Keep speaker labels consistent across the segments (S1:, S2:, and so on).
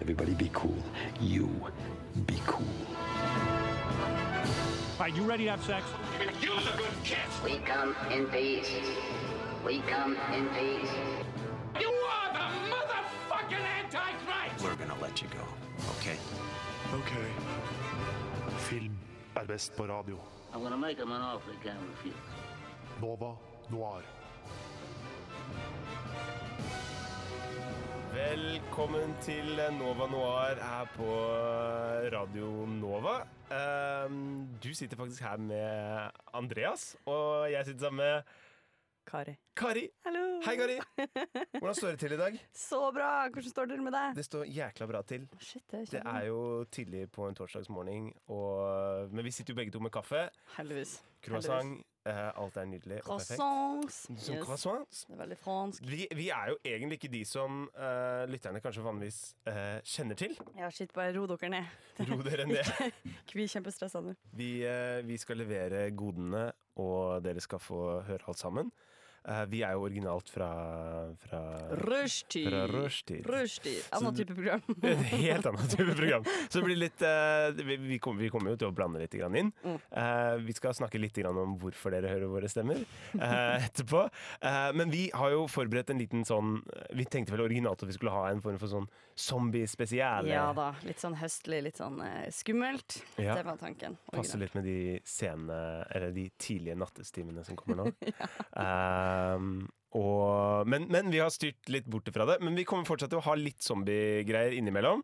S1: Everybody be cool. You be cool.
S2: Are you ready to have sex?
S3: We come in peace. We come in peace.
S4: You are the motherfucking Antichrist!
S5: We're gonna let you go, okay?
S6: Ok. Film er best på radio.
S3: I'm gonna make him an offer he can't refuse.
S6: Nova Noir.
S7: Velkommen til Nova Noir her på Radio Nova. Ehm, Du sitter faktisk her med Andreas, og jeg sitter sammen med
S8: Kari.
S7: Kari.
S8: Hallo.
S7: Hei, Kari. Hvordan står det til i dag?
S8: Så bra! Hvordan står dere med deg?
S7: Det står jækla bra til.
S8: Shit, det er
S7: Det er jo tidlig på en torsdagsmorgen, og, men vi sitter jo begge to med kaffe,
S8: Heldigvis.
S7: croissant. eh, Alt er nydelig og perfekt.
S8: Croissants.
S7: Som croissants.
S8: Det er veldig fransk.
S7: Vi, vi er jo egentlig ikke de som eh, lytterne kanskje vanligvis eh, kjenner til.
S8: Ja, shit, bare ro dere ned.
S7: Ro dere ned.
S8: Vi er kjempestressa nå.
S7: Vi, eh, vi skal levere godene, og dere skal få høre alt sammen. Eh, Vi er jo originalt fra, fra
S8: Rushtid.
S7: Fra rushtid.
S8: Rushtid.
S7: Så-
S8: Annen type program.
S7: et helt annet type program. Så det blir litt eh, Vi, vi kommer vi kommer jo til å blande litt grann inn.
S8: Mm.
S7: Eh, Vi skal snakke litt grann om hvorfor dere hører våre stemmer eh, etterpå. Eh, Men vi har jo forberedt en liten sånn Vi tenkte vel originalt at vi skulle ha en form for sånn zombiespesial.
S8: Ja da. Litt sånn høstlig, litt sånn eh, skummelt.
S7: Ja.
S8: Det var tanken.
S7: Passe
S8: Original.
S7: litt med de sene, eller de tidlige nattestimene som kommer nå. Ehm, og, men, men vi har styrt litt bort fra det. Men vi kommer fortsatt til å ha litt zombiegreier innimellom.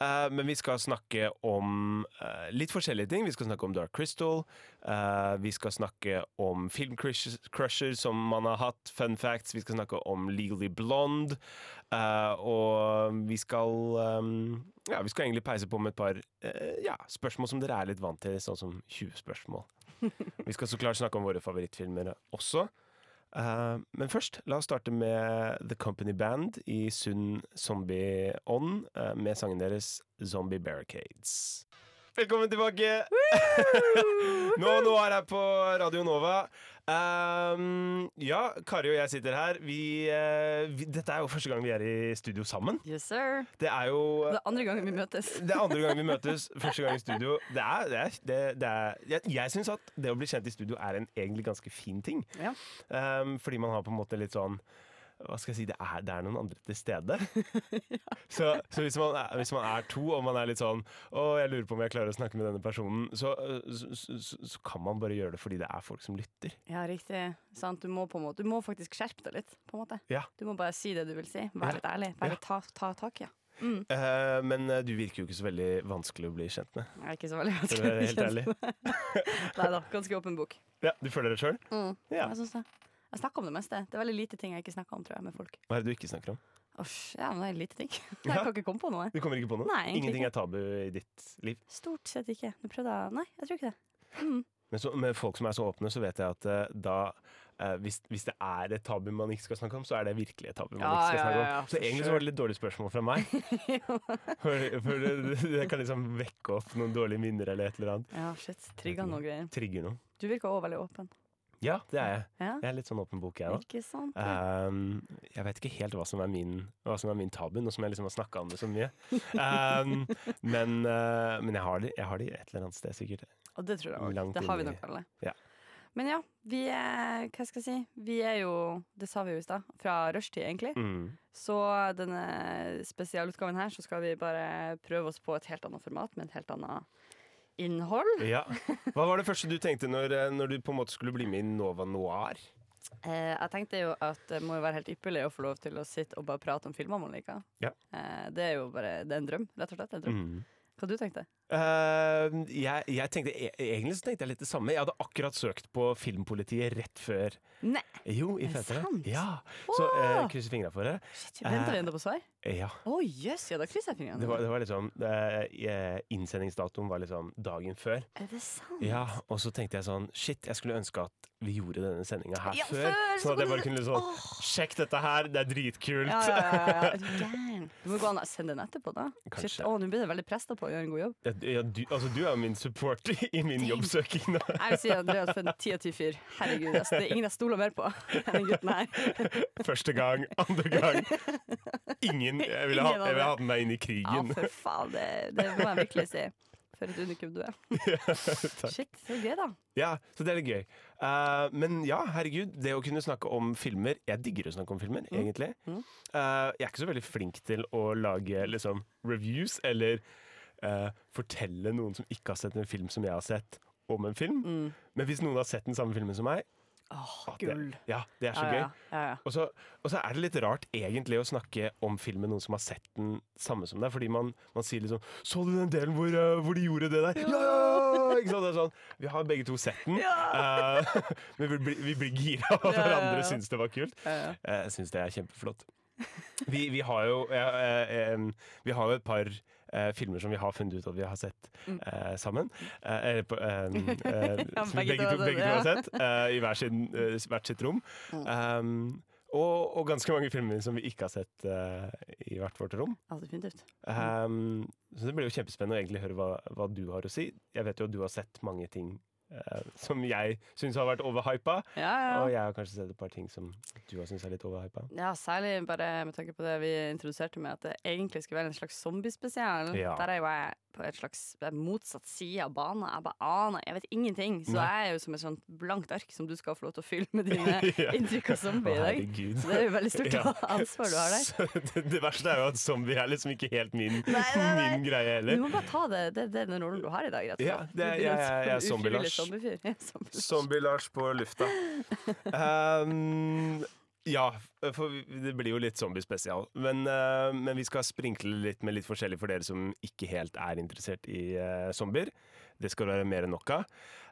S7: Eh, men vi skal snakke om eh, litt forskjellige ting. Vi skal snakke om Dark Crystal. eh, vi skal snakke om filmcrusher som man har hatt, fun facts. Vi skal snakke om Legally Blonde. eh, og vi skal ehm, ja, Vi skal egentlig peise på med et par eh, ja, spørsmål som dere er litt vant til, sånn som 20 spørsmål. Vi skal så klart snakke om våre favorittfilmer også. Eh, men først, la oss starte med The Company Band i sunn zombie-ånd eh, med sangen deres Zombie Barricades. Velkommen tilbake! nå, nå er jeg på Radio Nova. Um, ja, Kari og jeg sitter her. Vi, eh, vi, dette er jo første gang vi er i studio sammen.
S8: Yes, sir.
S7: Det er jo eh,
S8: Det er andre gangen vi møtes.
S7: det er andre gang vi møtes, første gang i studio. Det er, det er, det, det er, jeg jeg syns at det å bli kjent i studio er en egentlig ganske fin ting.
S8: Ja.
S7: Um, fordi man har på en måte litt sånn hva skal jeg si, det er, det er noen andre til stede. Så, så hvis, man er, hvis man er to, og man er litt sånn 'Å, jeg lurer på om jeg klarer å snakke med denne personen', så, så, så, så, så kan man bare gjøre det fordi det er folk som lytter.
S8: Ja, riktig. Sant. Du må, på en måte, du må faktisk skjerpe deg litt, på en måte.
S7: Ja.
S8: Du må bare si det du vil si. Vær litt ærlig. Bare ta, ta tak, ja.
S7: Eh, men eh, du virker jo ikke så veldig vanskelig å bli kjent med,
S8: Jeg er ikke så veldig
S7: for å være helt ærlig.
S8: Nei da. Ganske åpen bok.
S7: Ja, du føler det sjøl? Ja.
S8: Mm. Jeg syns det. Jeg snakker om det meste. Det er veldig lite ting jeg ikke snakker om tror jeg, med folk.
S7: Hva er det du ikke snakker om?
S8: Åsj, ja, men det er lite ting. Jeg kan ikke komme på noe.
S7: Du kommer ikke på noe?
S8: Nei, egentlig
S7: Ingenting
S8: ikke.
S7: er tabu i ditt liv?
S8: Stort sett ikke. Nå prøvde jeg Nei, jeg tror ikke det.
S7: Men så, med folk som er så åpne, så vet jeg at eh, da eh, hvis, hvis det er et tabu man ikke skal snakke om, så er det virkelig et tabu man
S8: Ja,
S7: ikke skal
S8: ja,
S7: snakke om.
S8: ja, ja,
S7: så
S8: for
S7: egentlig så var det litt dårlig spørsmål fra meg. for, for det, det kan liksom vekke opp noen dårlige minner eller et eller annet.
S8: Ja, shit. Trigga noe greier.
S7: Trigger noe.
S8: Du virker òg veldig åpen.
S7: Ja, det er jeg.
S8: Ja,
S7: Jeg er litt sånn åpen bok, jeg òg.
S8: ikke sant?
S7: Um, jeg vet ikke helt hva som er min, hva som er min tabu, nå som jeg liksom har snakka om det så mye. Um, men eh, men jeg, har det, jeg har det et eller annet sted, sikkert.
S8: Og det tror jeg også.
S7: langt
S8: Det har vi
S7: inni-
S8: nok alle.
S7: Ja.
S8: Men ja, vi er Hva skal jeg si? Vi er jo, det sa vi jo i stad, fra rushtid, egentlig.
S7: Mm.
S8: Så denne spesialutgaven her, så skal vi bare prøve oss på et helt annet format med et helt annet innhold.
S7: Ja. Hva var det første du tenkte når, eh, når du på en måte skulle bli med i Nova Noir?
S8: Eh, jeg tenkte jo at det må jo være helt ypperlig å få lov til å sitte og bare prate om filmer man liker.
S7: Ja.
S8: Eh, det er jo bare Det er en drøm, rett og slett. En drøm.
S7: Mm.
S8: Hva du tenkte
S7: Eh, jeg, jeg tenkte, e- Egentlig så tenkte jeg litt det samme. Jeg hadde akkurat søkt på Filmpolitiet rett før.
S8: Nei!
S7: Jo, i
S8: Er det
S7: Fetere.
S8: sant?
S7: Ja. Så
S8: Wow!
S7: eh, krysser fingra for det.
S8: Shit, Venter vi ennå på svar?
S7: Eh, ja.
S8: Å jøss, ja, da krysser jeg fingrene.
S7: Det var, det var liksom eh, eh, Innsendingsdatoen var liksom dagen før.
S8: Er det sant?
S7: Ja, Og så tenkte jeg sånn Shit, jeg skulle ønske at vi gjorde denne sendinga her
S8: Ja,
S7: før.
S8: før, så
S7: Sånn at jeg
S8: kunne
S7: bare
S8: du-
S7: kunne liksom Sjekk dette her, det er dritkult.
S8: Ja, ja, ja, ja, ja. Er du gæren? Du må gå an og sende den etterpå, da.
S7: Kanskje.
S8: Shit, å, Nå blir det veldig presta på å gjøre en god jobb.
S7: Det, ja, du, altså, du er jo min supporter i min jobbsøking. Da.
S8: Jeg vil si Andreas for en ti av ti fyr. Herregud, ass, det er ingen jeg stoler mer på enn den gutten her.
S7: Første gang, andre gang. Ingen. Jeg ville ha,
S8: Ingen av
S7: jeg ville
S8: det.
S7: hatt meg inn i
S8: Ja,
S7: krigen.
S8: for faen, det, det må jeg virkelig si. For et unikum du er. Shit, så gøy, da.
S7: Ja, så det er litt gøy. Eh, men ja, herregud, det å kunne snakke om filmer Jeg digger å snakke om filmer,
S8: Mm.
S7: egentlig. Eh, jeg er ikke så veldig flink til å lage liksom, reviews eller eh, fortelle noen som ikke har sett en film som jeg har sett, om en film. Men hvis noen har sett den samme filmen som meg
S8: Åh,
S7: at det-
S8: Mm. gull.
S7: Ja, det er så
S8: Ja, ja,
S7: gøy.
S8: ja, ja.
S7: Og så, og så er det litt rart egentlig å snakke om film med noen som har sett den samme som deg, fordi man, man sier liksom 'Så du den delen hvor, eh, hvor de gjorde det der?' Ja! ja, ja!» Ikke sant? Det er sånn, vi har begge to sett den, eh, men vi, blir- vi blir gira av at
S8: Ja, ja, ja.
S7: hverandre syns det var kult.
S8: Ja,
S7: Eh, Jeg syns det er kjempeflott. Vi, vi har jo eh, eh, em, Vi har jo et par eh, filmer som vi har funnet ut at vi har sett eh, sammen. Eh, eller på, em, eh,
S8: Mm. Ja, Mm.
S7: som vi begge
S8: begge
S7: to,
S8: to har
S7: begge to
S8: sett,
S7: har sett, eh, i hver sin, eh, hvert sitt rom. Em, og, og ganske mange filmer som vi ikke har sett eh, i hvert vårt rom.
S8: Ja, definitivt. Mm.
S7: Em, så det blir jo kjempespennende å egentlig høre hva, hva du har å si. Jeg vet jo at du har sett mange ting eh, som jeg syns har vært overhypa,
S8: Ja, ja, ja.
S7: og jeg har kanskje sett et par ting som du har syntes er litt overhypa.
S8: Ja, særlig bare med tanke på det vi introduserte med at det egentlig skulle være en slags zombiespesial.
S7: Ja.
S8: Der er jo jeg på et slags motsatt side av banen. Jeg bare aner, jeg vet ingenting. Så jeg er jo som et sånt blankt ark som du skal få lov til å fylle med dine
S7: Ja.
S8: inntrykk av zombie i dag.
S7: herregud.
S8: Så det er jo veldig stort
S7: Ja.
S8: ansvar du har der.
S7: Så det, det verste er jo at zombie er liksom ikke helt min,
S8: nei, nei.
S7: min greie
S8: Du
S7: heller.
S8: må bare ta det. Det, det er den rollen du har i dag, rett og
S7: Ja,
S8: slett.
S7: det er- jeg- jeg- jeg er zombie-Lars.
S8: zombie-Lars.
S7: Zombie-Lars på lufta. Um, ja, for vi- det blir jo litt zombiespesial. Men, eh, men vi skal sprinkle litt med litt forskjellig for dere som ikke helt er interessert i eh, zombier. Det skal det være mer enn nok av.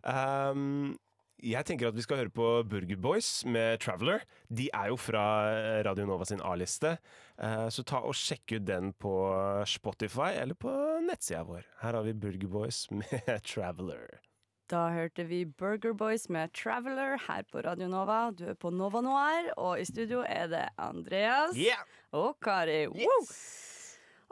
S7: Um, jeg tenker at vi skal høre på Burger Boys med Traveller. De er jo fra eh, Radio Nova sin A-liste, eh, så ta og sjekk ut den på Spotify eller på nettsida vår. Her har vi Burger Boys med Traveller.
S8: Da hørte vi Burger Boys med Traveler her på Radio Nova. Du er på Nova Noir, og i studio er det Andreas.
S7: Yeah!
S8: og Kari. Wow!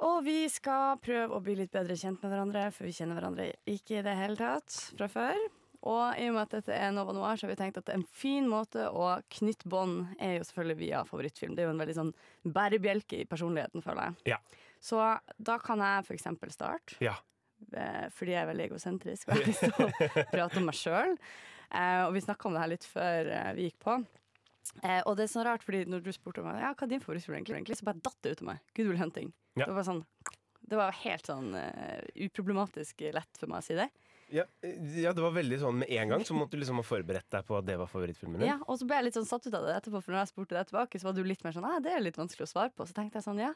S8: Og vi skal prøve å bli litt bedre kjent med hverandre, for vi kjenner hverandre ikke i det hele tatt fra før. Og i og med at dette er Nova Noir, så har vi tenkt at en fin måte å knytte bånd er jo selvfølgelig via favorittfilm. Det er jo en veldig sånn bærebjelke i personligheten, føler jeg.
S7: Ja.
S8: Så da kan jeg for eksempel starte
S7: Ja.
S8: eh, fordi jeg er veldig egosentrisk og har lyst til å prate om meg sjøl. Eh, og vi snakka om det her litt før eh, vi gikk på. Eh, og det er så rart, fordi når du spurte meg ja, hva er din favorittfilm, egentlig, egentlig, så bare datt det ut av meg. Good Will Hunting.
S7: Ja.
S8: Det var bare sånn det var helt sånn eh, uproblematisk lett for meg å si det.
S7: Ja, ja, det var veldig sånn med en gang, så måtte du liksom ha forberedt deg på at det var favorittfilmen din.
S8: Ja, og så ble jeg litt sånn satt ut av det etterpå, for når jeg spurte deg tilbake, så var du litt mer sånn «Ah, det er litt vanskelig å svare på. Så tenkte jeg sånn, ja.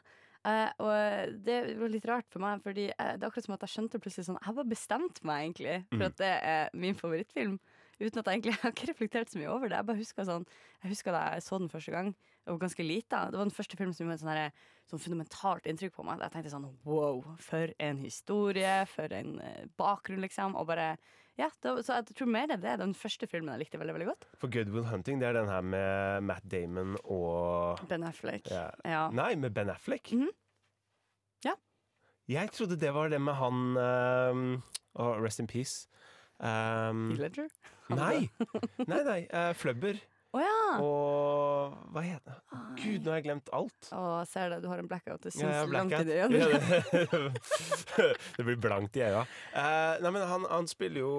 S8: Eh, og det var litt rart for meg, fordi eh, det er akkurat som at jeg skjønte plutselig sånn Jeg bare bestemte meg egentlig for at det er min favorittfilm. Uten at jeg egentlig jeg har ikke reflektert så mye over det. Jeg bare husker sånn Jeg husker da jeg så den første gang, jeg var ganske lita. Det var den første filmen som gjorde et sånn herre- sånn fundamentalt inntrykk på meg. Da Jeg tenkte sånn wow, for en historie, for en eh, bakgrunn, liksom. Og bare Ja, det, var- så jeg tror mer det er det. Den første filmen jeg likte veldig, veldig godt.
S7: For Good Will Hunting, det er den her med Matt Damon og
S8: Ben Affleck.
S7: Ja.
S8: Ja.
S7: Nei, med Ben Affleck.
S8: Mhm. Ja.
S7: Jeg trodde det var det med han ehm, og Rest in Peace. Ehm,
S8: Ledger?
S7: nei, nei, nei. eh, Flubber
S8: Å ja!
S7: og Hva heter det? Gud, nå har jeg glemt alt.
S8: Å, ser det, du har en blackout. Det syns
S7: Ja, ja,
S8: langt
S7: blackout.
S8: inn i øynene.
S7: Ja, det- det blir blankt i øya. Eh, nei, men han, han spiller jo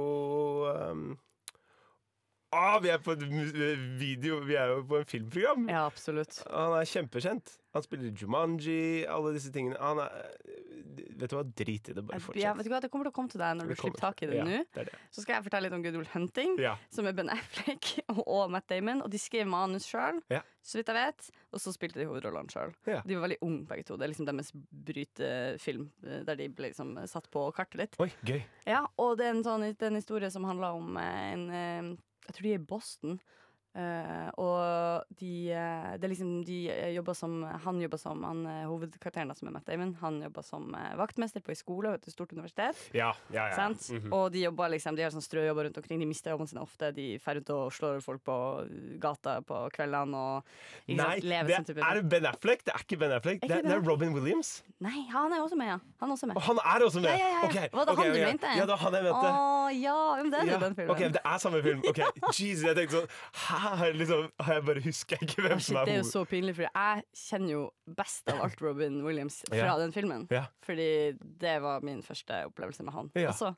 S7: ehm, ah, vi er på et mu- video Vi er jo på en filmprogram!
S8: Ja, absolutt.
S7: Han er kjempekjent. Han spiller Jumanji, alle disse tingene. Han er, eh, vet du hva, drit i det. Bare
S8: Jeg, jeg
S7: fortsett.
S8: vet ikke hva, Det kommer til å komme til deg når du
S7: Det kommer.
S8: slipper tak i det
S7: ja,
S8: nå.
S7: Det er det.
S8: Så skal jeg fortelle litt om Goodwill Hunting,
S7: Ja.
S8: som er Ben Affleck og Matt Damon. Og de skrev manus sjøl,
S7: Ja.
S8: så vidt jeg vet, og så spilte de hovedrollene sjøl.
S7: Ja.
S8: De var veldig unge begge to. Det er liksom deres brytefilm, eh, der de ble liksom eh, satt på kartet litt.
S7: Oi, gøy.
S8: Ja, og det er en sånn det er en historie som handler om eh, en eh, Jeg tror de er i Boston. Eh, og de, eh, det er liksom, de eh, jobber som Han jobber som han, eh, hovedkarakteren, da, som er Matt Damon. Han jobber som eh, vaktmester på ei skole ved et stort universitet.
S7: Ja, ja, Mm. mhm. ja.
S8: Sant? Og de jobber liksom, de har sånn strøjobber rundt omkring. De mister jobbene sine ofte. De drar rundt og slår folk på gata på kveldene og ikke
S7: Nei,
S8: sant, lever
S7: det
S8: sånn type
S7: er Ben Affleck. Det er ikke Ben Affleck.
S8: Er ikke
S7: Det er,
S8: Ben
S7: det er Robin Williams.
S8: Nei, han er også med, ja. Han er også med.
S7: Og han er også med!
S8: Ja, ja, ja, ja.
S7: Ok,
S8: Var det
S7: ok,
S8: han du
S7: ok.
S8: mente?
S7: Ja, det var han jeg mente.
S8: Å ja, men det er
S7: Ja,
S8: jo den filmen.
S7: ok, det er samme film. Ok, Jesus, jeg tenkte sånn Hæ? Liksom, har jeg bare husker jeg ikke hvem
S8: Å, shit,
S7: som er
S8: det er jo
S7: hoved...
S8: så pinlig, for jeg kjenner jo best av alt Robin Williams fra
S7: Ja.
S8: den filmen.
S7: Ja.
S8: Fordi det var min første opplevelse med han.
S7: Ja.
S8: Altså,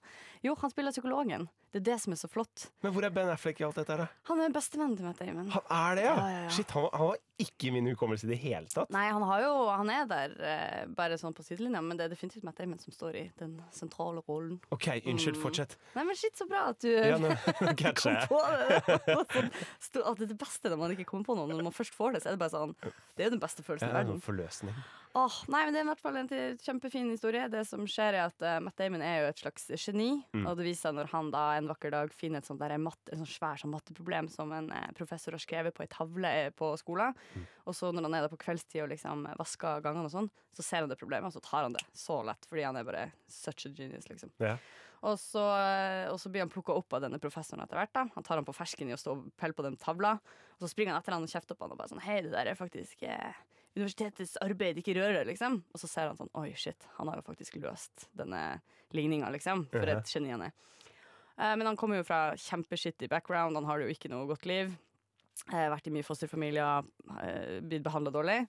S8: jo, han spiller psykologen. Det er det som er så flott.
S7: Men hvor er Ben Affleck i alt dette her, da?
S8: Han er bestevennen til Matt Damon.
S7: Han er det, ja!
S8: Ja, ja, ja.
S7: Shit, han, han var ikke i min hukommelse i det hele tatt.
S8: Nei, han, har jo, han er der eh, bare sånn på sidelinja, men det er definitivt Matt Damon som står i den sentrale rollen.
S7: Ok, unnskyld, fortsett.
S8: Nei, men shit, så bra at du
S7: Ja, nå catcher
S8: Mm. kom
S7: jeg.
S8: på det. Det var sånn sto- At det er det beste når man ikke kommer på noe, når man først får det, så er det bare sånn Det er jo den beste følelsen
S7: Ja,
S8: i
S7: det er
S8: verden.
S7: noen forløsning.
S8: Åh, nei, men Det er i hvert fall en til- kjempefin historie. Det som skjer er at eh, Matt Damon er jo et slags geni. Og det viser seg når han da en vakker dag finner et sånt der matte, en sånn svær sånn matteproblem som en eh, professor har skrevet på ei tavle eh, på skolen. Og så når han er der på kveldstid og liksom vasker gangene og sånn, så ser han det problemet, og så tar han det så lett. Fordi han er bare such a genius, liksom.
S7: Ja.
S8: Og så, eh, og så blir han plukka opp av denne professoren etter hvert. da Han tar han på fersken i å stå og pelle på den tavla. Og så springer han etter han og kjefter på han og bare sånn Hei, det der er faktisk eh, universitetets arbeid, ikke rør det, liksom. Og så ser han sånn Oi, shit, han har jo faktisk løst denne ligninga, liksom. For et geni han er. Eh, Men han kommer jo fra kjempeskittig background, han har jo ikke noe godt liv. Eh, Vært i mye fosterfamilier, eh, blitt behandla dårlig.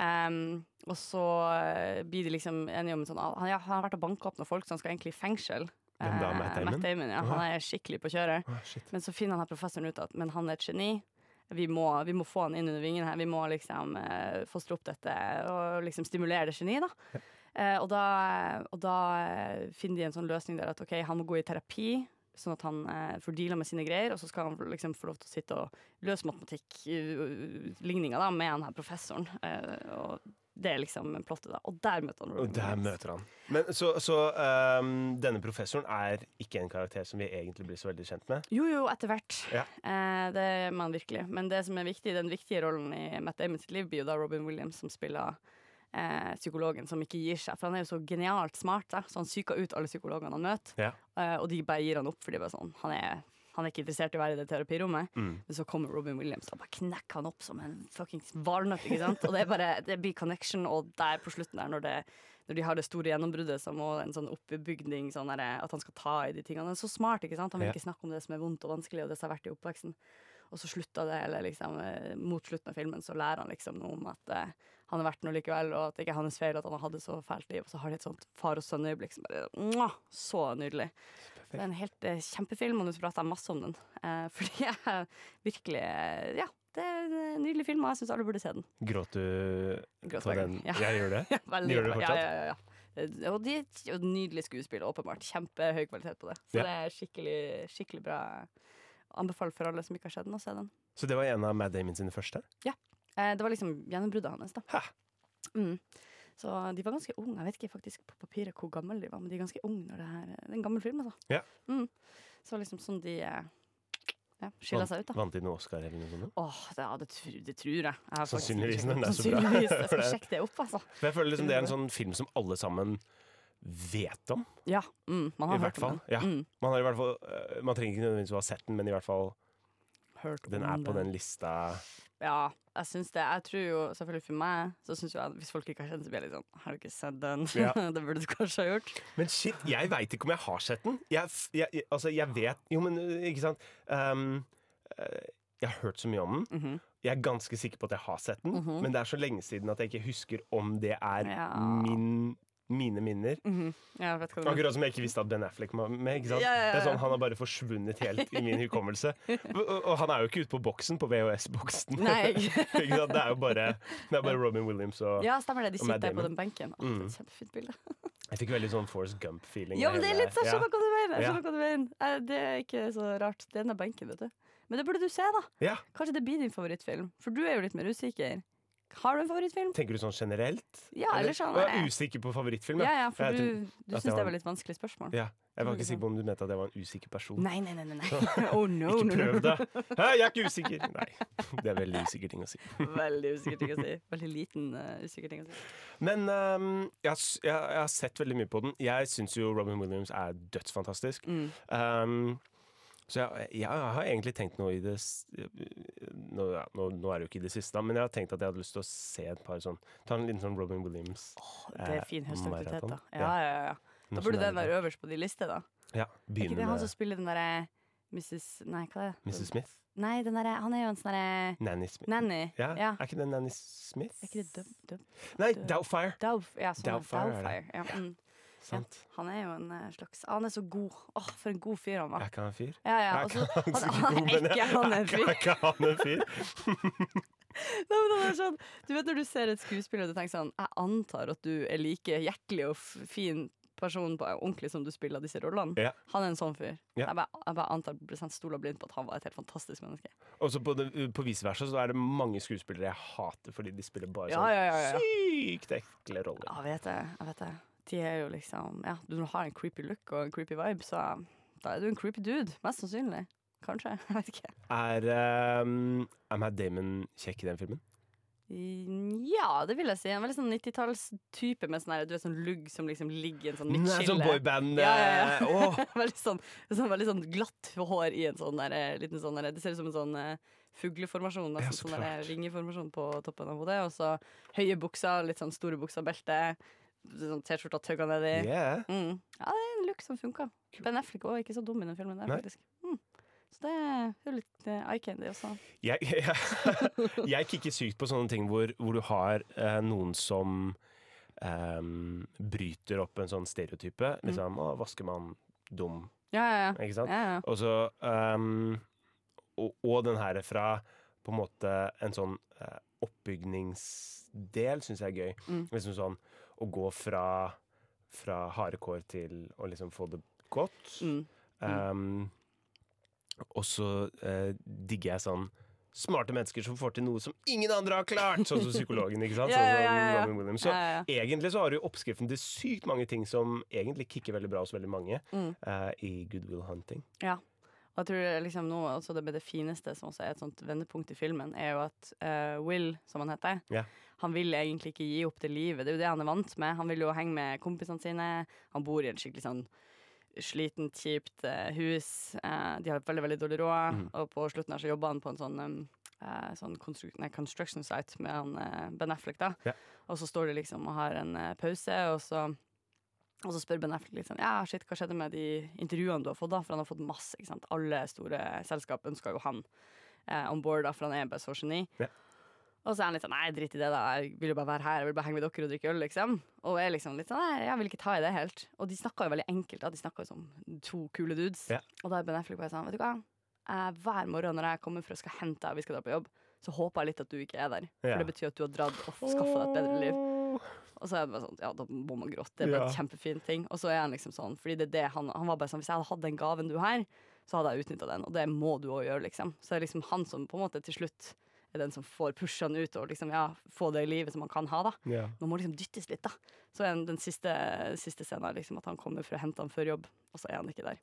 S8: Ehm, og så eh, blir de liksom enige om sånn, ah, han, ja, han har vært og banka opp noen folk, så han skal egentlig i fengsel.
S7: Hvem da,
S8: Eh,
S7: Matt Damon?
S8: ja. Han er skikkelig på kjøret.
S7: Å, shit.
S8: Men så finner han her professoren ut at men han er et geni. Vi må, vi må få han inn under vingen her. Vi må liksom eh, fostre opp dette og liksom stimulere det geniet, da. Eh, og, da og da eh, finner de en sånn løsning der at ok, han må gå i terapi, sånn at han eh, får deala med sine greier, og så skal han liksom få lov til å sitte og løse matematikkligninga da med han her professoren. Eh, og det er liksom plottet, da. Og der møter han
S7: Og
S8: Robin
S7: der
S8: Williams.
S7: møter han. Men, så så ehm, denne professoren er ikke en karakter som vi egentlig blir så veldig kjent med?
S8: Jo, jo, etter hvert.
S7: Ja.
S8: Eh, det er man virkelig. Men det som er viktig, den viktige rollen i Matt Damon sitt liv blir jo da Robin Williams, som spiller eh, psykologen som ikke gir seg. For han er jo så genialt smart, da. så han psyker ut alle psykologene han møter.
S7: Ja.
S8: Eh, og de bare gir han opp, for de er bare sånn han er, han er ikke interessert i å være i det terapirommet. Men så kommer Robin Williams og bare knekker han opp som en fuckings valnøtt. Ikke sant? Og det, er bare, det blir connection, og der på slutten der, når, det, når de har det store gjennombruddet, så må en sånn oppbygning sånn derre, At han skal ta i de tingene. Han er så smart, ikke sant? Han vil
S7: Ja.
S8: ikke snakke om det som er vondt og vanskelig, og det som har vært i oppveksten. Og så slutta det, eller liksom eh, mot slutten av filmen, så lærer han liksom noe om at eh, han har vært noe likevel, og at det ikke er hans feil at han hadde så fælt liv. Og så har de et sånt far og sønn-øyeblikk som bare mwah, Så nydelig. Det er en helt eh, kjempefilm, og nå prater jeg masse om den. Eh, fordi jeg virkelig eh, Ja, det er en nydelig film, og jeg syns alle burde se den.
S7: Gråt du
S8: Gråt
S7: på
S8: hver
S7: den?
S8: gang, ja.
S7: Jeg gjør det?
S8: Veldig
S7: Gjør du det
S8: bra.
S7: fortsatt?
S8: Ja, ja, ja, ja. Eh, Og de og nydelig skuespill, åpenbart. Kjempehøy kvalitet på det. Så
S7: Ja.
S8: det er skikkelig, skikkelig bra. Anbefaler for alle som ikke har sett den, å se den.
S7: Så det var en av Mad Damon sine første?
S8: Eh, det var liksom gjennombruddet hans, da.
S7: Hæ?
S8: Mm. Så de var ganske unge. Jeg vet ikke faktisk på papiret hvor gamle de var, men de er ganske unge når det her Det er en gammel film, altså.
S7: Ja.
S8: Mm. Så liksom sånn de eh, ja,
S7: Sånn
S8: skiller seg ut, da.
S7: Vant de noe Oscar eller noe sånt?
S8: Åh, det, ja, det, tru, det tror jeg. jeg har faktisk
S7: Sannsynligvis,
S8: ikke sjekket-
S7: men det er så bra.
S8: Sannsynligvis. Jeg
S7: For
S8: skal
S7: det-
S8: sjekke det opp, altså.
S7: For jeg føler liksom det er en sånn film som alle sammen vet om.
S8: Ja, mm, man har
S7: I hvert
S8: hørt om
S7: fall.
S8: den.
S7: Ja.
S8: Mm,
S7: Man, har i hvert fall øh, man trenger ikke nødvendigvis å ha sett den, men i hvert fall
S8: hørt
S7: den
S8: om
S7: er på den lista.
S8: Ja, jeg syns det. Jeg tror jo, selvfølgelig for meg, så syns jo jeg at hvis folk ikke har kjent det, så blir jeg litt sånn Har du ikke sett den?
S7: Ja.
S8: det burde du kanskje ha gjort.
S7: Men shit, jeg veit ikke om jeg har sett den. Jeg, f- jeg, jeg- altså, jeg vet Jo, men øh, ikke sant. Ehm, øh, jeg har hørt så mye om den.
S8: Mhm.
S7: Jeg er ganske sikker på at jeg har sett den,
S8: Mhm.
S7: men det er så lenge siden at jeg ikke husker om det er
S8: Ja.
S7: min, mine minner.
S8: Mhm. Jeg vet hva du mener.
S7: Akkurat som jeg ikke visste at Ben Affleck var med. Ikke sant?
S8: Ja, ja, ja.
S7: Det er sånn, Han har bare forsvunnet helt i min hukommelse. Og, og- og han er jo ikke ute på boksen, på VHS-boksen.
S8: Nei.
S7: ikke sant? Det er jo bare, det er bare Robin Williams og
S8: Ja, stemmer det. De
S7: Og Matt
S8: sitter der
S7: Damon.
S8: på
S7: Mm.
S8: den benken. Åh, det er et kjempefint bilde.
S7: Jeg fikk veldig sånn Forrest Gump-feeling.
S8: Ja, men
S7: av
S8: det er
S7: hele-
S8: litt sånn, jeg skjønner hva du mener. Jeg
S7: Ja.
S8: skjønner hva du mener. Eh, Det er ikke så rart. Det er den der benken, vet du. Men det burde du se, da.
S7: ja. ja.
S8: Kanskje det blir din favorittfilm, for du er jo litt mer usikker. Har du en favorittfilm?
S7: Tenker du sånn generelt?
S8: Ja, eller sånn
S7: Jeg
S8: er
S7: er
S8: det.
S7: usikker på favorittfilm,
S8: Ja, ja, for
S7: Jeg
S8: du,
S7: tror-
S8: du Mm.
S7: at jeg
S8: syns det
S7: har-
S8: var litt vanskelig spørsmål.
S7: ja. Jeg var ikke sikker på om du mente at jeg var en usikker person.
S8: Nei, nei, nei. nei, nei. Oh no,
S7: Ikke
S8: no,
S7: prøv
S8: no.
S7: det! Hæ, jeg er ikke usikker! Nei. Det er veldig usikker ting å si.
S8: Veldig usikker ting å si. Veldig liten eh, usikker ting å si.
S7: Men ehm, jeg, har s- jeg, jeg har sett veldig mye på den. Jeg syns jo Robin Williams er dødsfantastisk.
S8: Mm.
S7: Ehm, så jeg, jeg har egentlig tenkt noe i det s- eh, nå, ja, nå, nå er det jo ikke i det siste, da, men jeg har tenkt at jeg hadde lyst til å se et par sånn Ta en liten sånn Robin Williams.
S8: Det
S7: eh,
S8: er fin høstaktivitet, da.
S7: maraton.
S8: Ja, ja, ja. Da burde den være øverst på de liste, da.
S7: Ja,
S8: Er ikke
S7: Begynne
S8: det han som
S7: med
S8: spiller den derre Mrs. Nei, hva er det?
S7: Mrs. eh, Smith.
S8: Nei, den derre Han er jo en sånn derre
S7: Nanny Smith.
S8: nanny.
S7: Ja,
S8: Ja.
S7: Er ikke det Nanny Smith?
S8: Er ikke det Dub... Dub
S7: Nei, Doubtfire!
S8: Dauf, ja, sånn er det.
S7: Doubtfire er
S8: Doubtfire. Ja, mm.
S7: Sant.
S8: Han er jo en eh, slags Han er så god. Åh, for en god fyr han
S7: Er
S8: var.
S7: ikke han en fyr?
S8: Ja, ja.
S7: Er
S8: og
S7: ikke
S8: så-
S7: han
S8: han,
S7: så
S8: han
S7: god,
S8: er
S7: men
S8: ikke han en fyr.
S7: Er ikke han en fyr?
S8: Nei, men han er sånn, du vet når du ser et skuespiller og du tenker sånn Jeg antar at du er like hjertelig og f- fin person på ordentlig som du spiller disse rollene.
S7: Ja.
S8: Han er en sånn fyr.
S7: Ja.
S8: Jeg, bare, jeg bare antar prosent stoler blindt på at han var et helt fantastisk menneske.
S7: Og så på, det- på vice versa så er det mange skuespillere jeg hater fordi de spiller bare
S8: Ja,
S7: sånn
S8: ja, ja, ja.
S7: sykt ekle roller.
S8: Ja, vet jeg, jeg vet det. De er jo liksom Ja, du har en creepy look og en creepy vibe, så da er du en creepy dude. Mest sannsynlig. Kanskje. Jeg vet ikke.
S7: Er, ehm, er Matt Damon kjekk i den filmen?
S8: Ja, det vil jeg si. En veldig sånn 90-tallstype med sånn her, du vet, sånn lugg som liksom ligger i en sånn
S7: Nei, sånn
S8: midtskille.
S7: boyband
S8: Ja, ja,
S7: eh,
S8: ja.
S7: åh.
S8: veldig, sånn, sånn, veldig sånn glatt hår i en sånn der, eh, liten sånn der, Det ser ut som en sånn eh, fugleformasjon.
S7: Ja,
S8: Nesten,
S7: så
S8: sånn der,
S7: klart.
S8: eh, ringeformasjon på toppen av hodet. Og så høye bukser, litt sånn store bukser, belte, sånn T-skjorta tøgga nedi.
S7: Yeah.
S8: Mm. Ja, det er en look som funka. Ben Affleck var ikke så dum i den filmen der,
S7: Nei.
S8: faktisk. Mm. Så det er jo litt eh, eye candy også.
S7: Jeg, jeg, jeg kikker sykt på sånne ting hvor, hvor du har eh, noen som ehm, bryter opp en sånn stereotype.
S8: Mm.
S7: Liksom, å, vaskemann, dum,
S8: Ja, ja, ja.
S7: ikke sant?
S8: ja, ja.
S7: Og så ehm, og, og den her fra på en måte en sånn eh, oppbygningsdel syns jeg er gøy.
S8: Mm.
S7: Liksom sånn å gå fra, fra harde kår til å liksom få det godt.
S8: Mm.
S7: Ehm, og så eh, digger jeg sånn smarte mennesker som får til noe som ingen andre har klart! Sånn som psykologen, ikke sant?
S8: Ja, ja,
S7: Sånn
S8: ja,
S7: som
S8: ja.
S7: Robin Williams. Så
S8: Ja, ja, ja.
S7: egentlig så har du oppskriften til sykt mange ting som egentlig kicker veldig bra hos veldig mange
S8: Mm.
S7: eh, i Good Will Hunting.
S8: Ja. Og jeg tror det er liksom noe også det, med det fineste som også er et sånt vendepunkt i filmen, er jo at eh, Will, som han heter,
S7: Ja.
S8: han vil egentlig ikke gi opp det livet. Det er jo det han er vant med. Han vil jo henge med kompisene sine. Han bor i en skikkelig sånn slitent, kjipt eh, hus. Eh, de har veldig, veldig dårlig råd. Og på slutten her så jobber han på en sånn, um, eh, sånn constru nei, construction site med han eh, Ben Affleck, da.
S7: Ja.
S8: Og så står de liksom og har en eh, pause, og så og så spør Ben Affleck litt sånn Ja, shit, hva skjedde med de intervjuene du har fått, da? For han har fått masse, ikke sant. Alle store selskap ønsker jo han eh, on board, da, for han er bare så geni.
S7: Ja.
S8: Og så er han litt sånn Nei, drit i det, da. Jeg vil jo bare være her. Jeg vil bare henge med dere og drikke øl, liksom. Og er liksom litt sånn Nei, jeg vil ikke ta i det helt. Og de snakker jo veldig enkelt, da. De snakker jo som to kule dudes.
S7: Ja.
S8: Og da er Ben Affleck bare sånn Vet du hva, eh, hver morgen når jeg kommer for å skal hente deg, og vi skal dra på jobb, så håper jeg litt at du ikke er der. For
S7: Ja.
S8: det betyr at du har dratt og skaffa deg et bedre liv. Og så er det bare sånn, ja, da må man gråte. Det er bare
S7: Ja.
S8: en kjempefin ting. Og så er han liksom sånn, fordi det er det han, han var bare sånn, hvis jeg hadde hatt den gaven du har, så hadde jeg utnytta den, og det må du òg gjøre, liksom. Så det er liksom han som på en måte til slutt er den som får pusha han ut og liksom, ja, få det livet som han kan ha, da.
S7: Ja.
S8: Man må liksom dyttes litt, da. Så er den siste, siste scenen er liksom at han kommer for å hente han før jobb, og så er han ikke der.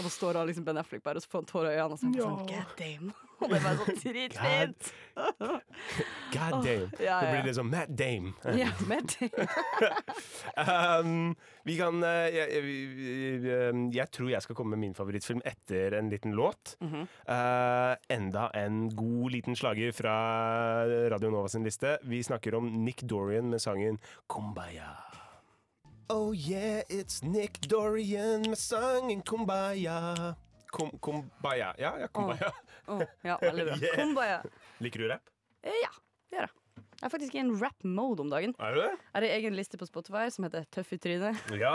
S8: Og da står han liksom Ben Affleck bare, og så får han tårer i øynene, og så er han bare sånn, god damn. Og det er bare sånn dritfint.
S7: God damn.
S8: ja,
S7: Det
S8: ja.
S7: blir liksom Matt Dame.
S8: Ja, med det.
S7: Um, vi kan eh, jeg, jeg, jeg- jeg tror jeg skal komme med min favorittfilm etter en liten låt.
S8: Mhm.
S7: Eh, enda en god liten slager fra Radio Nova sin liste. Vi snakker om Nick Dorian med sangen Kumbaya. Oh yeah, it's Nick Dorian med sangen Kumbaya. Kum, kumbaya. Ja, ja, Kumbaya.
S8: Åh, ja, veldig bra.
S7: Yeah.
S8: Kumbaya.
S7: Liker du rapp?
S8: Eh, Ja, det gjør jeg. Jeg er faktisk i en rap-mode om dagen.
S7: Er du det?
S8: Jeg har en egen liste på Spotify som heter Tøff i trynet,
S7: Ja!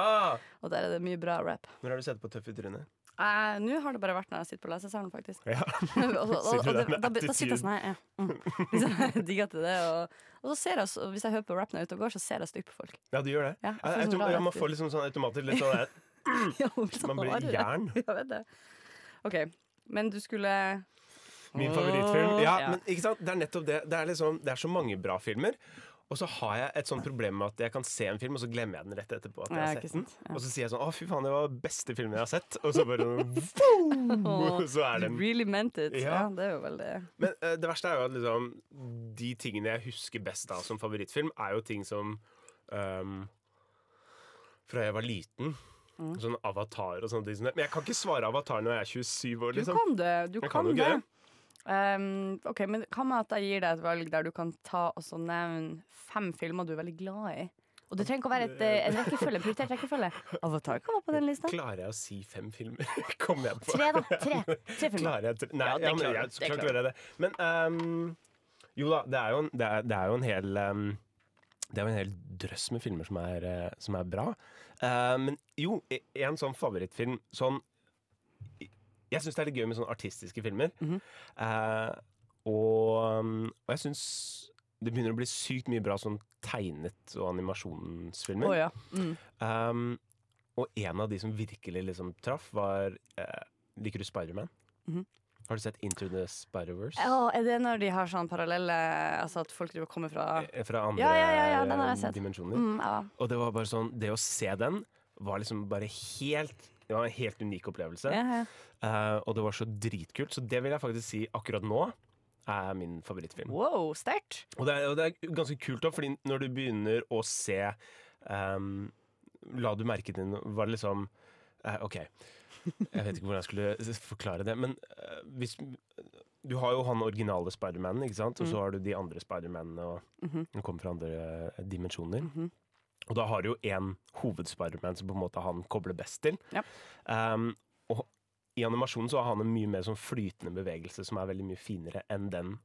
S8: og der er det mye bra rap.
S7: Når har du sett på Tøff i trynet?
S8: Eh, Nå har det bare vært når jeg sitter på lesesalen, faktisk.
S7: Ja.
S8: Og så- og-
S7: Sier du
S8: og
S7: det
S8: det-
S7: med
S8: Da da sitter jeg
S7: attitude?
S8: sånn her. Ja. Mm. Liksom, jeg Digger til det. Og, og så ser jeg, så- hvis jeg hører på rap når jeg er ute og går, så ser jeg stygt på folk.
S7: Ja, du gjør det.
S8: Ja, jeg får
S7: jeg,
S8: sånn
S7: tror-
S8: rar
S7: ja, man
S8: attitude.
S7: får liksom sånn automatisk litt sånn der,
S8: Ja, og sånn,
S7: Man
S8: har
S7: blir
S8: du det?
S7: jern.
S8: Ja, vet det. OK, men du skulle
S7: Min favorittfilm. Ja,
S8: Ja.
S7: men ikke sant? Det er nettopp det. Det er, liksom, det er så mange bra filmer. Og så har jeg et sånt problem med at jeg kan se en film, og så glemmer jeg den rett etterpå. At jeg
S8: Ja,
S7: har
S8: ikke
S7: sett den
S8: sant? Ja.
S7: Og så sier jeg sånn Å, fy faen, det var den beste filmen jeg har sett. Og så bare sånn, wow, Så er
S8: You
S7: den
S8: really meant it.
S7: Ja.
S8: Ja. det er jo veldig
S7: Men eh, det verste er jo at liksom, de tingene jeg husker best av som favorittfilm, er jo ting som ehm, Fra jeg var liten.
S8: Mm.
S7: Sånn Avatar og sånne ting. som det. Men jeg kan ikke svare Avatar når jeg er 27 år,
S8: Du
S7: liksom.
S8: kan det. Du
S7: Jeg
S8: kan,
S7: kan jo
S8: det.
S7: ikke
S8: Um, ok, men Hva med at jeg gir deg et valg der du kan ta og så nevne fem filmer du er veldig glad i? Og det trenger ikke å være et, eh, en rekkefølge, en prioritert rekkefølge. Avatar kan være på den lista.
S7: Klarer jeg å si fem filmer? Kommer jeg på
S8: Tre, da. Tre, Tre filmer.
S7: Klarer jeg tre? Nei,
S8: Ja,
S7: ja,
S8: det
S7: men
S8: klarer
S7: jeg,
S8: du.
S7: så
S8: Det
S7: klart klarer
S8: klarer
S7: jeg det. Men ehm, jo da, det er jo en, det er, det er jo en hel ehm, Det er jo en hel drøss med filmer som er, eh, som er bra. Eh, men jo, e- en sånn favorittfilm sånn Jeg syns det er litt gøy med sånne artistiske filmer.
S8: Mhm.
S7: Eh, og, um, og jeg syns det begynner å bli sykt mye bra sånn tegnet og animasjonsfilmer.
S8: Å ja. Mm.
S7: Um, og en av de som virkelig liksom traff, var eh, Liker du Spiderman?
S8: Mhm.
S7: Har du sett Into the Spider-Verse?
S8: Å, er det når de har sånn parallelle Altså at folk driver og kommer fra
S7: Eh, Fra andre
S8: Ja, ja, ja, ja, den har jeg
S7: eh,
S8: sett.
S7: dimensjoner.
S8: mm, ja.
S7: Og det var bare sånn Det å se den var liksom bare helt Det var en helt unik opplevelse.
S8: Ja, ja.
S7: Eh, og det var så dritkult. Så det vil jeg faktisk si akkurat nå er min favorittfilm.
S8: Wow, sterkt.
S7: Og det, er, og det er ganske kult da, fordi når du begynner å se ehm, La du merke til noe Var det liksom eh, OK. Jeg vet ikke hvordan jeg skulle s- forklare det, men eh, hvis Du har jo han originale Spiderman, ikke sant? Og så har du de andre Spidermanene og
S8: Mhm,
S7: som kommer fra andre eh, dimensjoner. Og da har du jo én hovedspiderman som på en måte han kobler best til.
S8: Ja.
S7: Ehm, og i animasjonen så har han en mye mer sånn flytende bevegelse som er veldig mye finere enn den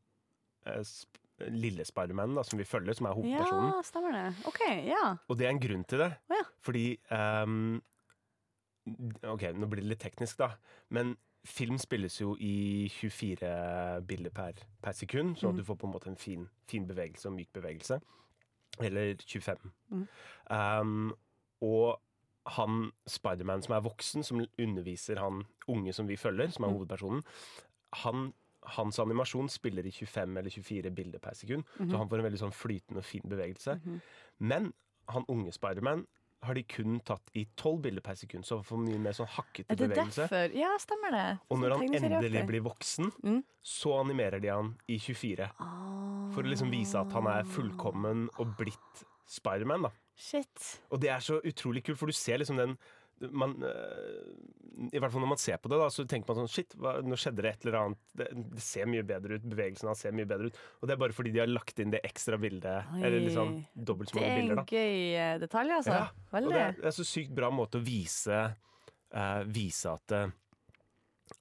S7: eh, sp lille Spiderman da, som vi følger, som er
S8: Ja,
S7: hovedpersonen.
S8: stemmer det. OK, ja.
S7: Og det er en grunn til det.
S8: Å ja.
S7: Fordi ehm, d- Ok, nå blir det litt teknisk, da. Men film spilles jo i 24 bilder per, per sekund,
S8: Mm.
S7: sånn at du får på en måte en fin, fin bevegelse og myk bevegelse. Eller 25.
S8: Mhm.
S7: Ehm, og han Spiderman som er voksen, som underviser han unge som vi følger,
S8: Mm.
S7: som er hovedpersonen, han, hans animasjon spiller i 25 eller 24 bilder per sekund.
S8: Mhm.
S7: Så han får en veldig sånn flytende og fin bevegelse. Men han unge Spiderman har de kun tatt i tolv bilder per sekund, så han får mye mer sånn hakkete
S8: Er det
S7: bevegelse.
S8: derfor? Ja, stemmer det.
S7: Og når han endelig
S8: Tegneserieaktig.
S7: blir voksen,
S8: Mm.
S7: så animerer de han i 24. For å liksom vise at han er fullkommen og blitt Spiderman, da.
S8: Shit.
S7: Og det er så utrolig kult, for du ser liksom den man, øh, I hvert fall når man ser på det, da, så tenker man sånn Shit, hva, nå skjedde det et eller annet. Det, det ser mye bedre ut. Bevegelsen hans ser mye bedre ut. Og det er bare fordi de har lagt inn det ekstra bildet.
S8: Oi.
S7: Eller liksom dobbelt så
S8: Det
S7: mange
S8: er en
S7: bilder, da.
S8: gøy eh, detalj, altså.
S7: Ja, Og
S8: Veldig.
S7: det er, det er så sykt bra måte å vise eh, Vise at eh,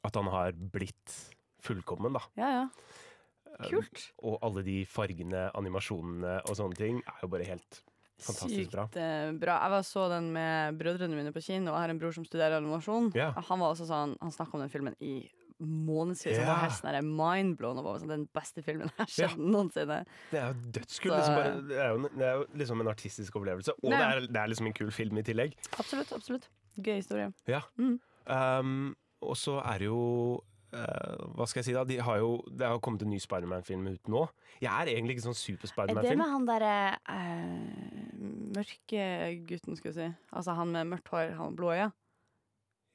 S7: At han har blitt fullkommen, da.
S8: Ja, ja.
S7: Eh,
S8: Kult.
S7: Og alle de fargene, animasjonene og sånne ting er jo bare helt fantastisk
S8: Sykt
S7: bra.
S8: eh, bra. Jeg var så den med brødrene mine på kino, og jeg har en bror som studerer animasjon.
S7: Ja.
S8: Og han var også sånn, han snakka om den filmen i månedsvis. Han
S7: Ja.
S8: var helt sånn der mindblown og var sånn, den beste filmen jeg har
S7: Ja.
S8: sett noensinne.
S7: Det er jo dødskult.
S8: Så-
S7: Liksom bare, det, er jo, en- det er jo liksom en artistisk opplevelse. Og det
S8: Ja.
S7: er, det er liksom en kul film i tillegg.
S8: Absolutt, absolutt. Gøy historie.
S7: Ja.
S8: Mm.
S7: Um, og så er det jo eh, hva skal jeg si da? De har jo, det har jo kommet en ny Spiderman-film ut nå. Jeg er egentlig ikke sånn super
S8: Er det
S7: Spiderman-film.
S8: med han derre eh, mørke gutten, skulle jeg si? Altså han med mørkt hår, han med blå øyne?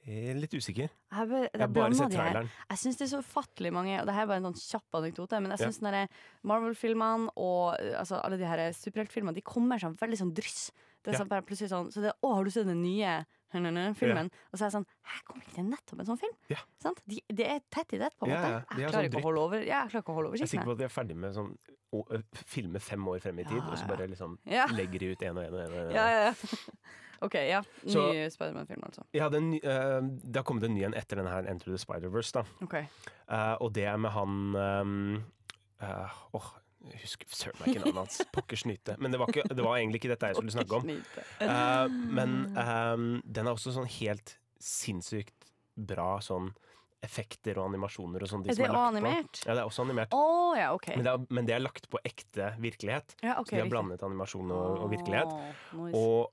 S7: Jeg er Litt usikker.
S8: Jeg, be,
S7: Jeg har bare sett traileren.
S8: Jeg syns det er så ufattelig mange Og det her er bare en sånn kjapp anekdote, men jeg
S7: Ja.
S8: syns ja. Marvel-filmene og eh, altså, alle de her superheltfilmene De kommer sånn veldig sånn dryss. Det er
S7: Ja.
S8: sånn, bare plutselig sånn Så det er 'Å, har du sett den nye hønene, filmen?' Og så er jeg sånn Hæ, kom ikke det nettopp en sånn film?
S7: Ja.
S8: Sant? De, det er tett i tett, på en
S7: Ja,
S8: måte.
S7: ja, de
S8: Jeg
S7: har
S8: klarer
S7: sånn
S8: ikke å holde over ja, Jeg klarer ikke å holde
S7: Jeg er sikker
S8: oversikten.
S7: på at de er ferdig med sånn, å, ø, filme fem år frem i tid, og så bare liksom
S8: Ja.
S7: legger de ut én og én. Og en og en.
S8: Ja, ja, ja. OK, ja. Ny
S7: Så-
S8: Spiderman-film, altså.
S7: Ja, det, er en ny- eh, det har kommet en ny en etter denne her, Enter the Spider-Verse. da.
S8: OK.
S7: Eh, og det er med han um, Åh, jeg husker søren meg ikke navnet hans. Pokkers nyte. Men det var, ikke, det var egentlig ikke dette jeg skulle snakke om. Eh, men ehm, den er også sånn helt sinnssykt bra sånn effekter og animasjoner og sånn. de
S8: Er
S7: som
S8: det
S7: lagt på.
S8: animert?
S7: Ja, det er også animert.
S8: Å ja, OK.
S7: Men det er, men det er lagt på ekte virkelighet.
S8: Ja, ok,
S7: Så de har
S8: riktig.
S7: blandet animasjon og, og virkelighet.
S8: Å, nice.
S7: Og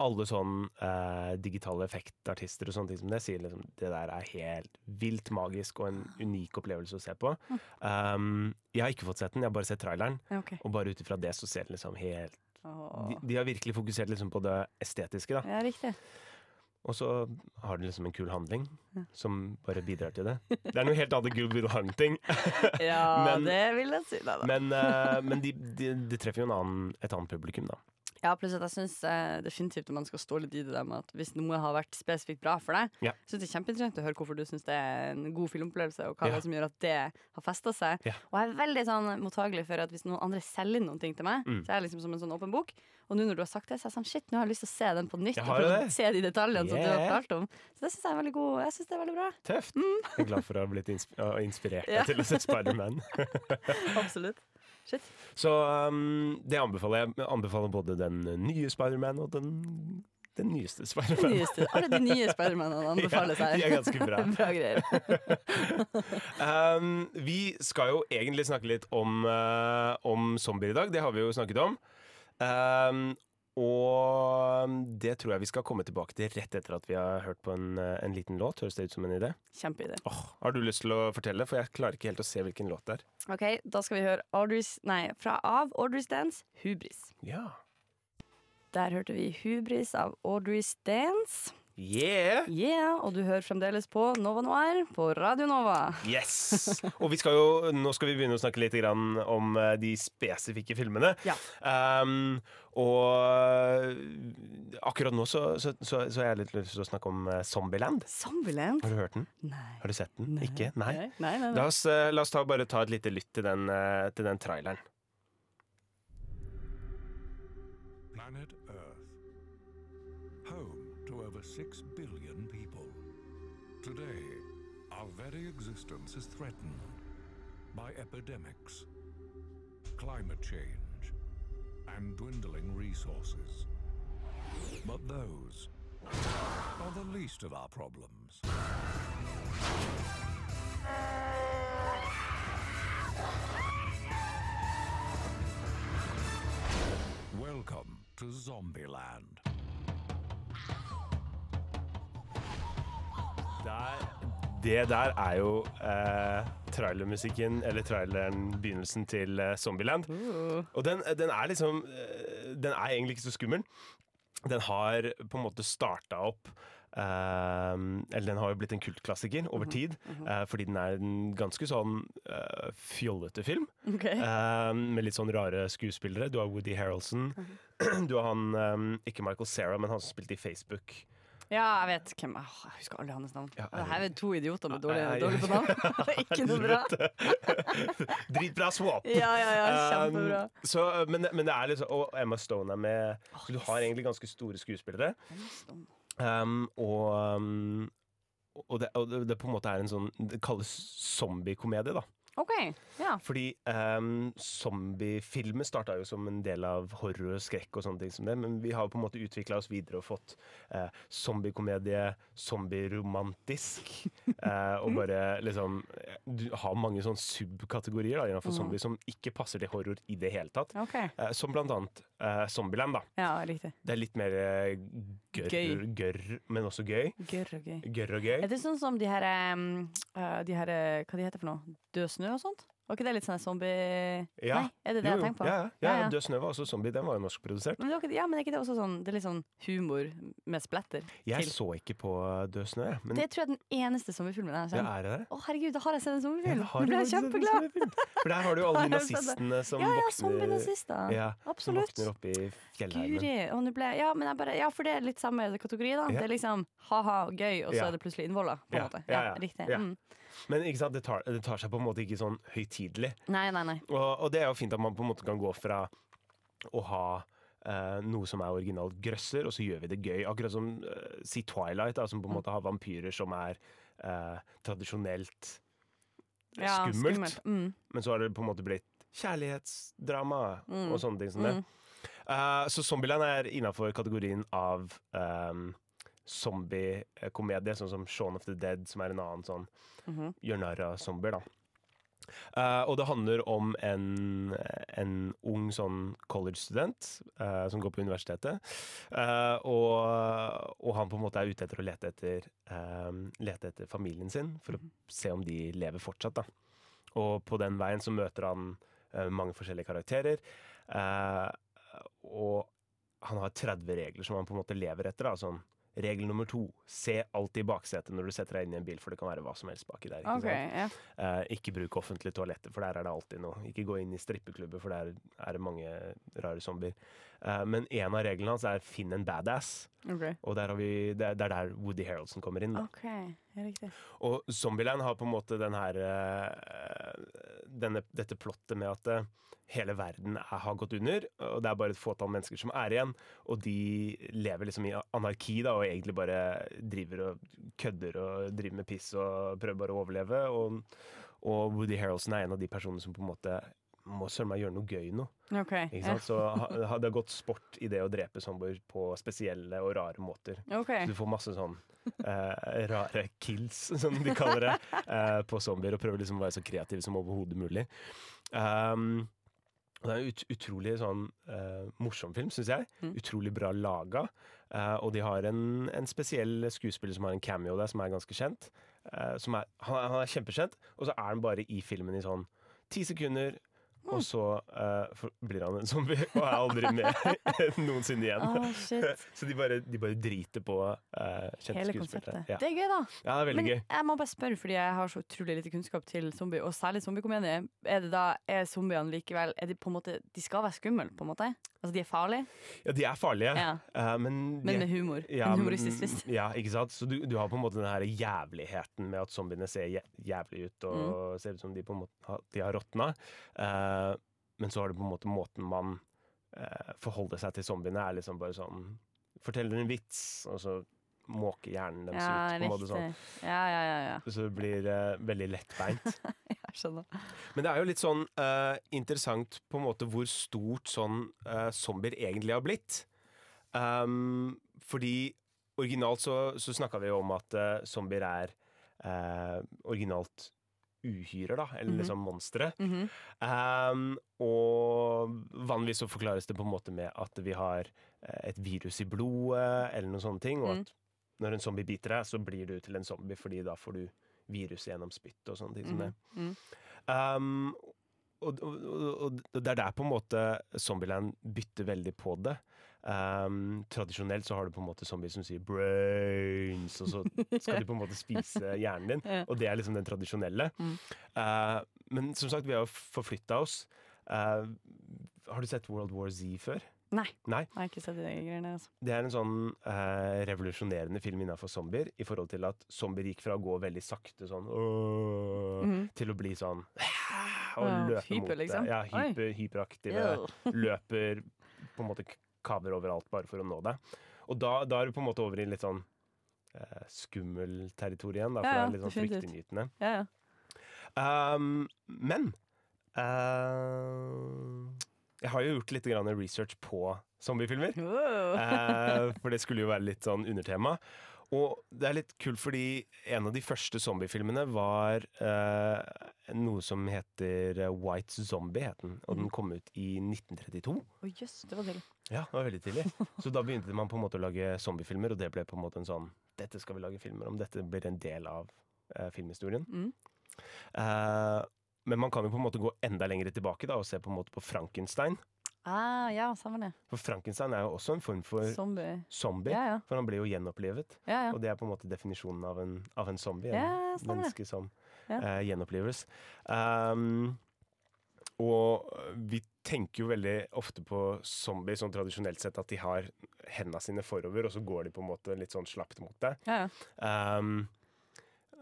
S7: alle sånn eh, digitale effektartister og sånne ting som det sier liksom det der er helt vilt magisk og en unik opplevelse å se på.
S8: Hm.
S7: Um, jeg har ikke fått sett den, jeg har bare sett traileren.
S8: Ja, ok.
S7: Og bare ut ifra det så ser det liksom helt
S8: Åh.
S7: de, de har virkelig fokusert liksom på det estetiske, da.
S8: Ja, riktig.
S7: Og så har de liksom en kul handling som bare bidrar til det. Det er noe helt annet enn Good Will Hunting,
S8: Ja,
S7: Men-
S8: det vil jeg si. Nei, da.
S7: men, eh, men de, de, de treffer jo en annen, et annet publikum, da.
S8: Ja, pluss at jeg syns eh, definitivt at man skal stå litt i det der med at hvis noe har vært spesifikt bra for deg,
S7: Ja.
S8: synes det er kjempeinteressant å høre hvorfor du syns det er en god filmopplevelse, og hva
S7: Ja.
S8: det er som gjør at det har festa seg.
S7: Ja.
S8: Og jeg er veldig sånn mottagelig for at hvis noen andre selger inn noen ting til meg,
S7: Mm.
S8: så er jeg liksom som en sånn åpen bok. Og nå når du har sagt det, så er jeg sånn shit, nå har jeg lyst til å se den på nytt.
S7: Jeg
S8: Og
S7: har
S8: prøve
S7: jo
S8: å
S7: det.
S8: se de detaljene som du har
S7: Yeah.
S8: fortalt om. Så det syns jeg er veldig god. Jeg synes det er veldig bra.
S7: Tøft! Jeg er glad for å ha blitt insp å ha inspirert
S8: Ja.
S7: deg til å se Spiderman.
S8: Absolutt. Shit.
S7: Så um, det anbefaler jeg. Jeg Anbefaler både den nye Spiderman og den, den nyeste
S8: De
S7: Spiderman.
S8: nyeste, alle de nye Spidermanene anbefales
S7: Ja,
S8: her.
S7: de er ganske bra.
S8: bra greier.
S7: Um, vi skal jo egentlig snakke litt om, eh, om zombier i dag. Det har vi jo snakket om. Um, og det tror jeg vi skal komme tilbake til rett etter at vi har hørt på en, eh, en liten låt. Høres det ut som en idé?
S8: Kjempeidé.
S7: Åh, har du lyst til å fortelle? For jeg klarer ikke helt å se hvilken låt det er.
S8: Ok, da skal vi høre Audrey's, nei, fra av Audrey Dance, Hubris.
S7: Ja.
S8: Der hørte vi Hubris av Audrey Dance.
S7: Yeah!
S8: Yeah, og du hører fremdeles på Nova Noir på Radio Nova.
S7: Yes! Og vi skal jo, nå skal vi begynne å snakke litt grann om eh, de spesifikke filmene.
S8: Ja.
S7: Um, og akkurat nå så, så, så, så har jeg litt lyst til å snakke om eh, Zombieland.
S8: Zombieland?
S7: Har du hørt den?
S8: Nei.
S7: Har du sett den? Ikke? Nei.
S8: Nei, nei, nei.
S7: La oss, eh, la oss ta, bare ta et lite lytt til den, eh, til den traileren.
S2: Planet Earth. Home to over 6 billion people. Today, our very existence is threatened by epidemics, climate change, and dwindling resources. But those are the least of our problems. Welcome to Zombieland.
S7: det der er jo eh, trailermusikken, eller traileren, begynnelsen til eh, Zombieland. Og den, den er liksom eh, Den er egentlig ikke så skummel. Den har på en måte starta opp eh, Eller den har jo blitt en kultklassiker over tid, eh, fordi den er en ganske sånn eh, fjollete film.
S8: Ok.
S7: Eh, med litt sånn rare skuespillere. Du har Woody Harrelson. Du har han eh, Ikke Michael Sarah, men han som spilte i Facebook.
S8: Ja, jeg vet hvem Åh, Jeg husker alle hans navn.
S7: Ja,
S8: Det her er to idioter
S7: Ja,
S8: med dårlig,
S7: ja, ja.
S8: dårlig på navn. Ikke noe bra.
S7: Dritbra swap!
S8: Ja, ja, ja,
S7: Um,
S8: kjempebra.
S7: så, men, men det er liksom Og Emma Stone er med. Så du har egentlig ganske store skuespillere. Um, og um, og, det, og det, det på en måte er en sånn Det kalles zombiekomedie, da.
S8: Ok, ja.
S7: Fordi um, zombiefilmer starta jo som en del av horror og skrekk og sånne ting som det, men vi har på en måte utvikla oss videre og fått eh, zombiekomedie, zombieromantisk eh, Og bare liksom Du har mange sånne subkategorier da, innenfor
S8: Mm.
S7: zombie som ikke passer til horror i det hele tatt.
S8: Ok.
S7: Eh, som blant annet eh, Zombieland, da.
S8: Ja, riktig.
S7: Det er litt mer eh, gørr,
S8: Gøy.
S7: gørr, men også gøy.
S8: Gørr og gøy.
S7: Gørr og gøy.
S8: Er det sånn som de her, um, øh, de her øh, Hva de heter for noe? Død snø og sånt? Var ikke det litt sånn zombie
S7: Ja.
S8: Nei, er det
S7: Jo,
S8: det jeg
S7: jo.
S8: tenker på?
S7: Ja, ja.
S8: Ja, Mm.
S7: ja,
S8: ja.
S7: Død snø var også zombie. Den var jo norskprodusert.
S8: Men, det var ikke, ja, men er ikke det også sånn Det er litt sånn humor med splatter?
S7: Jeg
S8: til?
S7: så ikke på eh, Død snø, jeg, men
S8: Det tror jeg er den eneste zombiefilmen jeg har
S7: Ja,
S8: sett.
S7: er det det?
S8: Å, herregud, da har jeg sett en
S7: Ja,
S8: zombiefilm!
S7: det har
S8: Nå ble
S7: jo
S8: jeg
S7: faktisk en
S8: kjempeglad!
S7: zombiefilm. For der har du jo alle de
S8: Da har jeg sett det.
S7: nazistene som
S8: Ja, ja,
S7: våkner
S8: zombienazister.
S7: Ja,
S8: Absolutt.
S7: Som våkner oppe i fjellheimen.
S8: Guri! Og nå ble jeg- ja, men jeg bare, ja, for det er litt samme kategori, da.
S7: Ja.
S8: Det er liksom ha-ha, gøy, og så
S7: Ja.
S8: er det plutselig innvoller, på en
S7: Ja,
S8: måte.
S7: ja,
S8: Ja,
S7: ja.
S8: riktig.
S7: Ja.
S8: Mm.
S7: Men ikke sant, det tar, det tar seg på en måte ikke sånn høytidelig.
S8: Nei, nei, nei.
S7: Og, og det er jo fint at man på en måte kan gå fra å ha eh, noe som er originalt grøsser, og så gjør vi det gøy. Akkurat som eh, si Twilight, da, som på en
S8: Mm.
S7: måte har vampyrer som er eh, tradisjonelt
S8: Ja,
S7: Skummelt.
S8: Mm.
S7: Men så har det på en måte blitt kjærlighetsdrama og sånne ting som det.
S8: Mm.
S7: Eh, så Zombieland er innafor kategorien av um, zombiekomedie, sånn som Shaun of the Dead, som er en annen sånn
S8: Mhm.
S7: gjør narr av zombier, da. Eh, og det handler om en, en ung sånn college-student eh, som går på universitetet. Eh, og, og han på en måte er ute etter å lete etter, eh, lete etter familien sin for å se om de lever fortsatt. Da. Og på den veien så møter han eh, mange forskjellige karakterer. eh, og han har 30 regler som han på en måte lever etter. Da. Sånn, regel nummer to se alltid baksetet når du setter deg inn i en bil, for det kan være hva som helst baki der. Ikke
S8: Ok,
S7: sant?
S8: ja.
S7: Eh, ikke bruk offentlige toaletter, for der er det alltid noe. Ikke gå inn i strippeklubber, for der er det mange rare zombier. Eh, men en av reglene hans er 'finn en badass',
S8: Ok.
S7: og der har vi, det, er- det er der Woody Harroldson kommer inn. Da.
S8: Ok, ja, riktig.
S7: Og Zombieland har på en måte den her eh, denne, dette plottet med at eh, hele verden er, har gått under, og det er bare et fåtall mennesker som er igjen, og de lever liksom i anarki da, og egentlig bare driver og kødder og driver med piss og prøver bare å overleve. Og, og Woody Harrelson er en av de personene som på en måte må søren meg gjøre noe gøy nå.
S8: Ok,
S7: Ikke
S8: ja.
S7: sant? Så ha, ha- det har gått sport i det å drepe zombier på spesielle og rare måter.
S8: Ok,
S7: Så du får masse sånn eh, rare kills, som de kaller det, eh, på zombier. Og prøver liksom å være så kreativ som overhodet mulig. Um, og det er en ut, utrolig sånn eh, morsom film, syns jeg.
S8: Mm.
S7: Utrolig bra laga. Eh, og de har en, en spesiell skuespiller som har en cameo der, som er ganske kjent. Eh, som er, han, er- han er kjempekjent, og så er han bare i filmen i sånn ti sekunder.
S8: Mm.
S7: Og så eh, for, blir han en zombie og er aldri med noensinne igjen.
S8: Å, shit.
S7: Så de bare, de bare driter på eh, kjente
S8: Hele
S7: skuespillere.
S8: konseptet.
S7: Ja.
S8: Det er gøy, da.
S7: ja, det er veldig
S8: Men
S7: gøy.
S8: jeg må bare spørre, fordi jeg har så utrolig lite kunnskap til zombie, og særlig zombiekomedie. Er det da, er zombiene likevel er de, på en måte, de skal være skumle, på en måte? Altså, de er farlige,
S7: Ja, de er farlige,
S8: Ja.
S7: eh, men, de
S8: men
S7: er-
S8: med humor.
S7: ja,
S8: en
S7: men-
S8: humoristisk twist.
S7: Ja, ikke sant? Så du, du har på en måte den her jævligheten med at zombiene ser jæ jævlig ut og
S8: Mm.
S7: ser ut som de på en måte har, de har råtna. Eh, men så har du på en måte måten man eh, forholder seg til zombiene er liksom bare sånn Forteller en vits, og så måker hjernen deres
S8: Ja,
S7: ut. på en måte
S8: riktig.
S7: sånn.
S8: Ja, ja, ja, ja.
S7: Så det blir eh, veldig lettbeint.
S8: Jeg skjønner.
S7: Men det er jo litt sånn eh, interessant på en måte hvor stort sånn eh, zombier egentlig har blitt. Um, fordi originalt så, så snakka vi jo om at eh, zombier er eh, originalt uhyrer, da. Eller
S8: Mhm.
S7: liksom monstre.
S8: Mhm.
S7: Um, og vanligvis så forklares det på en måte med at vi har eh, et virus i blodet, eller noen sånne ting. Og
S8: Mm.
S7: at når en zombie biter deg, så blir du til en zombie, fordi da får du viruset gjennom spytt og sånne ting som det.
S8: Mhm.
S7: Um, og, og, og- og det er der på en måte Zombieland bytter veldig på det. Um, tradisjonelt så har du på en måte zombier som sier 'brains', og så skal de på en måte spise hjernen din.
S8: Ja.
S7: Og det er liksom den tradisjonelle.
S8: Mm.
S7: Uh, men som sagt, vi har jo forflytta oss. Uh, har du sett World War Z før?
S8: Nei.
S7: Nei.
S8: Jeg har ikke sett de greiene der, altså.
S7: Det er en sånn eh, revolusjonerende film innenfor zombier, i forhold til at zombier gikk fra å gå veldig sakte sånn «Åh»,
S8: Mhm.
S7: til å bli sånn og
S8: Ja,
S7: løpe
S8: hyper,
S7: mot det.
S8: liksom.
S7: Ja,
S8: Oi.
S7: hyper, hyperaktive. Løper, på en måte k- kaver overalt bare for å nå deg. Og da, da er du på en måte over i litt sånn eh, skummel territorium igjen, da, for
S8: Ja, ja,
S7: det er litt sånn
S8: definitivt.
S7: fryktinngytende.
S8: Ja, ja.
S7: Um, men eh, jeg har jo gjort litt grann research på zombiefilmer.
S8: Wow.
S7: Eh, for det skulle jo være litt sånn undertema. Og det er litt kult fordi en av de første zombiefilmene var eh, noe som heter eh, White Zombie, het den. Og
S8: Mm.
S7: den kom ut i 1932.
S8: Å, jøss, det var tidlig.
S7: Ja, det var veldig tidlig. Så da begynte man på en måte å lage zombiefilmer, og det ble på en måte en sånn Dette skal vi lage filmer om. Dette blir en del av eh, filmhistorien.
S8: Mm.
S7: Eh, men man kan jo på en måte gå enda lenger tilbake da, og se på en måte på Frankenstein.
S8: Ah, ja, sammen det.
S7: For Frankenstein er jo også en form for
S8: Zombie.
S7: zombie.
S8: Ja, ja.
S7: For han ble jo gjenopplivet.
S8: ja, ja.
S7: Og det er på en måte definisjonen av en, av en zombie.
S8: Ja,
S7: en
S8: stemmer det.
S7: menneske som
S8: Ja.
S7: eh, gjenoppleves. Um, og vi tenker jo veldig ofte på zombier sånn tradisjonelt sett at de har hendene sine forover, og så går de på en måte litt sånn slapt mot deg.
S8: Ja, ja.
S7: Um,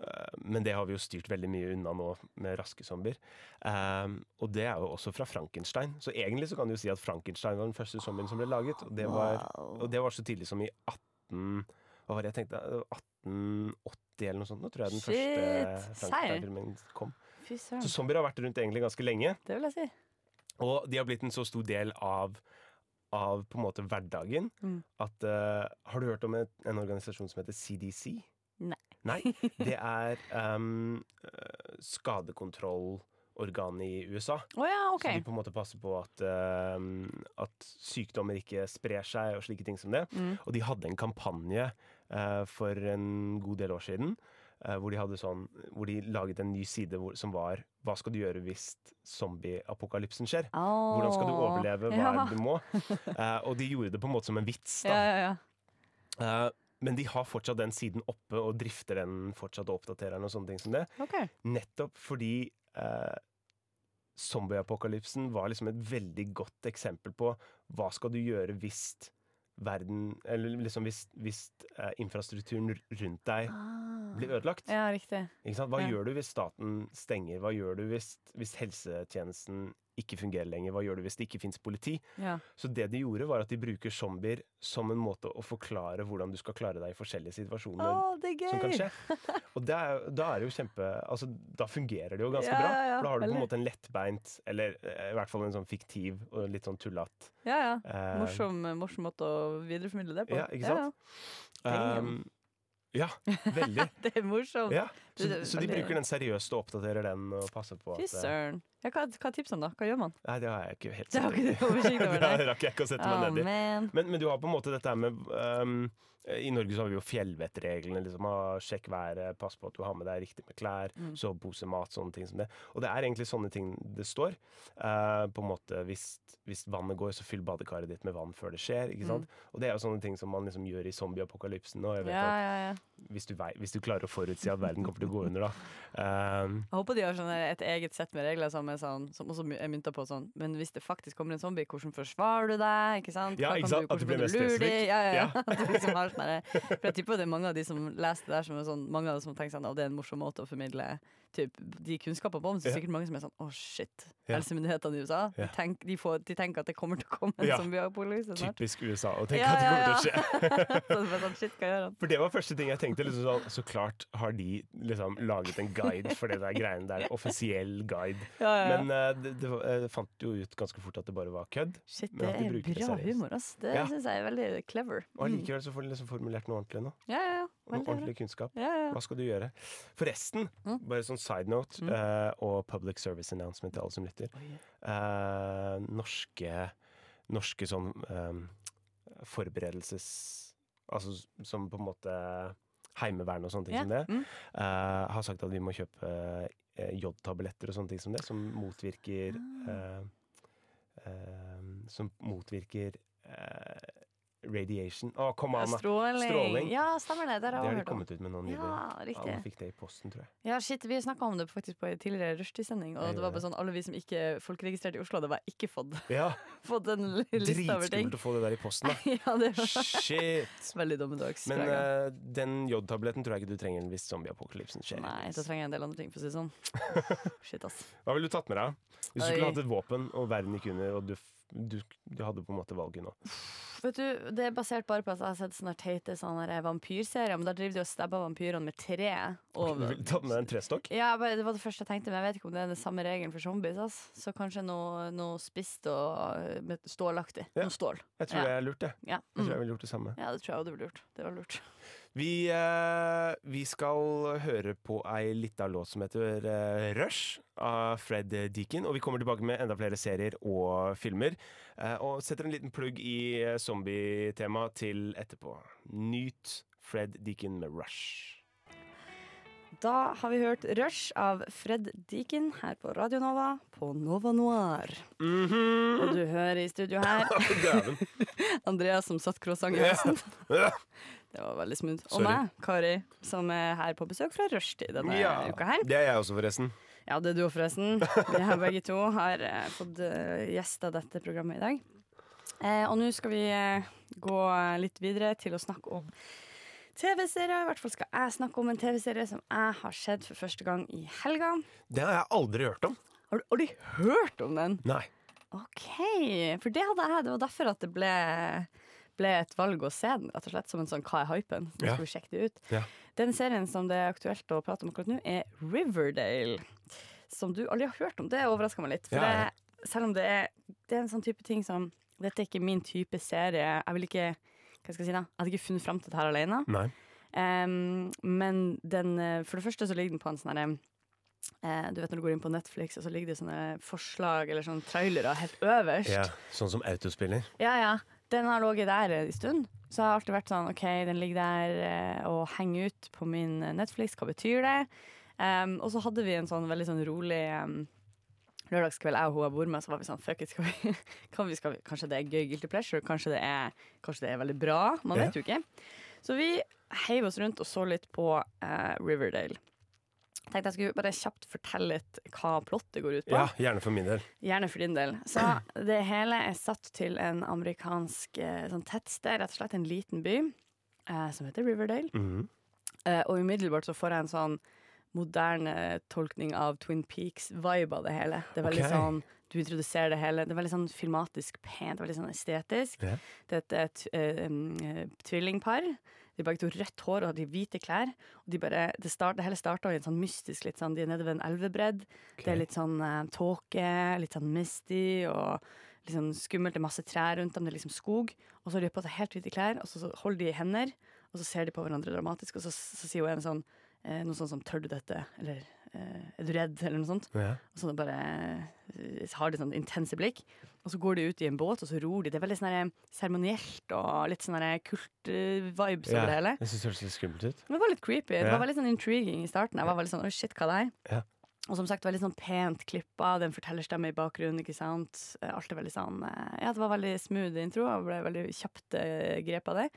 S7: eh, men det har vi jo styrt veldig mye unna nå med raske zombier. Um, og det er jo også fra Frankenstein. Så egentlig så kan du jo si at Frankenstein var den første zombien som ble laget. Og det var, og det var så tidlig som i 18... Hva var det jeg tenkte? 1880 eller noe sånt. Nå tror jeg den
S8: Shit,
S7: første
S8: seier.
S7: Frankenstein-filmen kom.
S8: Fy
S7: Så
S8: søren.
S7: zombier har vært rundt egentlig ganske lenge.
S8: Det vil jeg si.
S7: Og de har blitt en så stor del av, av på en måte hverdagen
S8: Mm.
S7: at eh, Har du hørt om et, en organisasjon som heter CDC?
S8: Nei.
S7: Nei, Det er em, eh, skadekontroll organ i USA.
S8: Å ja, OK.
S7: Så de på en måte passer på at, eh, at sykdommer ikke sprer seg og slike ting som det.
S8: Mm.
S7: Og de hadde en kampanje eh, for en god del år siden eh, hvor, de hadde sånn, hvor de laget en ny side hvor, som var Hva skal du gjøre hvis zombieapokalypsen skjer? Hvordan skal du
S8: Åh.
S7: overleve? Hva er
S8: ja.
S7: det du må? Eh, og de gjorde det på en måte som en vits. da.
S8: Ja, ja, ja.
S7: Eh, men de har fortsatt den siden oppe og drifter den fortsatt og oppdaterer den og sånne ting som det.
S8: OK.
S7: Nettopp fordi eh, zombieapokalypsen var liksom et veldig godt eksempel på hva skal du gjøre hvis verden Eller liksom hvis, hvis eh, infrastrukturen r- rundt deg blir ødelagt.
S8: Ah. Ja, riktig.
S7: Ikke sant? Hva
S8: ja.
S7: gjør du hvis staten stenger? Hva gjør du hvis, hvis helsetjenesten ikke fungerer lenger? Hva gjør du hvis det ikke fins politi?
S8: Ja.
S7: Så det de gjorde, var at de bruker zombier som en måte å forklare hvordan du skal klare deg i forskjellige situasjoner
S8: Å, det er gøy!
S7: som kan skje. Og det er, jo- da er det jo kjempe altså, Da fungerer det jo ganske
S8: Ja,
S7: bra.
S8: ja, ja,
S7: For da har du på en
S8: veldig.
S7: måte en lettbeint, eller eh, i hvert fall en sånn fiktiv og litt sånn tullete
S8: Ja, ja.
S7: eh,
S8: Morsom, morsom måte å videreformidle det på.
S7: Ja, ikke sant?
S8: Damn.
S7: ehm, ja, veldig.
S8: Ja, det er morsomt.
S7: Ja. Så,
S8: Det- det
S7: så
S8: er
S7: de
S8: Sånn. veldig-
S7: bruker den seriøst og oppdaterer den og passer på at
S8: Fy
S7: eh,
S8: søren. Ja, hva, hva er tipsene, da? Hva gjør man?
S7: Nei, det har jeg ikke helt
S8: Det har ikke du oversikt over,
S7: det
S8: nei.
S7: rakk jeg ikke å sette meg
S8: Å,
S7: ned i.
S8: man.
S7: Men, men du har på en måte dette her med ehm, I Norge så har vi jo fjellvettreglene. Liksom, ha- sjekk været, pass på at du har med deg riktig med klær,
S8: Mm.
S7: sovepose, mat, sånne ting som det. Og det er egentlig sånne ting det står. Eh, på en måte hvis, hvis vannet går, så fyll badekaret ditt med vann før det skjer. Ikke sant? Og det er jo sånne ting som man liksom gjør i zombieapokalypsen. Og jeg vet
S8: Mm. Ja, ja, ja.
S7: at hvis du, vei, hvis du klarer å forutsi at verden kommer til å gå under, da. Ehm,
S8: Jeg håper de har sånn et eget sett med regler som, er sånn, som også er mynta på sånn Men hvis det faktisk kommer en zombie, hvordan forsvarer du deg? Ikke sant?
S7: Ja,
S8: Hva
S7: ikke
S8: kan
S7: sant? At du blir
S8: hvordan kan
S7: mest
S8: lure de?
S7: spesifikk.
S8: Ja, ja, ja.
S7: Ja.
S8: At du liksom har sånn derre- For jeg tipper det er mange av de som leser det her, som er sånn Mange av dem som tenker sånn Å, det er en morsom måte å formidle typ, de kunnskapene på. Men så er det
S7: Ja.
S8: sikkert mange som er sånn Å, shit.
S7: Ja.
S8: Helsemyndighetene i USA,
S7: Ja.
S8: de, tenk, de, får, de tenker at det kommer til å komme en
S7: Ja.
S8: zombieapokalypse snart.
S7: typisk USA å tenke
S8: Ja,
S7: at det
S8: ja,
S7: kommer til å
S8: ja.
S7: skje.
S8: Så det er bare sånn, shit, hva gjør han?
S7: For det var første ting jeg tenkte. Liksom, sånn, så klart har de liksom, laget en guide for det der greiene der. Offisiell guide.
S8: Ja, ja, ja.
S7: Men eh, det, det var- jeg fant jo ut ganske fort at det bare var kødd.
S8: Shit,
S7: men
S8: det
S7: at de
S8: er
S7: bruker det
S8: bra
S7: seriøst.
S8: humor, ass. Det
S7: Ja.
S8: syns jeg er veldig clever.
S7: Og allikevel så får de liksom formulert noe ordentlig nå.
S8: Ja, ja, ja.
S7: Noe
S8: Mm. Veldig bra.
S7: ordentlig kunnskap.
S8: Ja, ja. Mm.
S7: Hva skal du gjøre? Forresten, bare sånn side note eh, og public service announcement til alle som lytter. Eh, norske norske sånn eh, forberedelses... Altså s- som på en måte Heimevern og sånne ting
S8: Ja,
S7: som det.
S8: mm.
S7: eh, har sagt at vi må kjøpe eh, jodtabletter og sånne ting som det, som motvirker
S8: Ah.
S7: eh, eh, Som motvirker eh, radiation Å, kom an! da.
S8: Stråling.
S7: Stråling.
S8: Ja, stemmer det. Der
S7: Det
S8: har
S7: har
S8: jeg
S7: de
S8: hørt om.
S7: kommet ut med nå nylig.
S8: Ja,
S7: Alle
S8: riktig.
S7: fikk det i posten, tror jeg.
S8: Ja, shit, Vi snakka om det faktisk på en tidligere rushtidssending. Og
S7: Jeg
S8: det var
S7: gjorde
S8: bare sånn, alle vi som ikke folkeregistrerte i Oslo, hadde bare ikke fått,
S7: Ja,
S8: fått en l- liste over ting.
S7: Dritskummelt å få det der i posten, da.
S8: Ja, det var
S7: Shit!
S8: veldig dommedags.
S7: Men
S8: prega.
S7: eh, den jodtabletten tror jeg ikke du trenger hvis zombieapokalypsen skjer.
S8: Nei, da trenger jeg en del andre ting, for å si det sånn. Shit, ass.
S7: Hva ville du tatt med deg? Hvis du
S8: Oi.
S7: skulle hatt et våpen, og verden gikk under, og du, f- du, du hadde på en måte valget nå.
S8: Vet du, Det er basert bare på at jeg har sett sånne teite sånne der vampyrserier, men da driver de og stabber vampyrene med tre. Og
S7: Du ville tatt med deg en trestokk?
S8: Ja, jeg bare, Det var det første jeg tenkte, men jeg vet ikke om det er den samme regelen for zombies. Ass. Så kanskje noe, noe spist og eh, med stålaktig.
S7: Ja.
S8: Noe stål.
S7: Jeg tror
S8: Ja.
S7: det er lurt, jeg.
S8: Ja.
S7: Jeg
S8: Mm.
S7: tror jeg ville gjort det samme.
S8: ja, det tror jeg også det ble lurt. Det var lurt.
S7: Vi, eh, vi skal høre på ei lita låt som heter eh, Rush av Fred Deakin. Og vi kommer tilbake med enda flere serier og filmer. eh, og setter en liten plugg i eh, zombietema til etterpå. Nyt Fred Deakin med Rush.
S8: Da har vi hørt Rush av Fred Deakin her på Radio Nova på Nova Noir. Og du hører i studio her
S7: Dæven.
S8: Andreas som satt croissant i halsen.
S7: Ja.
S8: Det var veldig smooth. Og
S7: Sorry.
S8: meg, Kari, som er her på besøk fra rushtid denne uka her.
S7: Det er jeg også, forresten.
S8: Ja, det er du òg, forresten. Vi har begge to har eh, fått eh, gjester dette programmet i dag. Eh, og nå skal vi eh, gå eh, litt videre til å snakke om TV-serier. I hvert fall skal jeg snakke om en TV-serie som jeg har sett for første gang i helga.
S7: Den har jeg aldri hørt om.
S8: Har du, har du hørt om den?
S7: Nei.
S8: OK. For det hadde jeg. Det var derfor at det ble, ble et valg å se den, rett og slett. Som en sånn 'hva er hypen?' Så nå
S7: Ja.
S8: skal vi sjekke det ut.
S7: Ja.
S8: Den serien som det er aktuelt å prate om akkurat nå, er Riverdale. Som du aldri har hørt om. Det overrasker meg litt. For
S7: Ja, ja.
S8: Det, selv om det er, det er en sånn type ting som Dette er ikke min type serie. Jeg vil ikke Hva skal jeg si da? Jeg hadde ikke funnet fram til dette her alene.
S7: Nei.
S8: Em, men den, eh, for det første så ligger den på en sånn herre eh, Du vet når du går inn på Netflix, og så ligger det sånne forslag eller sånne trailere helt øverst.
S7: Ja, sånn som autospiller.
S8: Ja, ja. Den har ligget der en stund. Så har jeg alltid vært sånn OK, den ligger der eh, og henger ut på min eh, Netflix. Hva betyr det? Em, og så hadde vi en sånn veldig sånn rolig em, lørdagskveld, jeg og hun jeg bor med, så var vi sånn fuck it, skal vi, kan vi, skal vi, kanskje det er gøy guilty pleasure? Kanskje det er, kanskje det er veldig bra? Man vet jo ikke. Så vi heiv oss rundt og så litt på eh, Riverdale. Tenkte jeg skulle bare kjapt fortelle litt hva plottet går ut på.
S7: Ja, Gjerne for min del.
S8: Gjerne for din del. Så det hele er satt til en amerikansk eh, sånn tettsted, rett og slett en liten by, eh, som heter Riverdale.
S7: Mhm.
S8: Eh, og umiddelbart så får jeg en sånn moderne tolkning av Twin Peaks-vibe av det hele. Det er veldig
S7: Ok.
S8: sånn, du introduserer det hele, det er veldig sånn filmatisk pent, veldig sånn estetisk.
S7: Ja.
S8: Det er et, eh, t- eh, em, eh, tvillingpar, de har begge to rødt hår og har de hvite klær. Og de bare, det, start, det hele starter i en sånn mystisk, litt sånn, de er nede ved en elvebredd. Det er litt sånn eh, tåke, litt sånn misty og litt sånn skummelt. Det er masse trær rundt dem, det er liksom skog. Og så har de på seg helt hvite klær, og så, så holder de i hender, og så ser de på hverandre dramatisk, og så, så sier hun en sånn eh, noe sånn som 'tør du dette', eller eh, 'er du redd', eller noe sånt.
S7: Ja.
S8: Og så bare eh, har de sånn intense blikk. Og så går de ut i en båt, og så ror de. Det er veldig sånn her seremonielt og litt sånn her kult-vibes over det hele.
S7: Jeg syns det høres litt skummelt ut.
S8: Men det var litt creepy. Det
S7: Ja.
S8: var veldig sånn intriguing i starten. Jeg var veldig sånn, oi shit, hva det er?
S7: Ja.
S8: Og som sagt, veldig sånn pent klippa, det er en fortellerstemme i bakgrunnen, ikke sant? Eh, Alt er veldig sånn, eh, ja, det var veldig smooth intro, og ble veldig kjapt eh, grep av det.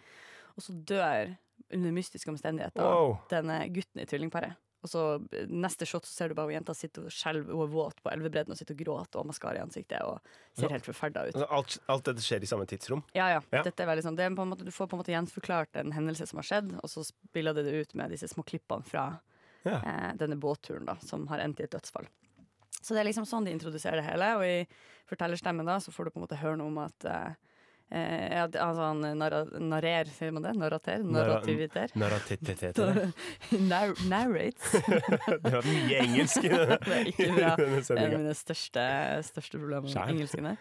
S8: Og så dør, under mystiske omstendigheter,
S7: Wow.
S8: denne gutten i tvillingparet. Og så eh, neste shot så ser du bare hvor jenta sitter og skjelver, hun er våt på elvebredden og sitter og gråter og maskara i ansiktet og ser helt forferda ut.
S7: Altså, Alt, alt dette skjer i samme tidsrom.
S8: Ja, ja.
S7: Ja.
S8: Dette er veldig sånn, det er på en måte, du får på en måte gjenforklart en hendelse som har skjedd, og så spiller det det ut med disse små klippene fra
S7: Ja.
S8: eh, denne båtturen da, som har endt i et dødsfall. Så det er liksom sånn de introduserer det hele, og i fortellerstemmen da, så får du på en måte høre noe om at eh, eh, ja, det- altså han narra, narrer, sier man det? Narrater?
S7: Narra-
S8: Narrativiter?
S7: Narrativitet.
S8: Nar narrates.
S7: Det var mye engelsk i denne,
S8: Det er
S7: i
S8: ikke bra.
S7: denne
S8: Det er
S7: sendinga.
S8: mine største, største problemer
S7: Skjær.
S8: med engelsken.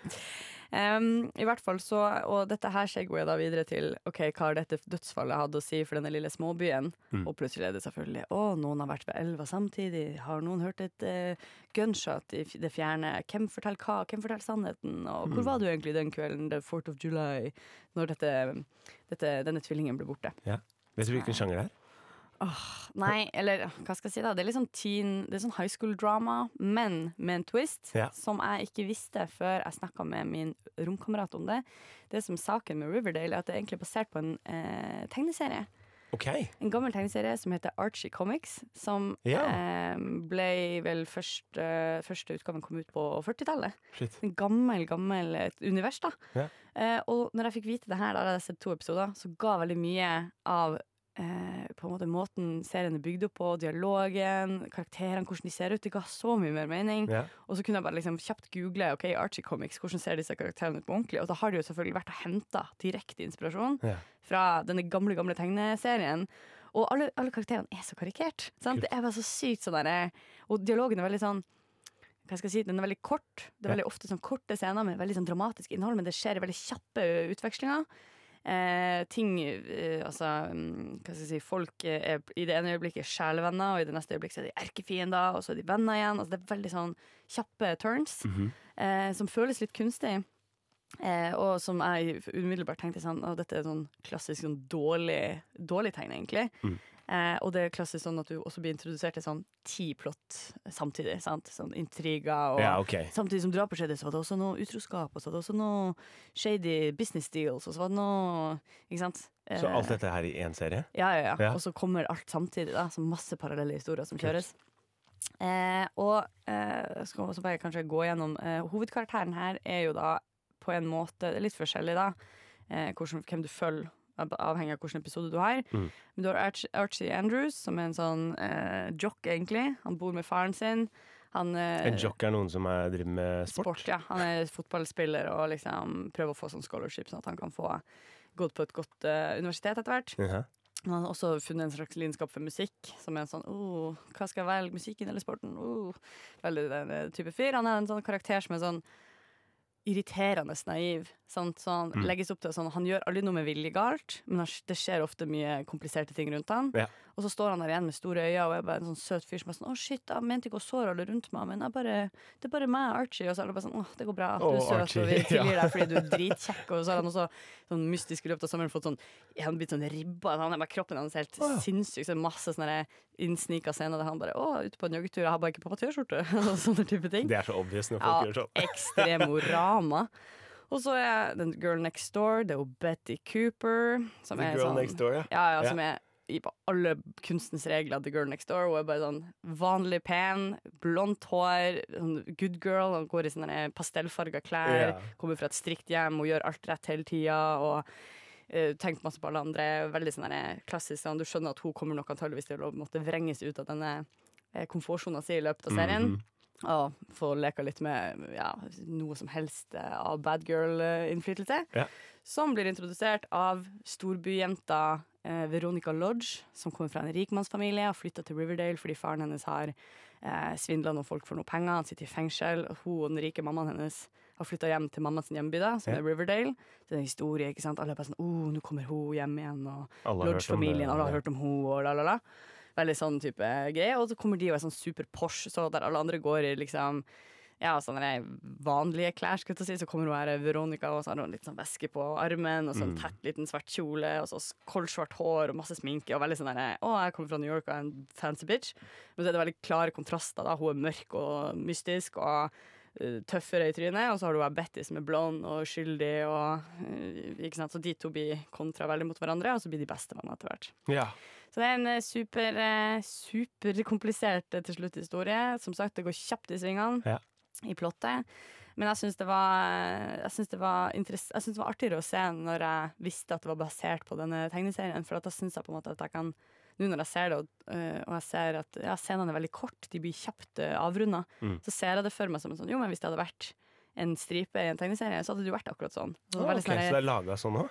S8: Um, I hvert fall så, og dette her segway da videre til Ok, hva har dette dødsfallet hatt å si for denne lille småbyen?
S7: Mm.
S8: Og plutselig er det selvfølgelig Å, noen har vært ved elva samtidig. Har noen hørt et eh, gunshot i f- det fjerne? Hvem forteller hva? Hvem forteller sannheten? Og
S7: Mm.
S8: hvor var du egentlig den kvelden, the 4th of July, når dette, dette, denne tvillingen ble borte?
S7: Ja. Vet du hvilken sjanger det er?
S8: Nei, eller hva skal jeg si da Det er litt sånn teen, det er sånn high school drama Men med en twist
S7: Ja.
S8: Som jeg ikke visste før jeg snakket med min romkamerat om det Det som er saken med Riverdale Er at det er egentlig basert på en eh, tegneserie
S7: OK.
S8: En gammel tegneserie som heter Archie Comics Som
S7: Ja.
S8: eh, ble vel først, eh, første utgaven kom ut på 40-tallet
S7: Shit.
S8: en gammel, gammel eh, et univers da.
S7: Ja.
S8: Eh, og når jeg fikk vite det her, da hadde jeg sett to episoder, så ga veldig mye av eh, på en måte måten serien er bygd opp på, dialogen, karakterene, hvordan de ser ut. Det ga så mye mer mening.
S7: Ja.
S8: Og så kunne jeg bare liksom kjapt google ok, Archie Comics, hvordan ser disse karakterene ut på ordentlig. Og da har de jo selvfølgelig vært og henta direkte inspirasjon
S7: Ja.
S8: fra denne gamle, gamle tegneserien. Og alle, alle karakterene er så karikert. Sant? Det er bare så sykt sånn derre Og dialogen er veldig sånn hva skal jeg si, Den er veldig kort. Det er veldig ofte sånn korte scener med veldig sånn dramatisk innhold, men det skjer i veldig kjappe utvekslinger. Eh, ting eh, Altså, mm, hva skal jeg si Folk eh, er i det ene øyeblikket sjelevenner, og i det neste øyeblikket så er de erkefiender, og så er de venner igjen. Altså, det er veldig sånn kjappe turns eh, som føles litt kunstig. Eh, og som jeg umiddelbart tenkte sånn Å, dette er sånn klassisk sånn dårlig, dårlig tegn, egentlig. Eh, og det er klassisk sånn at du også blir introdusert til sånn ti plott samtidig. sant? Sånn intriger og
S7: Ja, ok.
S8: Samtidig som drapet skjedde, så var det også noe utroskap, og så var det også noe shady business deals, og så var det noe Ikke sant?
S7: Så
S8: Eh,
S7: alt dette her i én serie?
S8: ja, ja, ja.
S7: Ja.
S8: Og så kommer alt samtidig, da. Så masse parallelle historier som kjøres. Eh, og eh, så kan- så bare kanskje gå gjennom eh, Hovedkarakteren her er jo da på en måte det er Litt forskjellig, da. Eh, hvordan, hvem du følger, av- avhengig av hvilken episode du har.
S7: Mm.
S8: Men du har Archie, Archie Andrews, som er en sånn eh, jock, egentlig. Han bor med faren sin. Han, eh,
S7: En jock er noen som er, driver med sport?
S8: sport. ja. Han er fotballspiller og liksom prøver å få sånn scholarship, sånn at han kan få gått på et godt eh, universitet etter hvert.
S7: Jaha.
S8: Men han har også funnet en slags lidenskap for musikk, som er en sånn oh, Hva skal jeg velge? Musikken eller sporten? Oh. Veldig den eh, type fyr. Han er en sånn karakter som er sånn irriterende naiv. Sant? Så han legges opp til sånn Han gjør aldri noe med vilje galt, men han, det skjer ofte mye kompliserte ting rundt han.
S7: Ja.
S8: Og så står han der igjen med store øyne og er bare en sånn søt fyr som er sånn Å, shit, jeg mente ikke å såre alle rundt meg, men jeg bare, det er bare meg og Archie. Og så er det bare sånn Å, det går bra. Du
S7: Å,
S8: er søt,
S7: Archie,
S8: og vi tilgir
S7: ja.
S8: deg fordi du er dritkjekk. Og så har han også sånn mystisk i løpet av sommeren fått sånn Han har blitt sånn ribba. Han er bare kroppen hans er helt sinnssyk. Så det er masse sånne innsnika scener der han bare Å, ute på en joggetur, jeg har bare ikke på meg T-skjorte. og sånne type ting.
S7: Det er så obvious når folk gjør sånn.
S8: Ekstremorama. Og så er den Girl Next Door, det er jo Betty Cooper. Som
S7: The
S8: er
S7: Girl
S8: sånn,
S7: Next Door, ja.
S8: Ja, ja,
S7: Ja.
S8: som er i på alle kunstens regler The Girl Next Door. Hun er bare sånn vanlig pen, blondt hår, sånn good girl. Hun går i sånne der pastellfarga klær,
S7: Ja.
S8: kommer fra et strikt hjem, hun gjør alt rett hele tida. Og eh, tenkt masse på alle andre. Veldig sånn der klassisk sånn. Du skjønner at hun kommer nok antageligvis til å måtte vrenges ut av denne eh, komfortsonen sin i løpet av serien. Og få leka litt med ja, noe som helst eh, av bad girl-innflytelse.
S7: Ja.
S8: Som blir introdusert av storbyjenta eh, Veronica Lodge, som kommer fra en rikmannsfamilie og flytta til Riverdale fordi faren hennes har eh, svindla noen folk for noe penger. Han sitter i fengsel, og hun og den rike mammaen hennes har flytta hjem til mammas hjemby, da, som
S7: Ja.
S8: er Riverdale. Så det er en historie, ikke sant? Alle er bare sånn 'Å, oh, nå kommer hun hjem igjen', og
S7: Alle har hørt om det,
S8: Lodge-familien, alle
S7: ja.
S8: har hørt om hun og la, la, la. Veldig sånn type greie. Og så kommer de og er sånn super Porsche, så der alle andre går i liksom ja, sånne der vanlige klær, skulle jeg til å si. Så kommer hun her, Veronica, og så har hun litt sånn veske på armen, og sånn tett liten svart kjole, og så koldsvart hår og masse sminke, og veldig sånn der Å, jeg kommer fra New York og er en fancy bitch. Men så er det veldig klare kontraster, da. Hun er mørk og mystisk og eh, tøffere i trynet, og så har du her Betty som er blond og skyldig og eh, Ikke sant. Så de to blir kontra veldig mot hverandre, og så blir de bestevenner etter hvert.
S7: Ja.
S8: Så det er en eh, super, eh, superkomplisert eh, til slutt historie. Som sagt, det går kjapt i svingene
S7: Ja.
S8: i plottet. Men jeg syns det var, eh, jeg synes det var, interess- jeg synes det var artigere å se når jeg visste at det var basert på denne tegneserien. For at da syns jeg på en måte at jeg kan Nå når jeg ser det, og, eh, og jeg ser at ja, scenene er veldig kort, de blir kjapt avrunda,
S7: Mm.
S8: så ser jeg det for meg som en sånn Jo, men hvis det hadde vært en stripe i en tegneserie, så hadde det jo vært akkurat sånn. Så det
S7: Ah, Ok,
S8: var veldig
S7: så
S8: sånn der-
S7: det er laga sånn òg?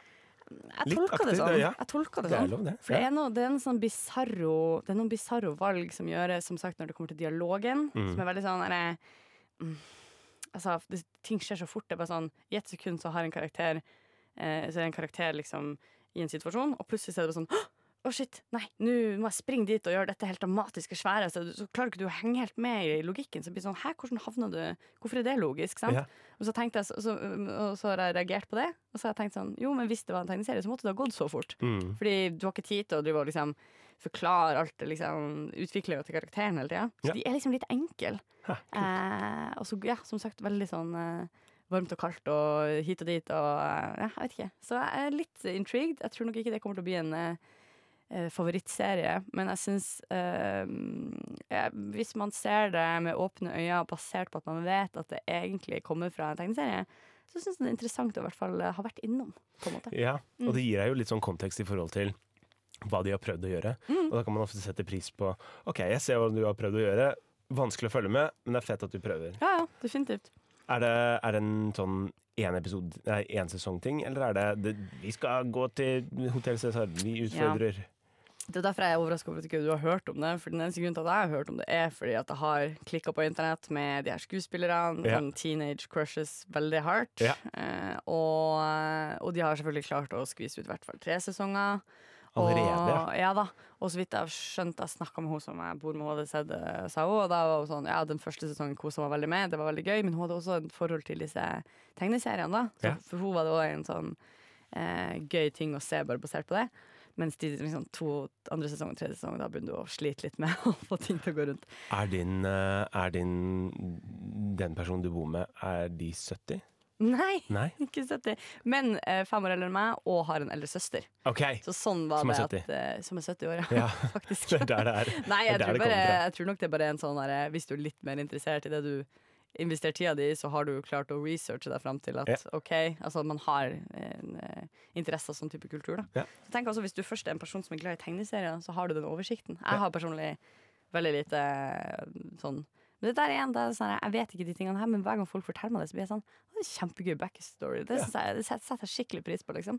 S8: jeg
S7: Litt
S8: tolker det
S7: aktiv,
S8: sånn.
S7: det, ja.
S8: Jeg tolker det
S7: Det er
S8: sånn.
S7: lov, det.
S8: For det
S7: Ja.
S8: er, noe, det er en sånn bizarro Det er noen bizarro valg som gjøres, som sagt, når det kommer til dialogen, som er veldig sånn derre, mm, Altså, det, ting skjer så fort. Det er bare sånn I ett sekund så har en karakter eh, Så er en karakter liksom i en situasjon, og plutselig så er det bare sånn «Hå! å shit, nei, nå må jeg springe dit og gjøre dette helt dramatiske svære. Så, så klarer ikke du å henge helt med i logikken. Så det blir sånn, hæ, hvordan havna du Hvorfor er det logisk? sant?
S7: Ja.
S8: Og så tenkte jeg, så- så, og så har jeg reagert på det. Og så har jeg tenkt sånn, jo, men hvis det var en tegneserie, så måtte det ha gått så fort.
S7: Mm.
S8: Fordi du har ikke tid til å drive og liksom forklare alt det liksom utviklinga til karakteren hele tida. Så
S7: Ja.
S8: de er liksom litt enkle.
S7: Ha,
S8: Eh, og så, ja, som sagt, veldig sånn eh, varmt og kaldt og hit og dit og eh, ja, jeg vet ikke. Så jeg er litt intrigued. Jeg tror nok ikke det kommer til å bli en eh, eh, favorittserie, men jeg syns eh, ja, Hvis man ser det med åpne øyne, basert på at man vet at det egentlig kommer fra en tegneserie, så syns jeg det er interessant å i hvert fall eh, ha vært innom, på en måte.
S7: Ja, og det gir deg jo litt sånn kontekst i forhold til hva de har prøvd å gjøre. Og da kan man ofte sette pris på OK, jeg ser hva du har prøvd å gjøre. Vanskelig å følge med, men det er fett at du prøver.
S8: Ja, ja, definitivt.
S7: Er det, er det en sånn én episode, nei, én sesongting, eller er det, det Vi skal gå til Hotell Cæsar, vi utfordrer.
S8: Det er derfor jeg er overraska over at ikke du har hørt om det. For den eneste grunnen til at jeg har hørt om det, er fordi at jeg har klikka på internett med de her skuespillerne.
S7: Ja.
S8: Sånn teenage crushes veldig hardt.
S7: Ja.
S8: Eh, og, eh, og de har selvfølgelig klart å skvise ut i hvert fall tre sesonger.
S7: Allerede?
S8: Og, ja da. Og så vidt jeg har skjønt, jeg snakka med hun som jeg bor med, HDZ, sa hun, og da var hun sånn Ja, den første sesongen kosa meg veldig med, det var veldig gøy, men hun hadde også et forhold til disse tegneseriene, da. Så
S7: Ja.
S8: For hun var det òg en sånn eh, gøy ting å se, bare basert på det. Mens de liksom, to andre sesong og tredje sesong, da begynner du å slite litt med å få ting til å gå rundt.
S7: Er din, eh, er din Den personen du bor med, er de 70?
S8: Nei,
S7: Nei?
S8: ikke 70. Men eh, fem år eldre enn meg, og har en eldre søster.
S7: OK!
S8: Så sånn var
S7: Som er
S8: det
S7: 70.
S8: at eh, Som er 70 år, ja.
S7: Ja,
S8: Faktisk.
S7: det er der det er.
S8: Nei, jeg
S7: det er der det
S8: tror,
S7: kommer
S8: bare,
S7: fra.
S8: jeg tror nok det er bare en sånn der, Hvis du er litt mer interessert i det du investerer tida di i, så har du jo klart å researche deg fram til at
S7: Ja.
S8: ok, altså man har en, eh, interesse av sånn type kultur. da.
S7: Ja.
S8: Så tenk også Hvis du først er en person som er glad i tegneserier, så har du den oversikten. Jeg har personlig veldig lite eh, sånn men det der igjen, det er sånn, her, Jeg vet ikke de tingene her, men hver gang folk forteller meg det, så blir jeg sånn «Å, det er Kjempegøy backstory. Det, synes jeg, det set- setter jeg skikkelig pris på. liksom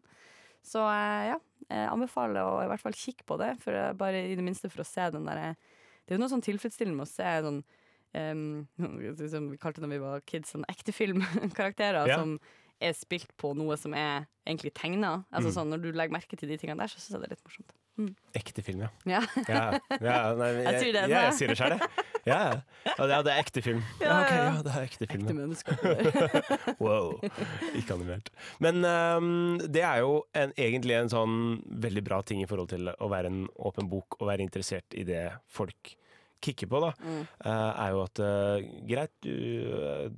S8: Så eh, ja, jeg anbefaler å i hvert fall kikke på det, for, eh, bare i det minste for å se den derre det er jo noe sånn tilfredsstillende med å se sånn em, som vi kalte det da vi var kids, sånn ekte filmkarakterer
S7: Ja.
S8: som er spilt på noe som er egentlig tegna.
S7: Mm.
S8: Altså, sånn, når du legger merke til de tingene der, så syns jeg det er litt morsomt.
S7: Ekte film, ja.
S8: Ja.
S7: ja, ja nei, jeg,
S8: Jeg sier det,
S7: ja, jeg
S8: så.
S7: sier det sjøl, jeg. Ja, ja. Ja, det- ja, det er ekte film. Ja, ok, ja, det er ekte film.
S8: Ekte
S7: ja.
S8: mennesker.
S7: Wow. Ikke animert. Men ehm, det er jo en, egentlig en sånn veldig bra ting i forhold til å være en åpen bok og være interessert i det folk kikker på, da.
S8: Mm.
S7: Eh, er jo at eh, greit, du eh,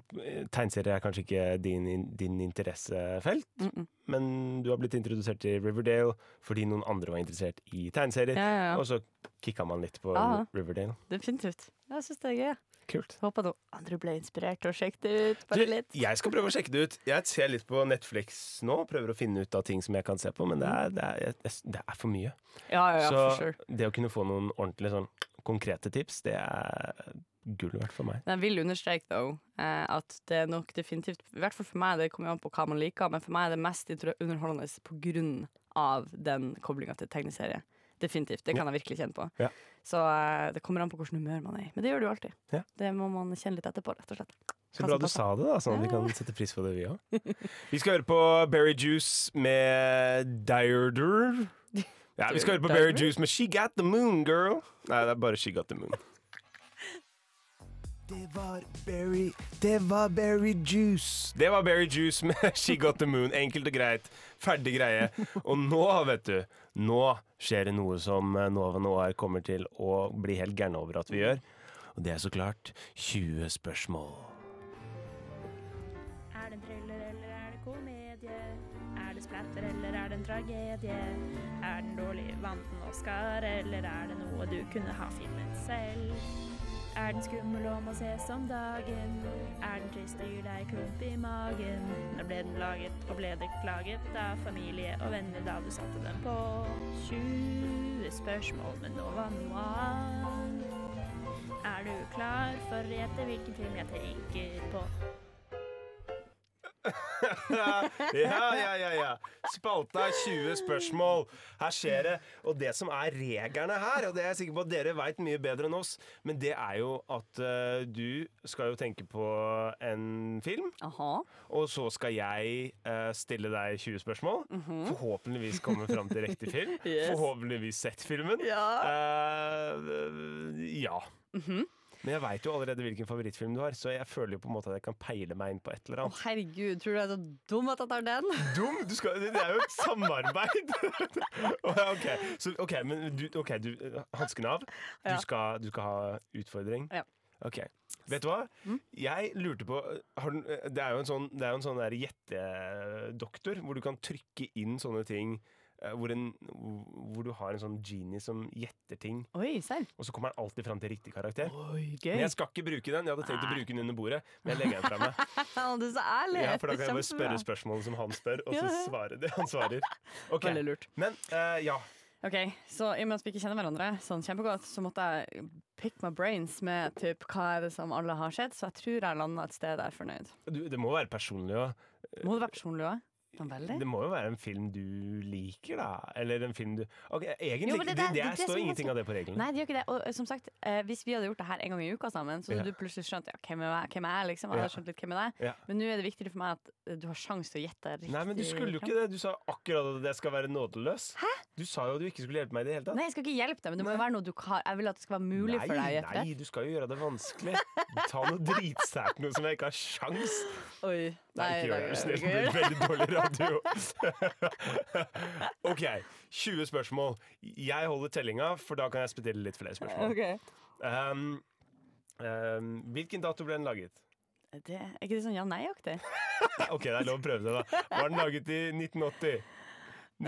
S7: Tegneserier er kanskje ikke din, in- din interessefelt, men du har blitt introdusert til Riverdale fordi noen andre var interessert i tegneserier,
S8: Ja, ja, ja.
S7: og så kikka man litt på
S8: Ja.
S7: Riverdale.
S8: Definitivt. Jeg syns det er gøy. jeg.
S7: Kult.
S8: Håper noen andre ble inspirert og sjekket det ut.
S7: Du,
S8: Bare litt.
S7: jeg skal prøve å sjekke det ut. Jeg ser litt på Netflix nå, prøver å finne ut av ting som jeg kan se på, men det er, det er, jeg- det er for mye.
S8: Ja, ja, ja,
S7: Så
S8: for sure.
S7: det å kunne få noen ordentlig sånn konkrete tips, det er gull verdt for meg.
S8: Men jeg vil understreke though, eh, at det er nok definitivt I hvert fall for meg, det kommer jo an på hva man liker, men for meg er det mest intro- underholdende på grunn av den koblinga til tegneserie. Definitivt. Det kan jeg virkelig kjenne på.
S7: Ja.
S8: Så eh, det kommer an på hvilket humør man er i. Men det gjør det jo alltid.
S7: Ja.
S8: Det må man kjenne litt etterpå, rett og slett.
S7: Så bra du sa det, da, sånn at vi kan sette pris på det, vi òg. Vi skal høre på Berry Juice med Diorder. Ja, vi skal høre på Berry Juice med She Got The Moon, Girl. Nei, det er bare She Got The Moon. Det var Berry Det var Berry Juice. Det var Berry Juice med She Got The Moon. Enkelt og greit. Ferdig greie. Og nå, vet du, nå skjer det noe som eh, Nova Noir kommer til å bli helt gærne over at vi gjør. Og det er så klart 20 spørsmål.
S9: Er det en thriller eller er det komedie? Er det splatter eller er det en tragedie? Er den dårlig, vant den Oscar, eller er det noe du kunne ha filmet selv? Er den skummel og må ses om dagen? Er den trist og gir deg klump i magen? Når ble den laget, og ble det klaget av familie og venner da du satte den på? 20 spørsmål med Nova Noir. Er du klar for å gjette hvilken film jeg tenker på?
S7: Ja, ja, ja, ja. Spalta er 20 spørsmål. Her skjer det. Og det som er reglene her, og det er jeg sikker på at dere veit mye bedre enn oss, men det er jo at eh, du skal jo tenke på en film,
S8: Aha.
S7: og så skal jeg eh, stille deg 20 spørsmål. Forhåpentligvis komme fram til riktig film.
S8: Mhm. Yes.
S7: Forhåpentligvis sett filmen.
S8: Ja. Mhm.
S7: Eh, ja. Men jeg veit jo allerede hvilken favorittfilm du har, så jeg føler jo på en måte at jeg kan peile meg inn på et eller
S8: Å,
S7: annet.
S8: herregud, tror du jeg er så dum at jeg tar den?
S7: dum! Du skal, det det er jo et samarbeid! Å, ja, ok, så, ok, men du, ok, du Hansken av. Du
S8: Ja.
S7: skal, du skal ha utfordring.
S8: Ja. Mm.
S7: Ok. Vet du hva? Jeg lurte på har, den- Det er jo en sånn, det er jo en sånn der gjettedoktor hvor du kan trykke inn sånne ting eh, hvor, en, hvor du har en sånn genie som gjetter ting,
S8: Oi, serr.
S7: og så kommer han alltid fram til riktig karakter.
S8: Oi,
S7: Men
S8: gøy.
S7: jeg skal ikke bruke den. Jeg hadde tenkt å bruke den under bordet, men jeg legger den fra meg.
S8: Du er så ærlig.
S7: Ja, for da kan jeg bare
S8: Kjempebra.
S7: spørre spørsmålet som han spør, og
S8: Ja,
S7: så
S8: ja.
S7: svare det han svarer. Ok,
S8: Veldig lurt.
S7: Men eh, ja.
S8: Ok, så i og med at vi ikke kjenner hverandre sånn kjempegodt, så måtte jeg pick my brains med typ, hva er det som alle har sett, så jeg tror jeg landa et sted jeg er fornøyd.
S7: Du, det må være personlig òg.
S8: Må det være personlig òg? Sånn veldig?
S7: Det må jo være en film du liker, da. Eller en film du Ok, egentlig
S8: Jo, men
S7: det,
S8: det der-
S7: det,
S8: det er det
S7: står
S8: som er
S7: ingenting av det på reglene.
S8: Nei, det gjør ikke det. Og eh, som sagt, eh, hvis vi hadde gjort det her en gang i uka sammen, så
S7: Ja.
S8: hadde du plutselig skjønt ja, hvem er jeg, hvem er jeg liksom. Jeg hadde skjønt litt hvem er deg.
S7: Ja.
S8: Men nå er det viktigere for meg at eh, du har sjanse til å gjette riktig.
S7: Nei, men du skulle jo ikke det. Du sa akkurat at jeg skal være nådeløs. Hæ? Du sa jo at du ikke skulle hjelpe meg i det hele tatt.
S8: Nei, jeg skal ikke hjelpe deg, men det må være noe du har. Jeg vil at det skal være mulig for deg å gjette
S7: nei,
S8: rett.
S7: du skal jo gjøre det vanskelig. Ta noe dritsært noe som jeg ikke har sjans.
S8: Oi.
S7: Nei, ikke gjør det.
S8: er
S7: Snill,
S8: ikke
S7: det
S8: gjør
S7: blir
S8: det.
S7: veldig dårlig radio. ok, 20 spørsmål. Jeg holder tellinga, for da kan jeg spille litt flere spørsmål.
S8: Ok.
S7: Um, um, hvilken dato ble den laget?
S8: Det, er ikke det sånn ja-nei-aktig?
S7: Ok, det er lov å prøve det, da. Var den laget i 1980?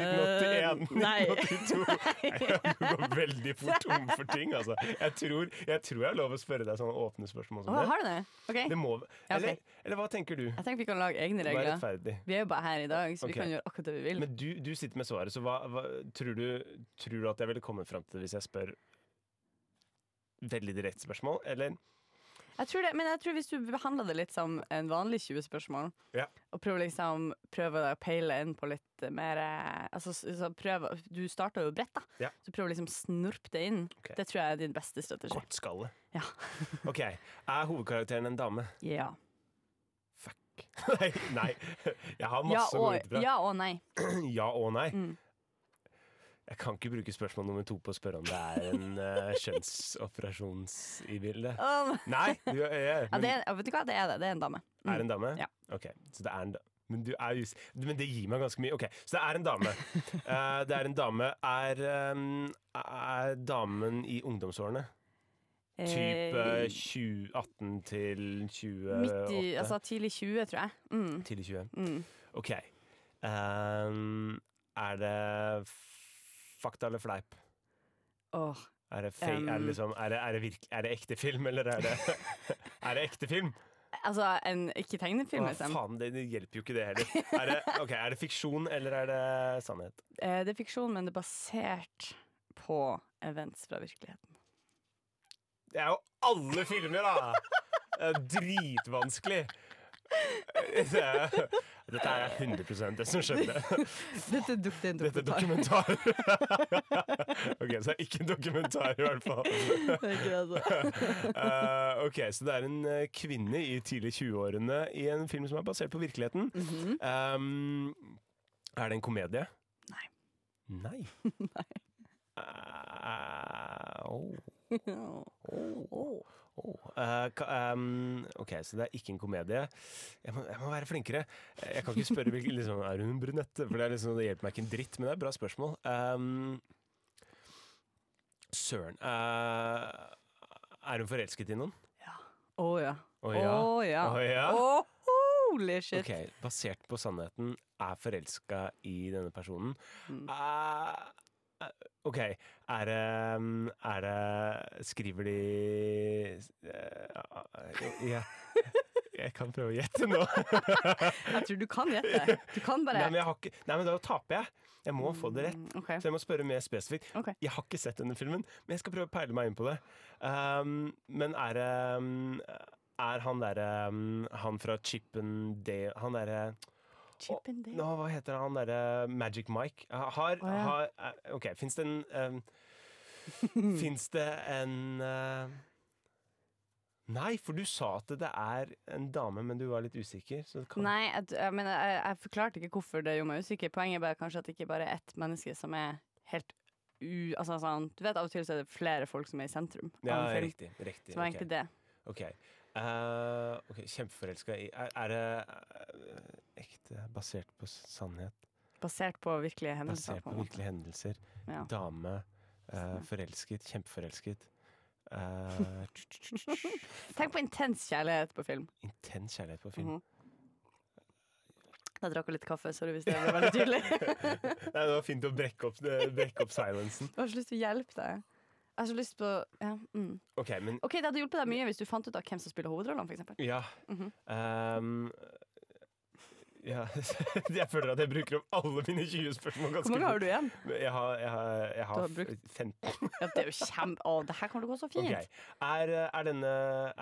S8: Eh, nei.
S7: 1981, 1982 Du går veldig fort om for ting, altså. Jeg tror jeg, tror jeg har lov å spørre deg sånne åpne spørsmål
S8: Å,
S7: som det.
S8: har du det? Ok.
S7: det må,
S8: Ja, ok.
S7: eller, eller hva tenker du?
S8: Jeg tenker vi kan lage egne
S7: Vær
S8: regler.
S7: rettferdig.
S8: Vi er jo bare her i dag, så
S7: Ok.
S8: vi kan gjøre akkurat det vi vil.
S7: Men du, du sitter med svaret, så hva, hva tror, du, tror du at jeg ville kommet fram til det hvis jeg spør veldig direkte spørsmål, eller?
S8: jeg tror det, men jeg tror hvis du behandler det litt som en vanlig 20-spørsmål,
S7: Ja.
S8: og prøver liksom prøver å peile inn på litt mer eh, altså, s- så prøver, Du starter jo bredt, da.
S7: Ja.
S8: Så prøver liksom snurp det inn.
S7: Ok.
S8: Det tror jeg er din beste strategi.
S7: Kortskalle.
S8: Ja.
S7: Ok, er hovedkarakteren en dame?
S8: ja.
S7: Fuck. takk. nei, nei. Jeg har
S8: Ja
S7: masse å gå ut
S8: og,
S7: ifra.
S8: ja Mm. og nei.
S7: Ja og nei. Jeg kan ikke bruke spørsmål nummer to på å spørre om det er en eh, kjønnsoperasjons i bildet.
S8: Um,
S7: Nei! Du, eh, er- jeg,
S8: ja,
S7: men,
S8: det er, ja, vet du hva, det er det. Det er en dame.
S7: er det en dame?
S8: Mm. Ja.
S7: Ok, så det er en da- men, du er just, men det gir meg ganske mye. Ok, Så det er en dame. Eh, det er en dame. Er, eh, er damen i ungdomsårene? Type
S8: Eh,
S7: 20, 18 til 28?
S8: Midt i, altså tidlig 20, tror jeg. Mm.
S7: Tidlig 20.
S8: Mm.
S7: Ok. Ehm, er det f- fakta eller fleip?
S8: Åh.
S7: Er det, fei, er det,
S8: Um.
S7: liksom, er det, er det, virk, er det ekte film, eller er det, er det ekte film?
S8: Altså, en ikke
S7: Å,
S8: tegnefilm, liksom.
S7: faen, det, det hjelper jo ikke det heller. Er det, ok, er det fiksjon, eller er det sannhet?
S8: Eh, Det er fiksjon, men det er basert på events fra virkeligheten.
S7: Det er jo alle filmer, da! Det er dritvanskelig. Det er, dette er 100 det som skjedde.
S8: Dette dukket inn
S7: Dette er dokumentar. OK, så det er ikke en dokumentar, i hvert fall.
S8: altså.
S7: Eh, ok, Så det er en eh, kvinne i tidlig 20-årene i en film som er basert på virkeligheten. Ehm, er det en komedie?
S8: Nei.
S7: Nei? Eh, oh, oh, oh. Eh, ka- ehm, ok, så det er ikke en komedie. Jeg må, jeg må være flinkere. Eh, Jeg kan ikke spørre hvilken liksom, Er hun en brunette? For det, er liksom, det hjelper meg ikke en dritt, men det er et bra spørsmål. Ehm, søren. Eh, er hun forelsket i noen?
S8: Å ja.
S7: Å
S8: Å
S7: ja.
S8: ja.
S7: Å ja.
S8: Å, holy shit.
S7: Ok, Basert på sannheten, er forelska i denne personen.
S8: Mm.
S7: Eh, OK, er det, mm, er det Skriver de eh, jeg, jeg kan prøve å gjette nå.
S8: Jeg tror du kan gjette. Du kan bare
S7: Nei, men, jeg har ikke, nei, men da taper jeg. Jeg må få det rett.
S8: Mm, ok.
S7: Så jeg må spørre mer spesifikt.
S8: Ok.
S7: Jeg har ikke sett denne filmen, men jeg skal prøve å peile meg inn på det. Um, men er det um, Er han derre um, Han fra Chippen Day Han derre
S8: Chip and Dale.
S7: Nå, hva heter han derre Magic Mike? Ha- Har,
S8: Å, ja.
S7: har eh, OK, fins det en um, Fins det en eh, Nei, for du sa at det er en dame, men du var litt usikker. Så det kan
S8: Nei, jeg, jeg, mener, jeg, jeg forklarte ikke hvorfor det gjorde meg usikker. Poenget er bare kanskje at det ikke bare er ett menneske som er helt u... Altså sånn Du vet av og til så er det flere folk som er i sentrum. av
S7: ja,
S8: en film,
S7: riktig. riktig
S8: Som
S7: ok.
S8: er egentlig det.
S7: Ok. Eh, ok, Kjempeforelska i Er, er det eh, ekte, basert på s- sannhet?
S8: Basert på virkelige hendelser.
S7: Basert på
S8: en måte.
S7: virkelige hendelser?
S8: Ja.
S7: Dame, eh, forelsket, kjempeforelsket. Eh, tsk, tsk, tsk, tsk.
S8: Tenk på intens kjærlighet på film.
S7: intens kjærlighet på film.
S8: Mhm. Da drakk jeg litt kaffe, sorry hvis det ble veldig tydelig. Jeg
S7: Nei, det var fint å brekke opp, eh, brekke opp silencen.
S8: har så lyst til å hjelpe deg. Jeg har så lyst på ja, mm.
S7: Ok, men
S8: OK, det hadde hjulpet deg mye hvis du fant ut av hvem som spiller hovedrollene, for eksempel.
S7: Ja.
S8: Mhm.
S7: Ehm, ja. jeg føler at jeg bruker opp alle mine 20 spørsmål ganske
S8: Hvor mange har du igjen?
S7: fort. Jeg har, jeg har, jeg har,
S8: Du har brukt-
S7: 15.
S8: Ja, det er jo kjempe... Å, det her kommer til å gå så fint.
S7: Ok. Er, er denne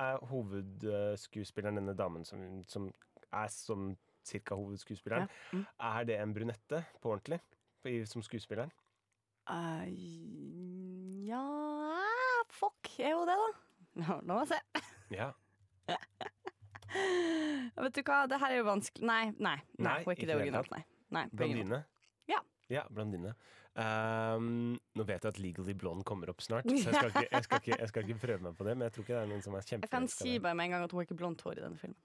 S7: er hovedskuespilleren, denne damen som, som er som cirka hovedskuespilleren,
S8: Mm.
S7: er det en brunette på ordentlig? På- i- Som skuespilleren?
S8: Eh, ja Fuck, er jo det, da. La la meg se.
S7: Ja.
S8: Vet du hva, det her er jo vanskelig Nei, nei. nei,
S7: Nei,
S8: hun er ikke
S7: ikke i
S8: det
S7: det hele
S8: originalt, nei. nei på ingen måte.
S7: Blondine?
S8: Ja.
S7: Ja, blondine. Ehm, nå vet jeg at Legally Blonde kommer opp snart, så jeg skal ikke, jeg skal ikke, jeg skal ikke prøve meg på det. Men jeg tror ikke det er noen som er
S8: jeg kan
S7: kjempeforelska
S8: si bare med en gang at hun har ikke blondt hår i denne filmen.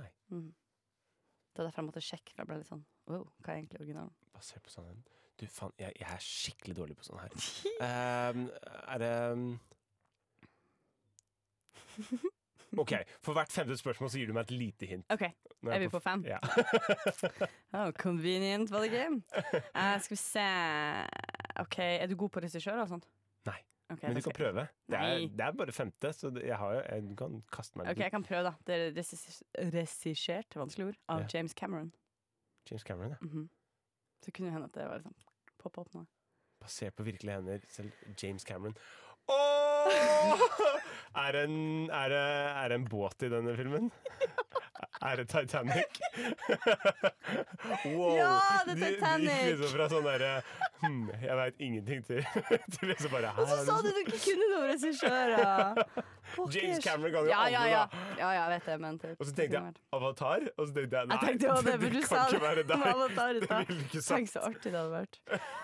S7: Nei.
S8: Det er derfor jeg måtte sjekke, for jeg ble litt sånn wow, hva er egentlig originalen?
S7: Basert på sannheten. Du, faen, jeg, jeg er skikkelig dårlig på sånn her. Ehm, er det OK, for hvert femte spørsmål så gir du meg et lite hint.
S8: OK,
S7: Nå
S8: er vi på fem?
S7: Ja.
S8: Oh, convenient, var det ikke? Eh, skal vi se OK, er du god på regissører og sånt?
S7: Nei,
S8: Ok,
S7: men
S8: da
S7: du
S8: skal-
S7: kan prøve. Det er,
S8: Nei.
S7: det er bare femte, så det- jeg har jo jeg, Du kan kaste meg
S8: OK, jeg
S7: litt.
S8: kan prøve, da. Det er regissør- regissert, vanskelig ord, av
S7: Ja.
S8: James Cameron. Mhm.
S7: James Cameron, ja.
S8: Så kunne det hende at det var liksom poppa opp noe.
S7: Basert på virkelige hender. Selv James Cameron. Åh! Er det en, er det, er det en båt i denne filmen? Er det Titanic? wow.
S8: Ja, det
S7: De-
S8: er
S7: de gikk
S8: Titanic.
S7: liksom fra sånn derre hm, Jeg veit ingenting til, til liksom bare her
S8: Og så
S7: er det
S8: sa du du ikke kunne noen regissører!
S7: James Cameron kan jo
S8: ja, ja,
S7: alle,
S8: ja.
S7: da.
S8: ja, ja, jeg vet det, men typ.
S7: Og så tenkte jeg Avatar, og så tenkte jeg nei,
S8: Jeg tenkte også det,
S7: det,
S8: for du
S7: kan
S8: sa
S7: ikke være
S8: det
S7: deg.
S8: med Avatar i
S7: Det
S8: stad.
S7: ville du ikke
S8: Tenk
S7: sagt.
S8: så artig det hadde vært.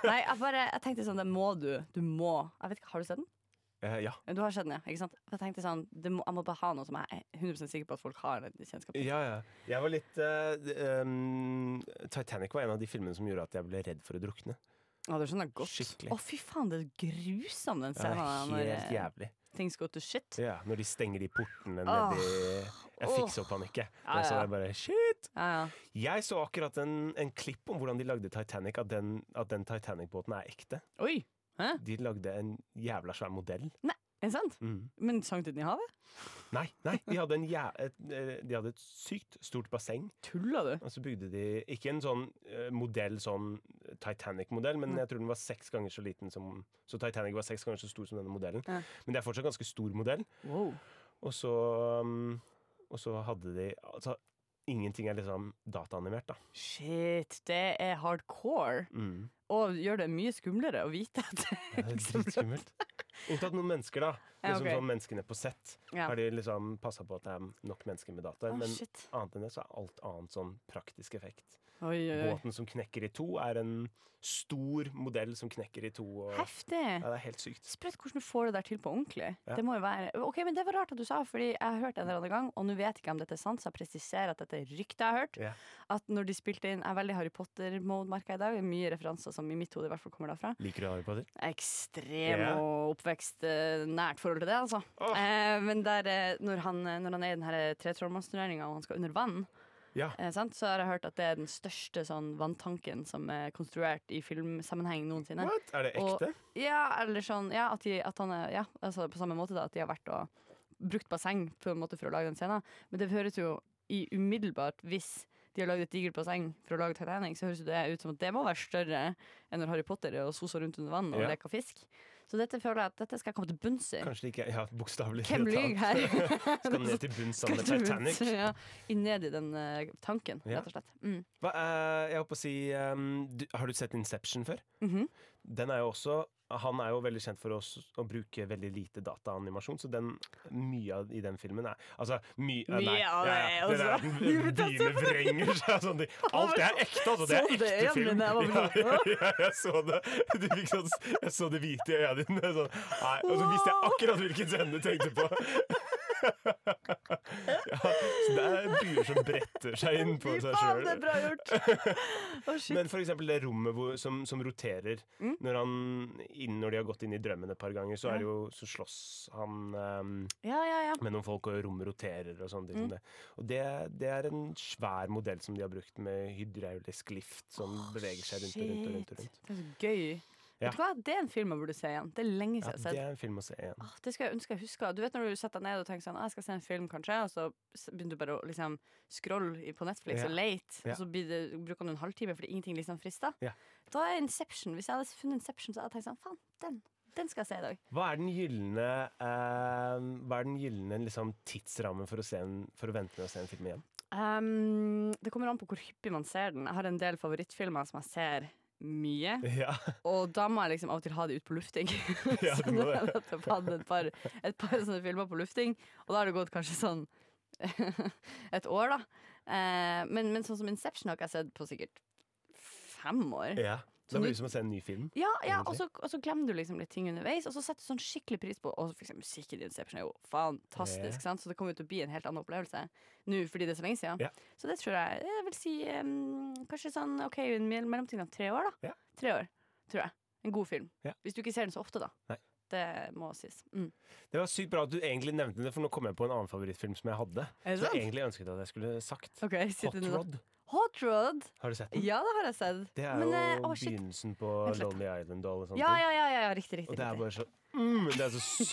S8: Nei, jeg, bare, jeg tenkte sånn, det må du. Du må. Jeg vet ikke, Har du sett den?
S7: Eh, ja.
S8: Du har sett den, ja. ikke sant? Jeg tenkte sånn, det må, jeg må bare ha noe som jeg er 100 sikker på at folk har en kjennskap til.
S7: Ja, ja. Jeg var litt eh, d- ehm, Titanic var en av de filmene som gjorde at jeg ble redd for å drukne.
S8: Å, det skjønner jeg godt.
S7: Skikkelig.
S8: Å, fy faen, det er grusom den
S7: Ja, det
S8: scenen.
S7: er
S8: der,
S7: helt
S8: når, eh,
S7: jævlig.
S8: Things go to shit.
S7: Ja, når de stenger de portene
S8: Åh.
S7: nedi Jeg
S8: Åh.
S7: fikk så panikk, jeg.
S8: Ja,
S7: Da så
S8: ja.
S7: jeg bare shit!
S8: Ja, ja.
S7: Jeg så akkurat en, en klipp om hvordan de lagde Titanic, at den, at den Titanic-båten er ekte.
S8: Oi! Hæ?
S7: De lagde en jævla svær modell.
S8: Er det sant? Men sank den i havet?
S7: Nei, nei, de hadde, en jæ et, eh, de hadde et sykt stort basseng.
S8: Tulla du?
S7: Og så bygde de ikke en sånn eh, modell, sånn Titanic-modell,
S8: Mm.
S7: men jeg tror den var seks ganger så liten som Så Titanic var seks ganger så stor som denne modellen.
S8: Ja.
S7: Men det er fortsatt en ganske stor modell.
S8: Wow.
S7: Og så, um, og så hadde de Altså, ingenting er liksom dataanimert, da.
S8: Shit, det er hardcore.
S7: Mm.
S8: Og gjør det mye skumlere å vite at
S7: Det er dritskummelt. Unntatt noen mennesker, da.
S8: Ja,
S7: Liksom
S8: ok.
S7: sånn Menneskene på sett.
S8: Ja.
S7: Har de liksom passa på at det er nok mennesker med dataer.
S8: Å,
S7: men
S8: shit.
S7: annet enn det så er alt annet sånn praktisk effekt.
S8: Oi, oi, oi.
S7: Båten som knekker i to, er en stor modell som knekker i to. Og, ja,
S8: Heftig!
S7: det er helt sykt.
S8: Sprøtt hvordan du får det der til på ordentlig.
S7: Ja.
S8: Det må jo være Ok, men det var rart at du sa, Fordi jeg har hørt det en eller annen gang, og nå vet jeg ikke om dette er sant, så jeg presiserer at dette er ryktet jeg har hørt.
S7: Ja.
S8: At når de spilte inn Jeg er veldig Harry Potter-mode-merka i dag. Det er Mye referanser som i mitt hode i hvert fall kommer derfra.
S7: Liker du Harry Potter?
S8: ekstrem
S7: Ja.
S8: og oppvekst eh, nært forhold til det, altså.
S7: Åh.
S8: Eh, men der, eh, når, han, eh, når han er i den her tretrollmannsturneringa og han skal under vann,
S7: Ja.
S8: eh, sant, så har jeg hørt at det er den største sånn vanntanken som er konstruert i filmsammenheng noensinne.
S7: What? Er det
S8: Og-
S7: ekte?
S8: Ja, eller sånn ja, at, de, at han er ja, altså På samme måte da at de har vært og brukt basseng på en måte for å lage den scenen. Men det høres jo i umiddelbart hvis de har lagd et digert basseng for å lage Titanic, så høres jo det ut som at det må være større enn når Harry Potter er og soser rundt under vann og
S7: Ja.
S8: leker fisk. Så dette føler jeg at dette skal jeg komme til bunns i.
S7: Kanskje det ikke er Ja, bokstavelig
S8: eh, Hvem lyver her?
S7: Skal ned til bunns av med
S8: Kanskje
S7: Titanic.
S8: bunns, ja. I ned i den eh, tanken,
S7: Ja.
S8: rett og slett. Mm.
S7: Hva, eh, jeg holdt på å si ehm, du, Har du sett Inception før?
S8: Mhm.
S7: Den er jo også han er jo veldig kjent for å, s- å bruke veldig lite dataanimasjon, så den, mye av, i den filmen er Altså, mye
S8: Mye
S7: ja,
S8: av det er
S7: det
S8: også-
S7: der, Dine vrenger seg og sånne ting. Alt det er ekte, altså! Det
S8: Så
S7: er
S8: du det
S7: ekte
S8: igjen
S7: film.
S8: da jeg var
S7: Ja,
S8: liten?
S7: ja, ja, jeg så det du fikk sånn, Jeg så det hvite i øynene dine. Sånn. Nei, og så visste jeg
S8: Wow.
S7: akkurat hvilken scene du tenkte på. Ja, så det er byer som bretter seg inn på
S8: Fy
S7: seg
S8: faen,
S7: sjøl.
S8: det er bra gjort! Å, shit.
S7: Men for eksempel det rommet hvor, som, som roterer når, han, inn, når de har gått inn i drømmen et par ganger, så, er det jo, så slåss han ehm,
S8: Ja, ja, ja.
S7: med noen folk, og rommet roterer og sånne ting. som Det. Og det, det er en svær modell som de har brukt med hydraulisk lift, som beveger seg rundt og rundt. og rundt, og rundt.
S8: Shit, Det er så gøy.
S7: Ja.
S8: Vet du hva? Det er en film jeg burde se igjen. Det er lenge
S7: Ja,
S8: siden jeg har
S7: det
S8: sett.
S7: er en film å se igjen.
S8: Åh, Det skulle jeg ønske jeg huska. Du vet når du setter deg ned og tenker sånn, «Ah, jeg skal se en film, kanskje, og så s- begynner du bare å liksom scrolle i- på Netflix
S7: Ja.
S8: og late,
S7: Ja.
S8: og så blir det, bruker du en halvtime fordi ingenting liksom frister.
S7: Ja.
S8: Da er Inception Hvis jeg hadde funnet Inception, så hadde jeg tenkt sånn Faen, den, den skal jeg se i dag.
S7: Hva er den gylne ehm, Hva er den gyllene liksom, tidsrammen for å, se en, for å vente med å se en film igjen?
S8: Ehm, det kommer an på hvor hyppig man ser den. Jeg har en del favorittfilmer som jeg ser mye.
S7: Ja,
S8: Og da må jeg liksom av og til ha de ut på lufting.
S7: Ja,
S8: så
S7: du må
S8: nå har jeg
S7: det.
S8: nettopp hatt et par, et par sånne filmer på lufting, og da har det gått kanskje sånn et år, da. Eh, men, men sånn som Inception har ikke jeg sett på sikkert fem år.
S7: ja. Da blir det som å se en ny film.
S8: Ja, ja og,
S7: Egentlig.
S8: så, og så glemmer du liksom litt ting underveis, og så setter du sånn skikkelig pris på Og for eksempel musikken i Inception er jo fantastisk,
S7: Ja.
S8: sant? så det kommer jo til å bli en helt annen opplevelse nå fordi det er så lenge siden.
S7: Ja.
S8: Så det tror jeg Jeg vil si em, kanskje sånn OK, i en mell- mellomtiden av tre år, da.
S7: Ja.
S8: Tre år, tror jeg. En god film.
S7: Ja.
S8: Hvis du ikke ser den så ofte, da.
S7: Nei.
S8: Det må sies. Mm.
S7: Det var sykt bra at du egentlig nevnte det, for nå kom jeg på en annen favorittfilm som jeg hadde.
S8: Er det
S7: Som
S8: sant?
S7: jeg egentlig ønsket at jeg skulle sagt.
S8: Ok,
S7: Hot
S8: sitter du nå-
S7: Rod.
S8: Hot Rod!
S7: Har du sett den?
S8: Ja, det har jeg sett.
S7: Det er
S8: Men,
S7: jo
S8: eh, å, shit.
S7: begynnelsen på
S8: Vent litt, da.
S7: Lonely Island og alle sånne
S8: Ja, ja, ja, ja, ja, riktig,
S7: ting. Og
S8: riktig.
S7: det er
S8: riktig.
S7: bare så mm, Det er så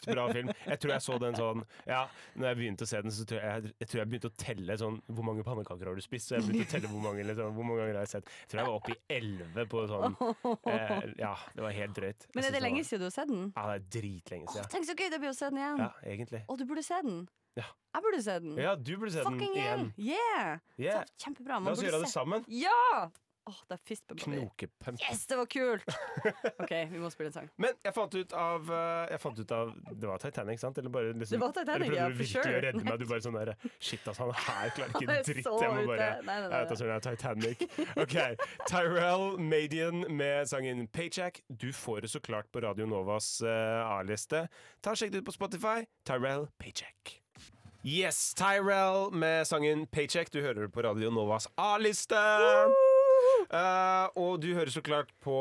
S7: sykt bra film. Jeg tror jeg så den sånn Ja, når jeg begynte å se den, så tror jeg jeg, jeg, tror jeg begynte å telle sånn Hvor mange pannekaker har du spist? Så jeg begynte å telle hvor mange, liksom, hvor mange ganger jeg har sett. Jeg tror jeg var oppe i elleve på sånn eh, Ja, det var helt drøyt.
S8: Men
S7: Jeg
S8: er det
S7: synes
S8: lenge
S7: var-
S8: siden du har sett den?
S7: Ja, det er dritlenge
S8: Å,
S7: siden.
S8: tenk så gøy det blir å se den igjen!
S7: Ja, egentlig.
S8: Og du burde se den.
S7: Ja.
S8: Jeg burde se den.
S7: Ja, du burde se den
S8: Fucking
S7: igjen.
S8: Yeah!
S7: Yeah.
S8: Så Kjempebra.
S7: La
S8: Man
S7: oss
S8: burde
S7: gjøre det
S8: se.
S7: sammen.
S8: Ja! Åh, det er fist bump.
S7: Knokepump.
S8: Yes, det var kult! OK, vi må spille en sang.
S7: Men jeg fant ut av eh, Jeg fant ut av Det var Titanic, sant? Eller bare liksom
S8: Det var Titanic,
S7: eller prøvde
S8: ja,
S7: du
S8: for
S7: virkelig
S8: sure.
S7: å redde meg? Du bare sånn der Shit, altså, han her klarer
S8: Han
S7: ikke
S8: er
S7: en dritt.
S8: så
S7: Jeg må bare
S8: ute. Nei, nei, nei,
S7: Jeg vet at hun er Titanic. OK. Tyrell Madian med sangen Paycheck. Du får det så klart på Radio Novas eh, A-liste. Ta og Sjekk det ut på Spotify. Tyrell Paycheck. Yes, Tyrell med sangen Paycheck. Du hører det på Radio Novas A-liste. Eh, og du hører så klart på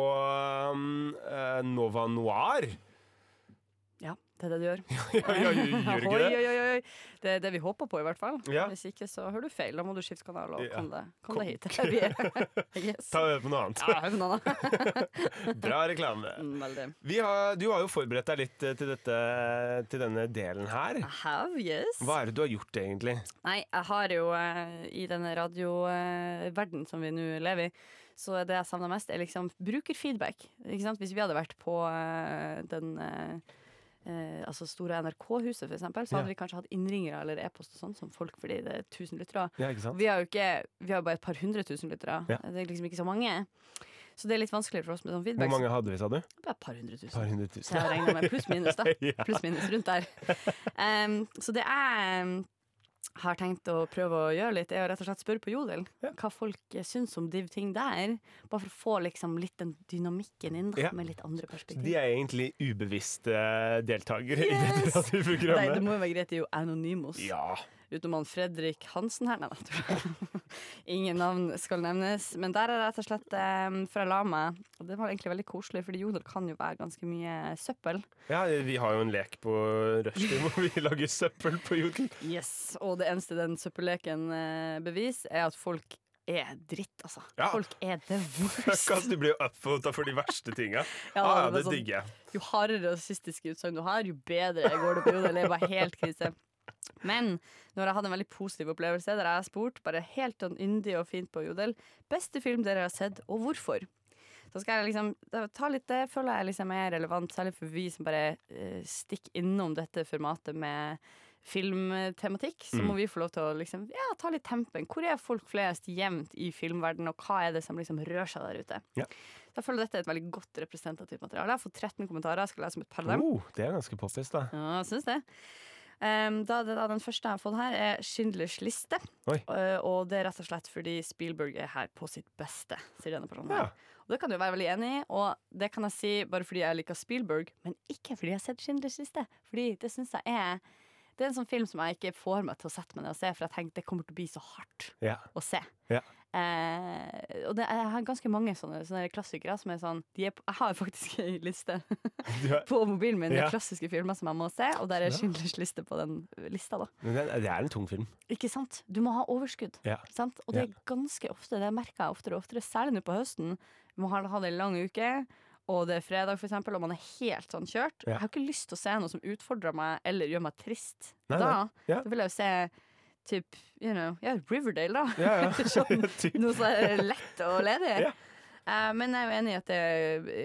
S7: um, eh, Nova Noir.
S8: Ja, det er det du gjør.
S7: ja, ja, gjør gjør ikke
S8: Oi,
S7: det?
S8: oi, oi. Det er det vi håper på, i hvert fall.
S7: Ja.
S8: Hvis ikke så hører du feil. Da må du skifte kanal og
S7: Ja.
S8: kom deg, kom
S7: Kom-
S8: deg hit. Vi er- yes.
S7: Ta og hør på noe annet.
S8: Ja, hør på noe annet.
S7: Bra reklame.
S8: Mm, Veldig.
S7: Vi har, du har jo forberedt deg litt eh, til, dette, til denne delen her.
S8: I have, yes.
S7: Hva er det du har gjort, egentlig?
S8: Nei, jeg har jo eh, i denne radioverden som vi nå lever i, så er det jeg savner mest, er liksom brukerfeedback. Ikke sant? Hvis vi hadde vært på eh, den eh, eh, altså store NRK-huset, for eksempel, så
S7: Ja.
S8: hadde vi kanskje hatt innringere eller e-post og sånn som folk, fordi det er tusen lyttere.
S7: Ja, ikke sant?
S8: Vi har jo ikke, vi har bare et par hundre tusen lyttere.
S7: Ja.
S8: Det er liksom ikke så mange. Så det er litt vanskeligere for oss med sånn feedback.
S7: Hvor mange hadde vi, sa du?
S8: Så Bare et par hundre tusen.
S7: Par hundre
S8: Så jeg
S7: tusen.
S8: har regna med pluss minus, da.
S7: Ja.
S8: Pluss minus rundt der. Em, så det jeg em, har tenkt å prøve å gjøre litt, er å rett og slett spørre på Jodel hva folk eh, syns om div ting der. Bare for å få liksom litt den dynamikken inn, da,
S7: Ja.
S8: med litt andre perspektiv.
S7: De er egentlig ubevisste deltakere i dette
S8: Yes! Nei, det
S7: radioprogrammet.
S8: må jo være greit, det er jo Anonymous.
S7: Ja.
S8: Utenom han Fredrik Hansen her, nei da. tror jeg. Ingen navn skal nevnes. Men der er det rett og slett um, før jeg la meg. Og det var egentlig veldig koselig, fordi Jodel kan jo være ganske mye søppel.
S7: ja, vi har jo en lek på rushtid hvor vi lager søppel på jodel.
S8: Yes, Og det eneste den søppelleken eh, bevis, er at folk er dritt, altså.
S7: Ja.
S8: Folk er the worst.
S7: Kast, du blir jo oppvota for de verste tinga.
S8: Ja,
S7: ah, ja,
S8: det er
S7: det
S8: sånn-
S7: digger jeg.
S8: Jo hardere rasistiske utsagn du har, jo bedre går det på Jodel. Det var helt krise. Men når jeg hadde en veldig positiv opplevelse, der jeg spurte bare helt sånn yndig og fint på Jodel Beste film dere har sett, og hvorfor? Så skal jeg liksom da ta litt det, føler jeg liksom er relevant, særlig for vi som bare eh, stikker innom dette formatet med filmtematikk. Så må vi få lov til å liksom, ja, ta litt tempen. Hvor er folk flest jevnt i filmverdenen, og hva er det som liksom rører seg der ute?
S7: Ja.
S8: Så jeg føler dette er et veldig godt representativt materiale. Jeg har fått 13 kommentarer, jeg skal lese om et par av dem.
S7: Oh, det er ganske poppis, da.
S8: Ja, jeg syns det. Ehm, da, det- da, den første jeg har fått her, er Schindlers liste.
S7: Oi.
S8: Eh, og det er rett og slett fordi Spielberg er her på sitt beste, sier denne personen. her.
S7: Ja.
S8: Og det kan du være veldig enig i, og det kan jeg si bare fordi jeg liker Spielberg, men ikke fordi jeg har sett Schindlers liste. Fordi det syns jeg er Det er en sånn film som jeg ikke får meg til å sette meg ned og se, for jeg tenker det kommer til å bli så hardt
S7: Ja.
S8: å se.
S7: Ja.
S8: Eh, og det, jeg har ganske mange sånne, sånne klassikere som er sånn de er, på- Jeg har faktisk ei liste
S7: Du er-
S8: på mobilen min
S7: Ja.
S8: med klassiske filmer som jeg må se, og der er Schindlers liste på den lista, da.
S7: Men det er- det er en tung film.
S8: Ikke sant? Du må ha overskudd.
S7: Ja.
S8: Sant? Og det er ganske ofte, det merker jeg oftere og oftere, særlig nå på høsten. Vi må ha hatt en lang uke, og det er fredag, for eksempel, og man er helt sånn kjørt.
S7: Ja.
S8: Jeg har ikke lyst til å se noe som utfordrer meg eller gjør meg trist.
S7: Nei,
S8: da,
S7: nei. Ja.
S8: da vil jeg jo se typ, you know, ja, Riverdale, da.
S7: Ja, ja.
S8: sånn,
S7: Typ.
S8: noe som er lett og ledig.
S7: Ja.
S8: Eh, men jeg er jo enig i at det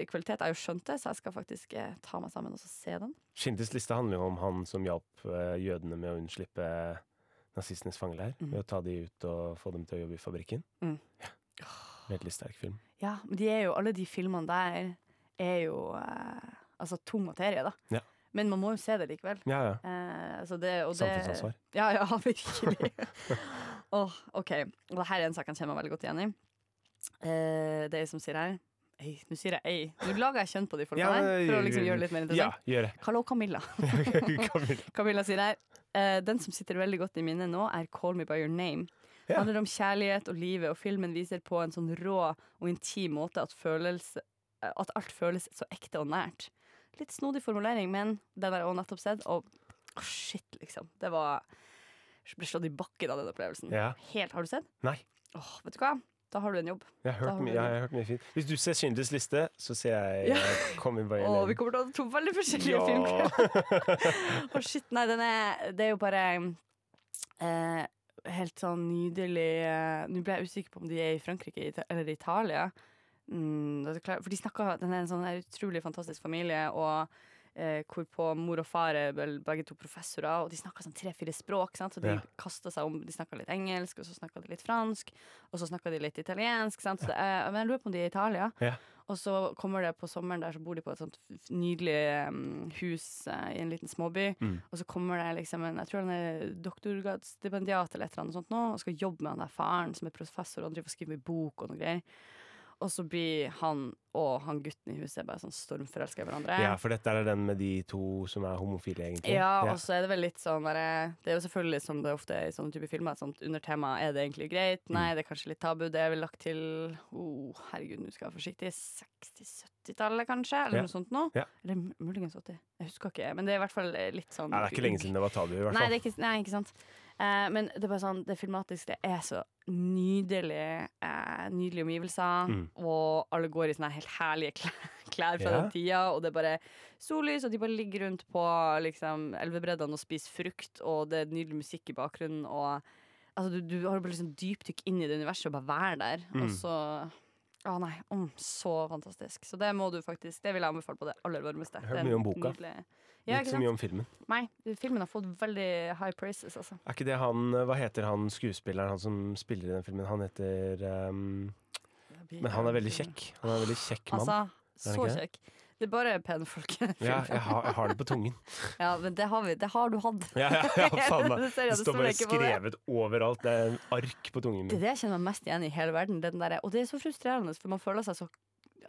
S8: er kvalitet. Jeg har jo skjønt det, så jeg skal faktisk eh, ta meg sammen og så se den.
S7: Schindlers liste handler jo om han som hjalp eh, jødene med å unnslippe nazistenes fangeleir. Ved å ta de ut og få dem til å jobbe i fabrikken.
S8: Mm.
S7: Ja. Veldig sterk film.
S8: Ja, men de er jo, alle de filmene der er jo eh, altså tung materie, da.
S7: Ja.
S8: Men man må jo se det likevel.
S7: Ja, ja.
S8: Eh, altså det, og det,
S7: Samfunnsansvar.
S8: Ja, ja, virkelig. Åh, OK. Og det her er en sak han kjenner meg veldig godt igjen i. Eh, det er jeg som sier her Ei, nå sier jeg ei. Nå lager jeg kjønn på de folka
S7: Ja,
S8: der. For å
S7: gjør-
S8: liksom gjøre det litt mer
S7: Ja,
S8: interessant.
S7: gjør det.
S8: Hallo, Camilla.
S7: Camilla.
S8: Camilla sier her eh, Den som sitter veldig godt i minnet nå er Call Me By Your Name Det
S7: Ja.
S8: handler om kjærlighet og livet Og filmen viser på en sånn rå og intim måte At, følelse, eh, at alt føles så ekte og nært Litt snodig formulering, men den har jeg også nettopp sett Og å, shit, liksom Det var, jeg ble slått i bakken av den opplevelsen
S7: Ja.
S8: Helt, har du sett?
S7: Nei.
S8: Åh, vet du hva? Da har du en jobb.
S7: Jeg har
S8: Da har
S7: hørt
S8: du
S7: mye, jeg
S8: det.
S7: har hørt mye fint. Hvis du ser Schindlers liste, så ser jeg
S8: Ja.
S7: eh, Come in by
S8: Å, vi kommer til å ha to veldig forskjellige filmer. Å, shit, nei, den er Det er jo bare eh, helt sånn nydelig eh, Nå ble jeg usikker på om de er i Frankrike Ita- eller Italia. Mm, det er klart- for de snakker Den er en sånn her utrolig fantastisk familie, og eh, hvorpå mor og far er vel begge to professorer, og de snakker sånn tre-fire språk, sant? så de
S7: Ja.
S8: kaster seg om. De snakker litt engelsk, og så snakker de litt fransk, og så snakker de litt italiensk, sant? Så det er, men jeg lurer på om de er i Italia.
S7: Ja.
S8: Og så kommer det på sommeren der, så bor de på et sånt f- nydelig em, hus eh, i en liten småby.
S7: Mm.
S8: Og så kommer det liksom en, jeg tror han er doktorgradsstipendiat eller et eller annet sånt nå, og skal jobbe med han der faren som er professor, og han driver og skriver bok og noe greier. Og så blir han og han gutten i huset bare sånn stormforelska i hverandre.
S7: Ja, for dette er den med de to som er homofile, egentlig.
S8: Ja, og så er det vel litt sånn derre- Det er jo selvfølgelig som det ofte er i sånne type filmer, et sånt undertema er det egentlig greit?
S7: Mm.
S8: Nei, det er kanskje litt tabu. Det er vel lagt til oh, herregud, nå skal jeg være forsiktig. 60-70-tallet, kanskje? Eller
S7: Ja.
S8: noe sånt noe.
S7: Ja.
S8: Eller m- muligens 80. Jeg husker ikke, men det er i hvert fall eh, litt sånn
S7: Nei, det er ikke lenge siden det var tabu, i hvert
S8: Nei,
S7: fall.
S8: det er ikke, nei, ikke sant. Eh, men det er bare sånn, det filmatiske det er så nydelig. eh, nydelige omgivelser.
S7: Mm.
S8: Og alle går i sånne helt herlige klær, klær fra
S7: Ja.
S8: den tida. Og det er bare sollys, og de bare ligger rundt på liksom, elvebreddene og spiser frukt. Og det er nydelig musikk i bakgrunnen. Og altså, du, du har bare liksom dypdykk inn i det universet og bare være der.
S7: Mm.
S8: Og så Å nei, mm, så fantastisk. Så det må du faktisk Det vil jeg anbefale på det aller varmeste.
S7: Jeg har hørt
S8: Det er
S7: mye om boka.
S8: nydelig- Ja, ikke
S7: Ikke så
S8: sant?
S7: mye om filmen.
S8: Nei, filmen har fått veldig high praises, altså.
S7: Er ikke det han Hva heter han skuespilleren, han som spiller i den filmen? Han heter ehm, Men han er sånn- veldig kjekk. Han er en veldig kjekk mann. Er
S8: Altså, så
S7: han ikke
S8: kjekk. Det er bare pene folk. i den
S7: Ja,
S8: filmen.
S7: jeg har, jeg har det på tungen.
S8: ja, men det har vi. Det har du hatt.
S7: Ja, ja, ja, faen meg.
S8: Det ser jeg,
S7: Det
S8: det
S7: står
S8: står
S7: bare
S8: ikke på det.
S7: skrevet overalt. Det er en ark på tungen
S8: Det
S7: min.
S8: er det jeg kjenner meg mest igjen i i hele verden. det er Den der, og det er så frustrerende, for man føler seg så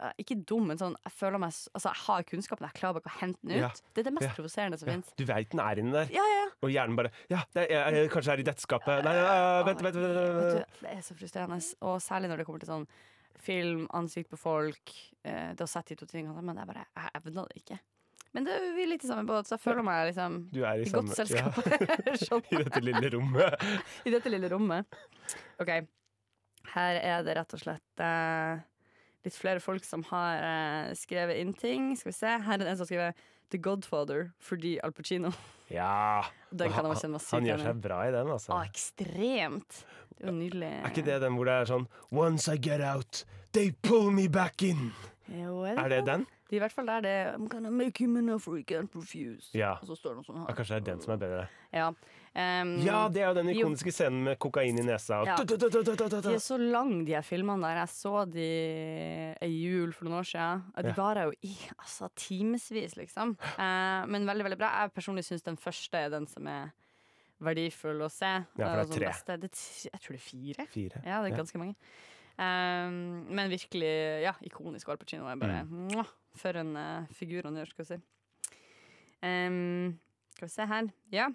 S8: eh, ikke dum, men sånn, jeg føler meg s- Altså, jeg har kunnskapen, jeg klarer bare ikke å hente den ut.
S7: Ja.
S8: Det er det mest
S7: Ja.
S8: provoserende som
S7: Ja,
S8: finnes.
S7: du veit den er inni der,
S8: Ja, ja, ja.
S7: og hjernen bare Ja, det er, jeg, jeg, kanskje det er i dette skapet. Nei, nei, nei, Eh, vent, vent, vent, vent, vent.
S8: Vet du, det er så frustrerende, og særlig når det kommer til sånn film, ansikt på folk. Eh, det å sette de to tingene sammen, det er bare Jeg evner det ikke. Men det, vi er litt i samme båt, så jeg føler meg liksom
S7: Du er i,
S8: i
S7: samme
S8: godt selskap. Skjønner.
S7: I dette lille rommet.
S8: I dette lille rommet. Ok, her er det rett og slett eh, litt flere folk som har eh, skrevet inn ting. Skal vi se, Her er det en som skriver 'The Godfather' fordi Al Pacino.
S7: Ja.
S8: Den kan jeg bare kjenne meg sykt
S7: Han gjør
S8: igjen i.
S7: seg bra i den, altså.
S8: Ah, ekstremt! Det er jo nydelig.
S7: Er ikke det den hvor det er sånn Once I get out, they pull me back in.
S8: Jo, er det,
S7: Er det den?
S8: Det er I hvert fall der det er, I'm gonna make him an offer he can't refuse.
S7: Ja.
S8: Og så står det noe sånn
S7: Ja,
S8: her.
S7: kanskje det er den som er bedre.
S8: Ja, um,
S7: Ja, det er jo den
S8: Jo.
S7: ikoniske scenen med kokain i nesa. Og
S8: Ja.
S7: tut, tut, tut, tut, tut,
S8: De er
S7: tut.
S8: så lange, de her filmene der. Jeg så de ei jul for noen år siden. og De
S7: Ja.
S8: varer jo i altså, timevis, liksom. Eh, men veldig, veldig bra. Jeg personlig syns den første er den som er verdifull å se. Eh,
S7: for det er
S8: Og som
S7: tre.
S8: beste. Det, er t- jeg tror det er fire.
S7: Fire.
S8: Ja, det er ganske mange. Ehm, men virkelig ja, ikonisk Al Pacino. Er bare, mwah, for en eh, figur han gjør, skal vi si. Ehm, skal vi se her. Ja.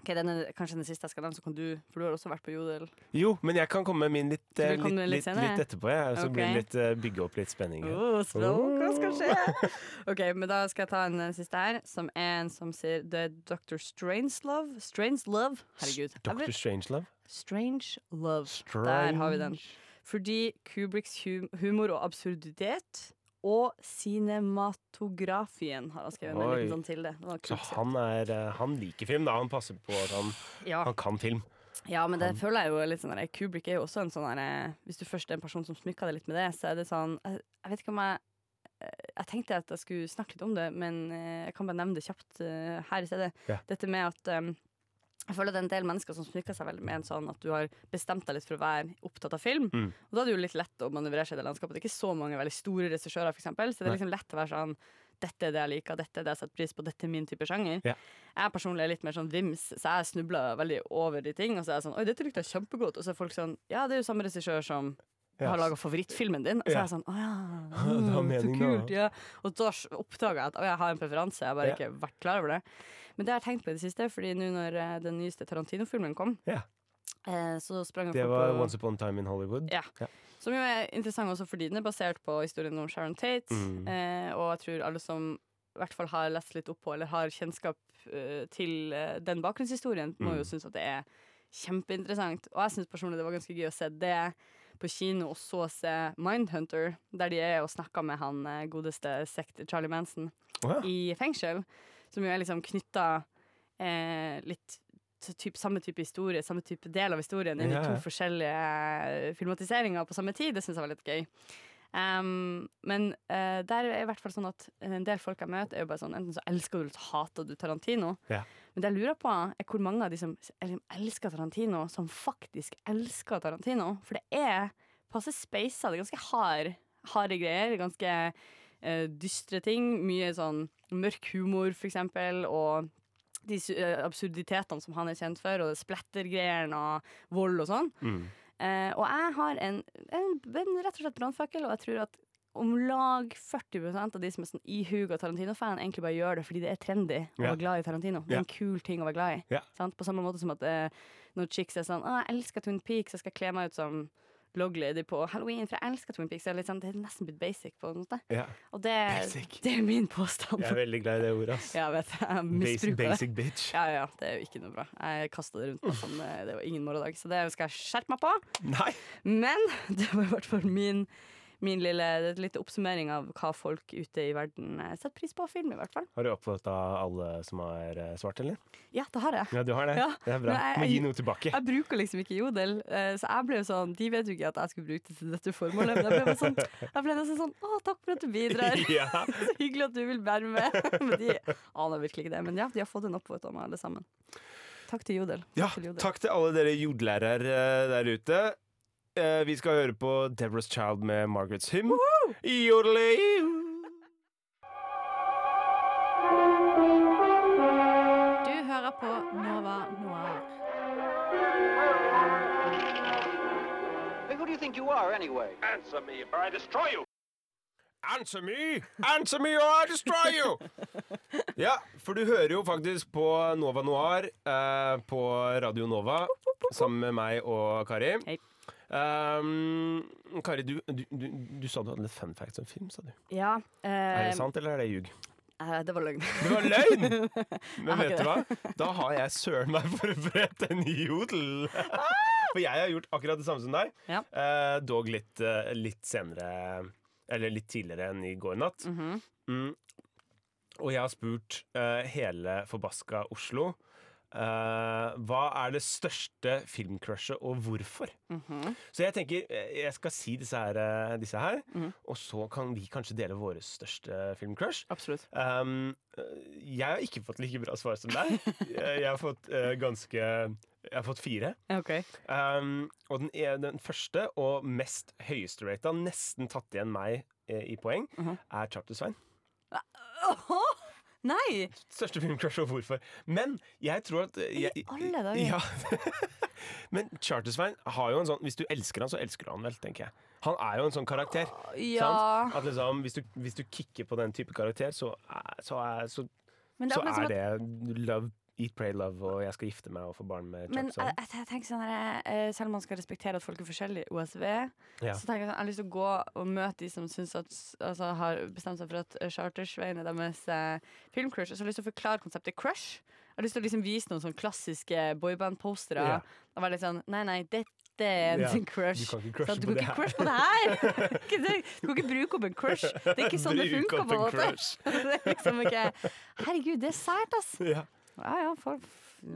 S8: Ok, den er kanskje den siste jeg skal nevne, så kan du For du har også vært på Jodel.
S7: Jo, men jeg kan komme med min litt,
S8: Skal
S7: eh,
S8: du
S7: litt,
S8: komme med litt
S7: litt,
S8: senere?
S7: litt etterpå. Jeg, så
S8: Ok.
S7: blir det litt, eh, bygge opp litt spenning. her.
S8: Oh, språk, hva skal skje? Ok, men da skal jeg ta en eh, siste her, som er en som sier The Dr. Strangelove. Strangelove? Herregud. jeg
S7: Dr.
S8: vet-
S7: Strangelove.
S8: Strange Love.
S7: Strange.
S8: Der har vi den. Fordi Kubricks hum humor og absurditet og cinematografien har han skrevet med en
S7: Oi.
S8: liten sånn til det. det var
S7: Så
S8: kult.
S7: han, er, eh, han liker film, da. Han passer på at han,
S8: ja.
S7: han kan film.
S8: ja, men det føler jeg jo er litt sånn der, Kubrick er jo også en sånn der, Hvis du først er en person som smykker deg litt med det, så er det sånn Jeg, jeg vet ikke om jeg eh, jeg tenkte at jeg skulle snakke litt om det, men eh, jeg kan bare nevne det kjapt eh, her i stedet.
S7: Ja.
S8: Dette med at eh, jeg føler det er en del mennesker som smykker seg veldig med en sånn at du har bestemt deg litt for å være opptatt av film.
S7: Mm.
S8: Og da er det jo litt lett å manøvrere seg i det landskapet. Det er ikke så mange veldig store regissører, f.eks., så det er liksom lett å være sånn dette er det jeg liker, dette er det jeg setter pris på, dette er min type sjanger.
S7: Ja.
S8: Jeg personlig er litt mer sånn vims, så jeg snubler veldig over de ting. Og så er jeg sånn Oi, dette lukter kjempegodt. Og så er folk sånn Ja, det er jo samme regissør som
S7: Ja.
S8: har laga favorittfilmen din. Og så er jeg sånn Å ja,
S7: det har
S8: mm, så
S7: mening da,
S8: kult. Ja. Og da s- oppdager jeg at å, jeg har en preferanse, jeg har bare
S7: Ja.
S8: ikke vært klar over det. Men det har jeg tenkt på i det siste, fordi nå når eh, den nyeste Tarantino-filmen kom,
S7: Ja.
S8: eh, så sprang jeg
S7: Det
S8: folk
S7: var
S8: på
S7: Once Upon a Time in Hollywood.
S8: ja.
S7: Ja.
S8: Som jo er interessant også fordi den er basert på historien om Sharon Tate.
S7: Mm.
S8: Eh, og jeg tror alle som i hvert fall har lest litt opp på eller har kjennskap eh, til eh, den bakgrunnshistorien, må jo synes at det er kjempeinteressant. Og jeg synes personlig det var ganske gøy å se det. på kino og så se Mindhunter, der de er og snakker med han eh, godeste sekt Charlie Manson
S7: Å ja.
S8: i fengsel, som jo er liksom knytta eh, litt til typ, samme type historie, samme type del av historien, inn
S7: Ja,
S8: i
S7: ja.
S8: to forskjellige eh, filmatiseringer på samme tid. Det syns jeg var litt gøy. Em, men eh, der er i hvert fall sånn at en del folk jeg møter, er jo bare sånn enten så elsker du eller så hater du Tarantino.
S7: Ja.
S8: Men det jeg lurer på, er hvor mange av de som s- eller som elsker Tarantino, som faktisk elsker Tarantino. For det er passe speisa. Det er ganske hard, harde greier. Ganske eh, dystre ting. Mye sånn mørk humor, for eksempel. Og de su- eh, absurditetene som han er kjent for, og splattergreiene og vold og sånn.
S7: Mm.
S8: Eh, og jeg har en, en, en rett og slett brannfakkel, og jeg tror at om lag 40 av de som er sånn ihuga Tarantino-fan, egentlig bare gjør det fordi det er trendy å
S7: Ja.
S8: være glad i Tarantino. Det er
S7: Ja.
S8: en kul ting å være glad i.
S7: Ja.
S8: Sant? På samme måte som at eh, når chicks er sånn Å, jeg elsker Twin Peaks, jeg skal kle meg ut som Log Lady på halloween, for jeg elsker Twin Peaks. Det er, litt sånn, det er nesten blitt basic på en måte.
S7: Ja.
S8: Og det, det er min påstand.
S7: Jeg er veldig glad i det ordet. ass.
S8: Ja, jeg vet jeg
S7: Basic,
S8: misbruker det.
S7: basic bitch.
S8: Ja, ja, det er jo ikke noe bra. Jeg kasta det rundt meg som eh, det var ingen morgendag, så det skal jeg skjerpe meg på.
S7: Nei!
S8: Men det var i hvert fall min, min lille det er et lite oppsummering av hva folk ute i verden eh, setter pris på av film, i hvert fall.
S7: Har du oppfatta alle som er eh, svart, eller?
S8: Ja, det har jeg.
S7: Ja, du har det.
S8: Ja,
S7: Det er bra.
S8: men jeg-
S7: Må gi noe tilbake.
S8: Jeg bruker liksom ikke Jodel, eh, så jeg ble jo sånn De vet jo ikke at jeg skulle bruke det til dette formålet, men jeg ble, bare sånn, jeg ble nesten sånn Å, takk for at du bidrar.
S7: Ja.
S8: Så hyggelig at du vil være med. Men de aner virkelig ikke det. Men ja, de har fått en oppvåt av meg, alle sammen. Takk til Jodel.
S7: Ja,
S8: til Jodel.
S7: takk til alle dere jordlærere eh, der ute. Eh, Vi skal høre på Deborah's Child med Margaret's Hymn. Jodeli!
S10: Du hører på Nova Noir.
S4: Who do you think you are, anyway? Answer me, or I destroy you!
S7: Answer me! Answer me or I destroy you! Ja, for du hører jo faktisk på Nova Noir eh, på Radio Nova sammen med meg og Kari.
S8: Hei.
S7: Um, Kari, du, du, du, du sa du hadde litt fun facts om film, sa du.
S8: Ja,
S7: Er
S8: eh,
S7: det sant, eller er det ljug?
S8: eh, det var løgn.
S7: Det var løgn! Men
S8: Jeg
S7: vet du
S8: har
S7: hva? Da har jeg søren meg forberedt en jodel.
S8: Ah!
S7: For jeg har gjort akkurat det samme som deg,
S8: Ja.
S7: eh, dog litt, eh, litt senere Eller litt tidligere enn i går natt. Mm. Og jeg har spurt eh, hele forbaska Oslo eh, hva er det største filmcrushet, og hvorfor? Så jeg tenker eh, jeg skal si disse her, eh, disse her og så kan vi kanskje dele våre største filmcrush.
S8: Absolutt.
S7: Um, øh, jeg har ikke fått like bra svar som deg. Jeg jeg har fått øh, ganske Jeg har fått fire.
S8: Ok.
S7: Um, og den, er, den første og mest høyeste rata, nesten tatt igjen meg eh, i poeng, er Charter-Svein.
S8: Åhå! Nei!
S7: Største filmcrush og hvorfor. Men jeg tror at eh, jeg,
S8: alle dager.
S7: Ja. Men Charter-Svein har jo en sånn Hvis du elsker han, så elsker du han vel, tenker jeg. Han er jo en sånn karakter.
S8: Ja.
S7: Sant? At liksom, hvis, du, hvis du kicker på den type karakter, så, er- så, er- så
S8: Men det
S7: så
S8: er akkurat som
S7: er
S8: at
S7: det love, eat, pray, love, og jeg skal gifte meg og få barn med
S8: men jeg,
S7: Charleston.
S8: jeg, jeg tenker sånn her, eh, Selv om man skal respektere at folk er forskjellige i OSV,
S7: Ja.
S8: så tenker jeg sånn, jeg har lyst til å gå og møte de som synes at, s- altså, har bestemt seg for at eh, chartersveien er deres eh, filmcrush. Og så har jeg lyst til å forklare konseptet crush. Jeg har lyst til å liksom vise noen sånn klassiske boyband-postere.
S7: Ja.
S8: Og være litt sånn Nei, nei, dette er en
S7: Ja,
S8: crush.
S7: du kan ikke crushe
S8: Sånn, du
S7: på det
S8: kan ikke
S7: her.
S8: crush på det her! Ikke det- du kan ikke bruke opp en crush. Det er ikke sånn det
S7: Bruk
S8: funker.
S7: opp
S8: på en
S7: en
S8: måte.
S7: crush.
S8: Det er liksom ikke Herregud, det er sært, ass!
S7: Ja.
S8: Ja, ja, for,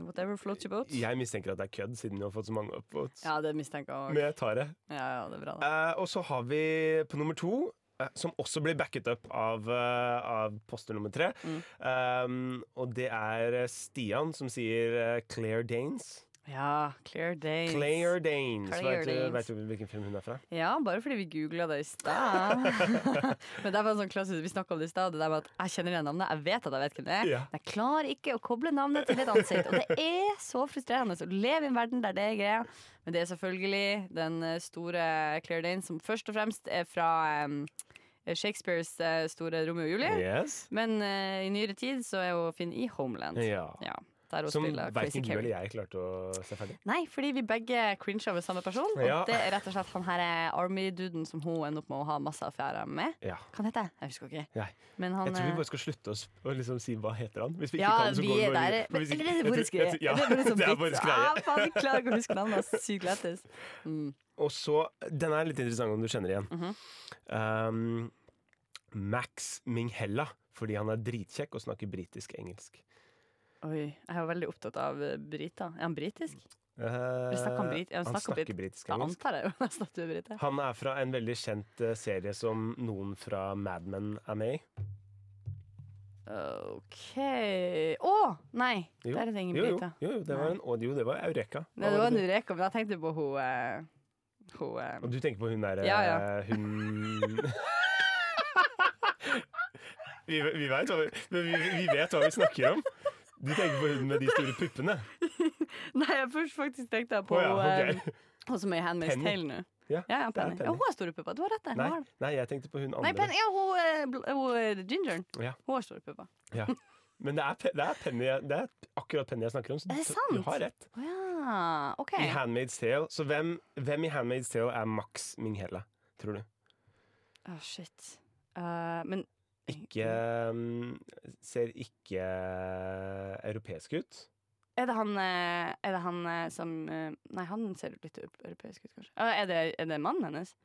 S8: whatever floats your boat.
S7: Jeg mistenker at det er kødd, siden du har fått så mange oppvotes.
S8: Ja, det mistenker jeg òg.
S7: Men jeg tar det.
S8: Ja, ja, det er bra, da.
S7: Eh, og så har vi på nummer to, eh, som også blir backet up av, eh, av poster nummer tre,
S8: Mm.
S7: um, og det er Stian som sier eh, Claire Danes.
S8: Ja, Clear Days.
S7: Claire Danes.
S8: Claire
S7: vet, du,
S8: Danes.
S7: vet du hvilken film hun er fra?
S8: Ja, bare fordi vi googla det i stad. Men det var en sånn klassisk, vi snakka om det i stad, det der med at jeg kjenner igjen navnet, jeg vet at jeg vet hvem det er,
S7: Ja.
S8: men jeg klarer ikke å koble navnet til et ansikt. Og det er så frustrerende å leve i en verden der det er greia. Men det er selvfølgelig den eh, store Claire Danes, som først og fremst er fra em, Shakespeares eh, store Romeo og Julie.
S7: Yes.
S8: Men eh, i nyere tid så er hun Finn i Homeland.
S7: Ja.
S8: Ja, der hun
S7: Som
S8: spiller Crazy
S7: verken du
S8: Kevin.
S7: eller jeg klarte å se ferdig.
S8: Nei, fordi vi begge cringe over samme person.
S7: Ja.
S8: Og det er rett og slett han her er Army-duden som hun ender opp med å ha masse affærer med.
S7: Ja.
S8: Hva heter jeg? Jeg husker ikke.
S7: Nei.
S8: Men han,
S7: jeg tror vi
S8: eh,
S7: bare skal slutte å s- å liksom si hva heter han. Hvis vi
S8: ja,
S7: ikke kan, så
S8: vi
S7: går vi bare
S8: er der.
S7: videre. For hvis
S8: eller
S7: ikke-
S8: er det vår
S7: jeg tror-
S8: greie?
S7: jeg tror- Ja,
S8: Det er bare sånn
S7: det er
S8: vits.
S7: vår greie.
S8: Ah, faen, jeg klarer ikke å huske navnet. ass. Sykt lættis. Mm. mhm.
S7: Og så, Den er litt interessant om du kjenner igjen. um, Max Minghella, fordi han er dritkjekk og snakker britisk-engelsk.
S8: Oi, jeg er jo veldig opptatt av eh, briter. Er han
S7: Mm,
S8: britisk? Eller snakker han, brit ja,
S7: Eh, han snakker
S8: Da
S7: britisk-engelsk.
S8: antar jeg jo nesten at du er brite.
S7: Han er fra en veldig kjent eh, serie som noen fra Mad Men er med i.
S8: OK Å! nei,
S7: Jo,
S8: der er det ingen
S7: jo, jo,
S8: briter.
S7: jo, jo, det var
S8: Nei.
S7: en, og jo, det var Eureka.
S8: Nei, Det
S7: Hva var
S8: var en
S7: det
S8: reka, men jeg tenkte på hun eh, Hun eh,
S7: du- Og du tenker på hun derre
S8: Ja, ja.
S7: Hun
S8: eh,
S7: vi, vi, vet hva vi, men vi, vi vet hva vi snakker om. Du tenker på hun med de store puppene.
S8: Nei, jeg først faktisk tenkte jeg på
S7: Å ja,
S8: eh,
S7: ok.
S8: Hun som er i Handmaid's
S7: Penny.
S8: Tale nå.
S7: Ja,
S8: Ja, ja,
S7: det er
S8: Penny. ja,
S7: Penny.
S8: hun har store pupper. Du har rett. der, Hun
S7: Nei,
S8: har det.
S7: nei, jeg tenkte på hun
S8: Nei,
S7: andre.
S8: Penny, ja, hun, eh, bl- hun eh, gingeren.
S7: Ja.
S8: Hun har store pupper.
S7: Ja. Men det er, pe- det, er Penny, jeg- det er akkurat Penny jeg snakker om. Så
S8: Er det
S7: du-
S8: sant?
S7: Du har rett.
S8: Å ja, OK.
S7: I Handmaid's Tale. Så hvem, hvem i Handmaid's Tale er Max Minghella, tror du?
S8: Å, shit. Eh, men
S7: Ikke, mm, ser ikke eh, europeisk ut.
S8: er det han, eh, er det han eh, som eh, Nei, han ser litt eu- europeisk ut, kanskje. Eh, er, det, er det mannen hennes?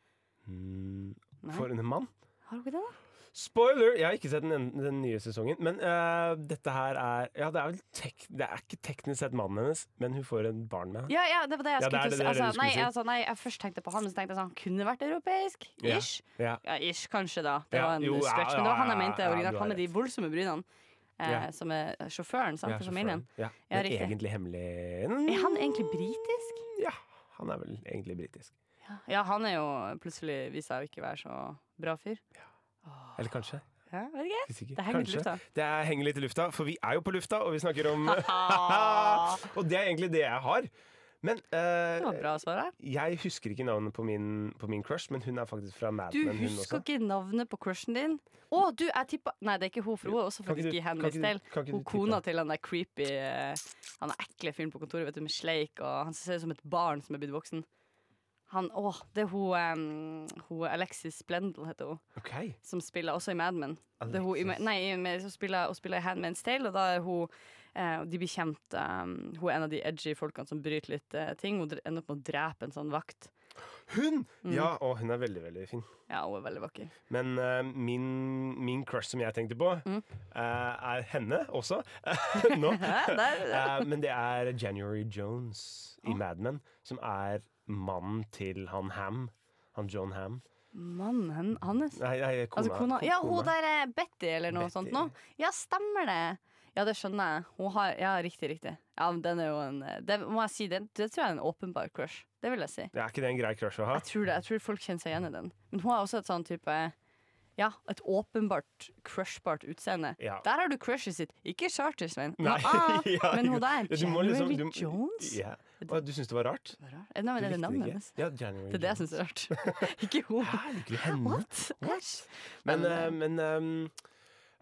S7: Mm,
S8: Nei.
S7: for en mann.
S8: Har hun ikke det, da?
S7: Spoiler! Jeg har ikke sett den, en- den nye sesongen. Men eh, dette her er Ja, det er vel tek Det er ikke teknisk sett mannen hennes, men hun får en barn med han.
S8: Ja, ja, det var det jeg
S7: Ja,
S8: skulle
S7: det er
S8: til å
S7: det
S8: si.
S7: dere
S8: Altså,
S7: skulle
S8: nei,
S7: si.
S8: altså, nei, jeg først tenkte på han, men så tenkte jeg sånn, han kunne vært europeisk.
S7: Ja.
S8: Ish.
S7: Ja.
S8: Ja, ish, kanskje da. Det
S7: Ja,
S8: var en
S7: jo, ja,
S8: stretch. Men
S7: ja,
S8: det var han
S7: ja,
S8: jeg mente
S7: ja, du
S8: originalt.
S7: har
S8: Han med de
S7: rett.
S8: voldsomme brynene. Eh,
S7: Ja.
S8: Som er sjåføren sant,
S7: Ja,
S8: til familien.
S7: sjåføren. Ja,
S8: Ja,
S7: men
S8: riktig.
S7: egentlig hemmelig
S8: Er han egentlig britisk?
S7: Ja, han er vel egentlig britisk.
S8: Ja, han er jo plutselig vist seg å ikke være så bra fyr.
S7: Eller kanskje.
S8: Ja, vet ikke.
S7: Ikke sikker.
S8: Det henger litt i
S7: Kanskje.
S8: lufta.
S7: Det er- henger litt i lufta, for vi er jo på lufta, og vi snakker om Og det er egentlig det jeg har. Men eh,
S8: Det var bra svar her.
S7: jeg husker ikke navnet på min, på min crush, men hun er faktisk fra Mad
S8: Du
S7: Men. hun også.
S8: husker ikke navnet på crushen din? Å, du, jeg tippa Nei, det er ikke hun, for hun er også
S7: Kan ikke
S8: faktisk
S7: du-
S8: i
S7: kan
S8: Handmaid's
S7: ikke du-
S8: Tale.
S7: kan ikke
S8: Hun
S7: du tippe?
S8: kona til han der creepy eh, Han er ekle fyren på kontoret, vet du, med sleik, og han ser ut som et barn som er blitt voksen. Han, å, det er hun, em, hun Alexis Blendel, heter hun,
S7: Ok.
S8: som spiller også i Mad Men. Det er hun, i Ma-
S7: Alexis.
S8: nei, i Ma- hun spiller, hun spiller i Handmaid's Tale, og da er hun eh, De blir kjent em, Hun er en av de edgy folkene som bryter litt eh, ting. Hun dre- ender opp med å drepe en sånn vakt.
S7: Hun!
S8: Mm.
S7: Ja, og hun er veldig, veldig fin.
S8: Ja, hun er veldig vakker.
S7: Men eh, min, min crush som jeg tenkte på,
S8: Mm.
S7: eh, er henne også. Nå.
S8: Hæ? Der,
S7: Eh, men det er January Jones i Mad Men, som er mannen til han Ham. Han John Ham.
S8: Mannen hen- hans.
S7: Nei, nei kona.
S8: Altså kona, ja, hun der er Betty eller noe
S7: Betty.
S8: sånt nå. Ja, stemmer det. Ja, det skjønner jeg. Hun har, ja, riktig, riktig. Ja, men den er jo en eh, Det må jeg si, det, det tror jeg er en åpenbar crush. Det vil jeg si.
S7: Ja, Er ikke det en grei crush å ha?
S8: Jeg tror, det, jeg tror folk kjenner seg igjen i den. Men hun har også et sånn type ja, et åpenbart crushbart utseende.
S7: Ja.
S8: Der har du crushet sitt. Ikke charter, Svein.
S7: Nei,
S8: Ah,
S7: ja,
S8: men hun
S7: ja,
S8: der,
S7: du må
S8: January
S7: liksom- du-
S8: Jones.
S7: Ja. Å, du syns det var rart?
S8: Hva er det? Nei,
S7: Du
S8: men det er
S7: likte
S8: navnet
S7: ikke?
S8: hennes.
S7: Ja, January
S8: Det er det jeg
S7: Jones.
S8: syns er rart. ikke hun.
S7: Hæ, liker du henne?
S8: What? Æsj.
S7: Men,
S8: Men,
S7: eh, men ehm,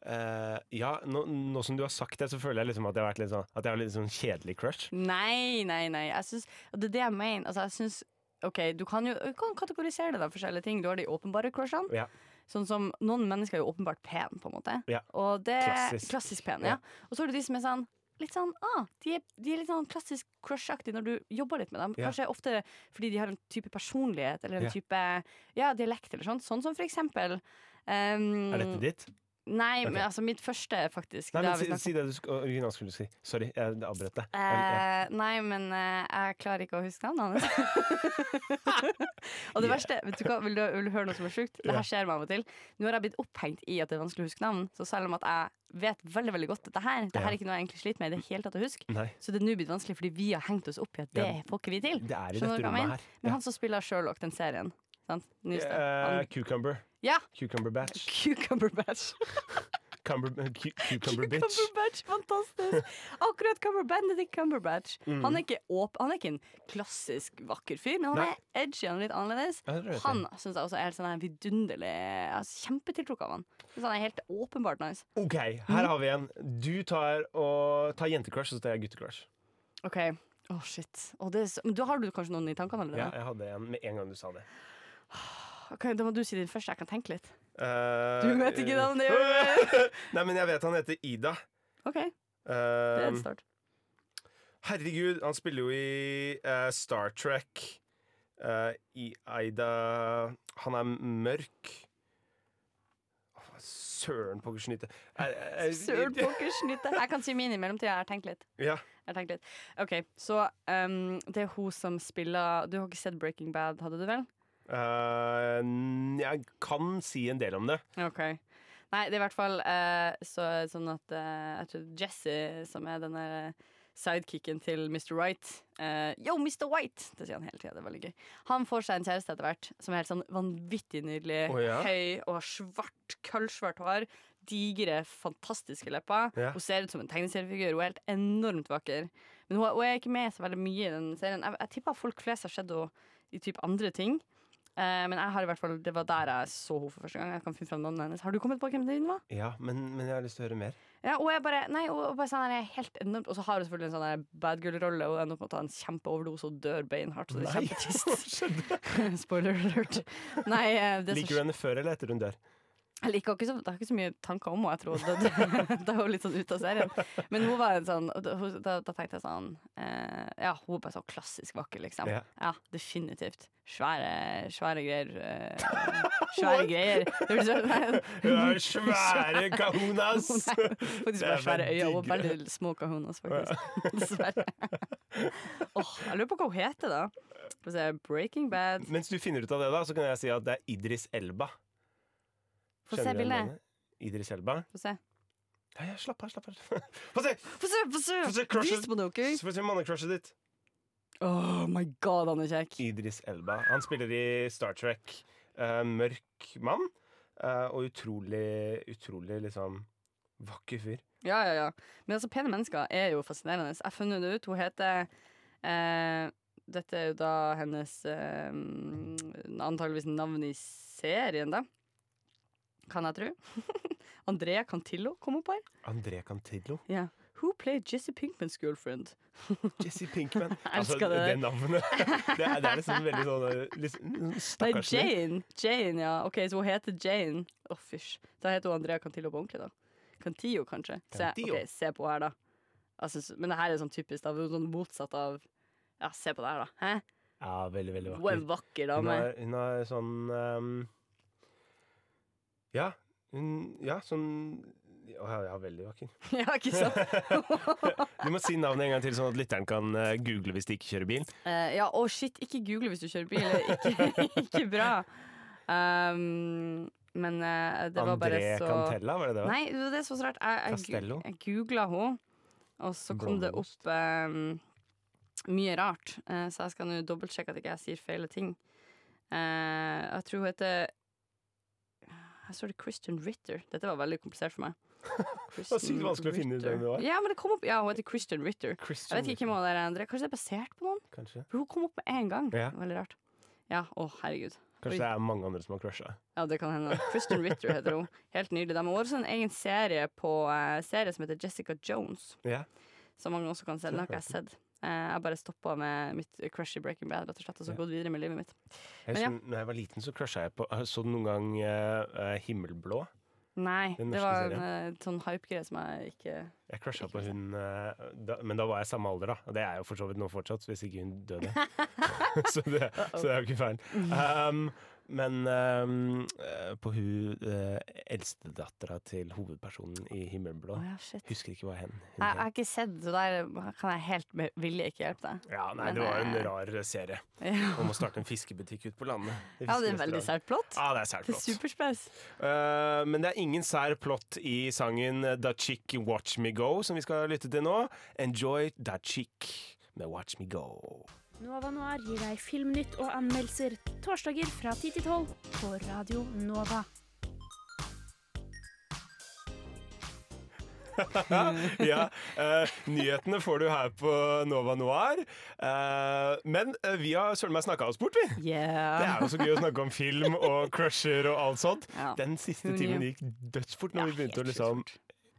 S7: eh, ja, nå, nå som du har sagt det, så føler jeg liksom at jeg har vært litt sånn, at jeg har litt sånn kjedelig crush.
S8: Nei, nei, nei. Jeg synes, og det er det jeg mener. Altså, jeg synes, ok, du kan jo du kan kategorisere det da, forskjellige ting. Du har de åpenbare crushene.
S7: Ja.
S8: Sånn som Noen mennesker er jo åpenbart pen, på en måte.
S7: Ja.
S8: Og det,
S7: Klassisk.
S8: klassisk. pen, ja. Og så har du de som er sånn litt sånn, ah, de, er, de er litt sånn klassisk crush-aktige når du jobber litt med dem.
S7: Ja.
S8: Kanskje ofte fordi de har en type personlighet eller en
S7: Ja.
S8: type ja, dialekt eller sånn. Sånn som for eksempel ehm,
S7: Er dette ditt?
S8: Nei,
S7: Ok.
S8: men altså mitt første, faktisk.
S7: Nei, men
S8: Det har vi
S7: si,
S8: snakket
S7: si det du sk- originalt skulle si. Sorry, jeg avbrøt deg. Jeg- jeg-
S8: Eh, nei, men eh, jeg klarer ikke å huske navnet hans. og det verste, vet du hva, vil du, vil du høre noe som er sjukt? Det
S7: Ja.
S8: her skjer meg av og til. Nå har jeg blitt opphengt i at det er vanskelig å huske navn, så selv om at jeg vet veldig veldig godt dette her, det her
S7: Ja.
S8: er ikke noe jeg egentlig sliter med i det hele tatt å huske,
S7: Nei.
S8: så det er nå blitt vanskelig fordi vi har hengt oss opp i at det
S7: Ja.
S8: får ikke vi til.
S7: Det er i dette
S8: Skjønner du hva jeg
S7: rommet
S8: mener?
S7: her. Ja.
S8: Men han som spiller Sherlock, den serien, sant? Nyeste.
S7: Eh,
S8: Han,
S7: cucumber.
S8: ja!
S7: Cucumber batch.
S8: Cucumber Batch.
S7: Cumber, eh, cu- cucumber bitch.
S8: Cumberbatch, fantastisk! Akkurat Cumber Benedict Cumberbatch.
S7: Mm.
S8: Han, er ikke åp han er ikke en klassisk vakker fyr, men han
S7: Nei.
S8: er edgy han er litt annerledes.
S7: Ja, det tror jeg
S8: Han syns jeg også er helt sånn her vidunderlig Jeg er kjempetiltrukket av han. Synes han er helt åpenbart nice.
S7: OK, her har vi en. Du tar, og, tar jentecrush, og så tar jeg guttecrush.
S8: OK. Å, shit. Å, det er så... Men da har du kanskje noen i tankene
S7: Ja,
S8: allerede?
S7: jeg hadde en med en gang du sa det.
S8: Ok, da må du si din først, jeg kan tenke litt.
S7: Eh,
S8: Du vet ikke navnet, gjør
S7: Nei, men jeg vet han heter Ida.
S8: OK, det er
S7: Eh,
S8: en start.
S7: herregud, han spiller jo i eh, Star Trek. Eh, I Ida Han er mørk. Åh, Søren pokkersnyte. Eh,
S8: Søren pokker snytte. Jeg kan si min i mellomtida, jeg har tenkt litt.
S7: Ja.
S8: Jeg har tenkt litt. OK, så um, det er hun som spiller Du har ikke sett Breaking Bad, hadde du vel?
S7: Eh, n- jeg kan si en del om det.
S8: Ok Nei, det er i hvert fall eh, så, sånn at eh, Jeg tror Jesse, som er denne sidekicken til Mr. Right eh, Yo, Mr. White! Det sier han hele tida. Det er veldig gøy. Han får seg en kjæreste etter hvert som er helt sånn vanvittig nydelig.
S7: Å, ja?
S8: Høy og svart, kølsvart hår. Digre, fantastiske lepper.
S7: Ja.
S8: Hun ser ut som en tegneseriefigur. Hun er helt enormt vakker. Men hun, hun er ikke med så veldig mye i den serien. Jeg, jeg tipper folk flest har sett henne i typ andre ting. Eh, men jeg har i hvert fall, det var der jeg så henne for første gang. Jeg kan finne frem navnet hennes Har du kommet på hvem din var?
S7: Ja, men, men jeg har lyst til å høre mer.
S8: Ja, og jeg bare, nei, og, og bare sånn her, helt enormt Og så har hun selvfølgelig en sånn her bad girl-rolle og ender opp med å ta en kjempeoverdose og dør beinhardt. Så det er
S7: Nei.
S8: kjempetrist. Spoiler alert. Nei, eh, det er
S7: Liker
S8: så,
S7: du henne før eller etter hun dør?
S8: jeg liker henne ikke så, det er ikke så mye tanker om henne, jeg tror. Det, det, det er jo litt sånn ute av serien. Men hun var en sånn og da, hun- da, da tenkte jeg sånn eh, Ja, hun er bare sånn klassisk vakker, liksom.
S7: Ja.
S8: Ja, definitivt. Svære, svære greier. eh, svære greier. Det blir sånn, nei,
S7: Hun har svære kahunas!
S8: Hun er faktisk bare
S7: Det er
S8: svære
S7: bare
S8: øyne og
S7: digg.
S8: veldig små kahunas, faktisk. Dessverre. Åh, jeg lurer på hva hun heter, da. Skal vi se, Breaking Bad.
S7: Mens du finner ut av det, da, så kan jeg si at det er Idris Elba.
S8: Få se
S7: Kjenner du igjen
S8: bildet.
S7: navnet? Idris Elba?
S8: Få se.
S7: Ja, ja, slapp av, slapp av. Få se!
S8: Få se, få se!
S7: Få se crushet.
S8: Vis på noe.
S7: Få se mannecrushet ditt.
S8: Oh my god, han er kjekk.
S7: Idris Elba. Han spiller i Star Trek. Eh, mørk mann. eh, og utrolig, utrolig liksom vakker fyr.
S8: Ja, ja, ja. Men altså, pene mennesker er jo fascinerende. Jeg har funnet det ut. Hun heter eh, Dette er jo da hennes eh, antageligvis navn i serien, da. Kan jeg tro. Andrea Cantillo kom opp her.
S7: André Cantillo.
S8: Ja. Who played Jesse Pinkmans girlfriend?
S7: Jesse Pinkman. Altså,
S8: elsker det.
S7: det navnet. Det er, det er liksom veldig sånn eh, liksom,
S8: Nei,
S7: Stakkarslig.
S8: Jane. Jane, ja. Ok, Så hun heter Jane. Å, fysj. Da heter hun Andrea Cantillo på ordentlig, da. Cantillo, kanskje. Se,
S7: Cantillo.
S8: ok, se på her, da. Jeg synes- men det her er sånn typisk. da, hun er sånn Motsatt av Ja, se på det her, da. Hæ?
S7: Ja, veldig, veldig
S8: Hun er
S7: vakker.
S8: en vakker
S7: Hun
S8: dame.
S7: har, hun har sånn ehm, Ja. Hun Ja, sånn Å, ja, ja, veldig vakker.
S8: Ja, ikke sant?
S7: Du må si navnet en gang til, sånn at lytteren kan eh, google hvis de ikke kjører bil.
S8: Eh, ja, å shit, ikke google hvis du kjører bil. Det er Ikke, ikke bra. Um, men eh, det var bare
S7: André
S8: så
S7: Cantella, var det det? var?
S8: Nei, det er så rart. Jeg, jeg,
S7: Castello?
S8: gu- jeg googla henne, og så kom det
S7: Blåmuggost.
S8: opp eh, mye rart. Eh, så jeg skal nå dobbeltsjekke at ikke jeg sier feil ting. Eh, jeg tror hun heter Her står det Christian Ritter. Dette var veldig komplisert for meg. Det
S7: var sykt vanskelig å finne ut hvem det var.
S8: Ja, men det kom opp Ja, hun heter Christian Ritter.
S7: Christian
S8: Jeg vet ikke hvem hun der er. Andrea. Kanskje det er basert på noen?
S7: Kanskje.
S8: For hun kom opp med en gang.
S7: Ja.
S8: Veldig rart. Ja, å herregud.
S7: Kanskje det er mange andre som har crusha.
S8: Ja, det kan hende. Kristen Ritter heter hun. Helt nydelig. De har også en egen serie på eh, serie som heter Jessica Jones,
S7: Ja.
S8: som mange også kan se. Den har ikke jeg sett. Eh, jeg bare stoppa med mitt crush i Breaking Bad, rett og slett, og så
S7: Ja.
S8: gått videre med livet mitt.
S7: Jeg
S8: Men ja.
S7: husker, når jeg var liten, så crusha jeg på Så du noen gang eh, eh, Himmelblå?
S8: Nei,
S7: Den norske
S8: det var en eh, sånn hype-greie som jeg ikke
S7: Jeg crusha på hun eh, da, Men da var jeg samme alder, da. Og det er jeg jo for så vidt nå fortsatt, hvis ikke hun døde. så, det, så det er jo ikke feil. Um, men um, eh, på hun uh, eldstedattera til hovedpersonen i
S8: Å
S7: Himmelblå
S8: ja, shit. Jeg,
S7: Husker ikke hva hen hun
S8: jeg
S7: het.
S8: har ikke sett det der. Kan jeg helt med vilje ikke hjelpe deg?
S7: Ja, nei, det
S8: men,
S7: var en
S8: eh,
S7: rar serie
S8: Ja,
S7: om å starte en fiskebutikk ute på landet.
S8: ja det er veldig
S7: fiskerestaurant.
S8: sært plott.
S7: Ja, Ah, det er sært altså.
S8: Det er
S7: flott.
S8: superspes.
S7: Eh, men det er ingen sær plott i sangen Da Chick Watch Me Go, som vi skal lytte til nå. Enjoy Da Chick med Watch Me Go.
S9: Nova Noir gir deg filmnytt og anmeldelser torsdager fra 10 til 12 på Radio Nova.
S7: ja, eh, nyhetene får du her på Nova Noir. Eh, men eh, vi har søren meg snakka oss bort, vi.
S8: Yeah.
S7: Det er jo så gøy å snakke om film og crusher og alt sånt.
S8: Ja.
S7: Den siste
S8: Who
S7: timen
S8: knew?
S7: gikk dødsfort når
S8: Ja,
S7: vi begynte å
S8: helt
S7: liksom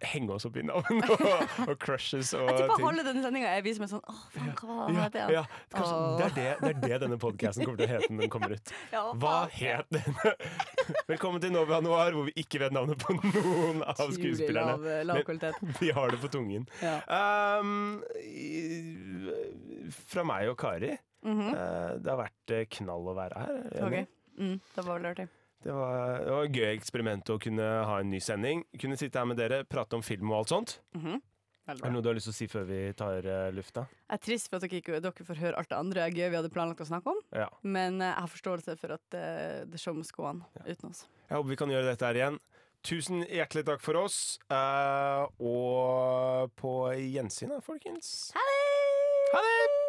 S7: henge oss opp i navn og, og crushes og
S8: Jeg tipper
S7: ting.
S8: halve denne sendinga er vi som er sånn Åh, faen, hva var
S7: Ja,
S8: det?
S7: ja. Kanskje, det, er det, det er det denne podkasten kommer til å hete når den kommer ut.
S8: Ja,
S7: Hva het denne? Velkommen til Nova Noir, hvor vi ikke vet navnet på noen av skuespillerne.
S8: Utrolig lav, lav
S7: Men
S8: kvalitet.
S7: vi har det på tungen.
S8: Ja.
S7: Um, i- fra meg og Kari.
S8: Mhm.
S7: eh, det har vært eh, knall å være her. er du enig?
S8: Ok. Mm, det var vel artig.
S7: Det var, det var et gøy eksperiment å kunne ha en ny sending. Kunne sitte her med dere, prate om film og alt sånt.
S8: Mhm.
S7: Er
S8: Veldig
S7: det
S8: bra.
S7: noe du har lyst til å si før vi tar eh, lufta?
S8: Jeg er trist for at dere ikke dere får høre alt det andre gøy vi hadde planlagt å snakke om,
S7: Ja.
S8: men eh, jeg har forståelse for at eh, the show must go on uten oss.
S7: Jeg håper vi kan gjøre dette her igjen. Tusen hjertelig takk for oss, eh, og på gjensyn da, folkens. Ha det!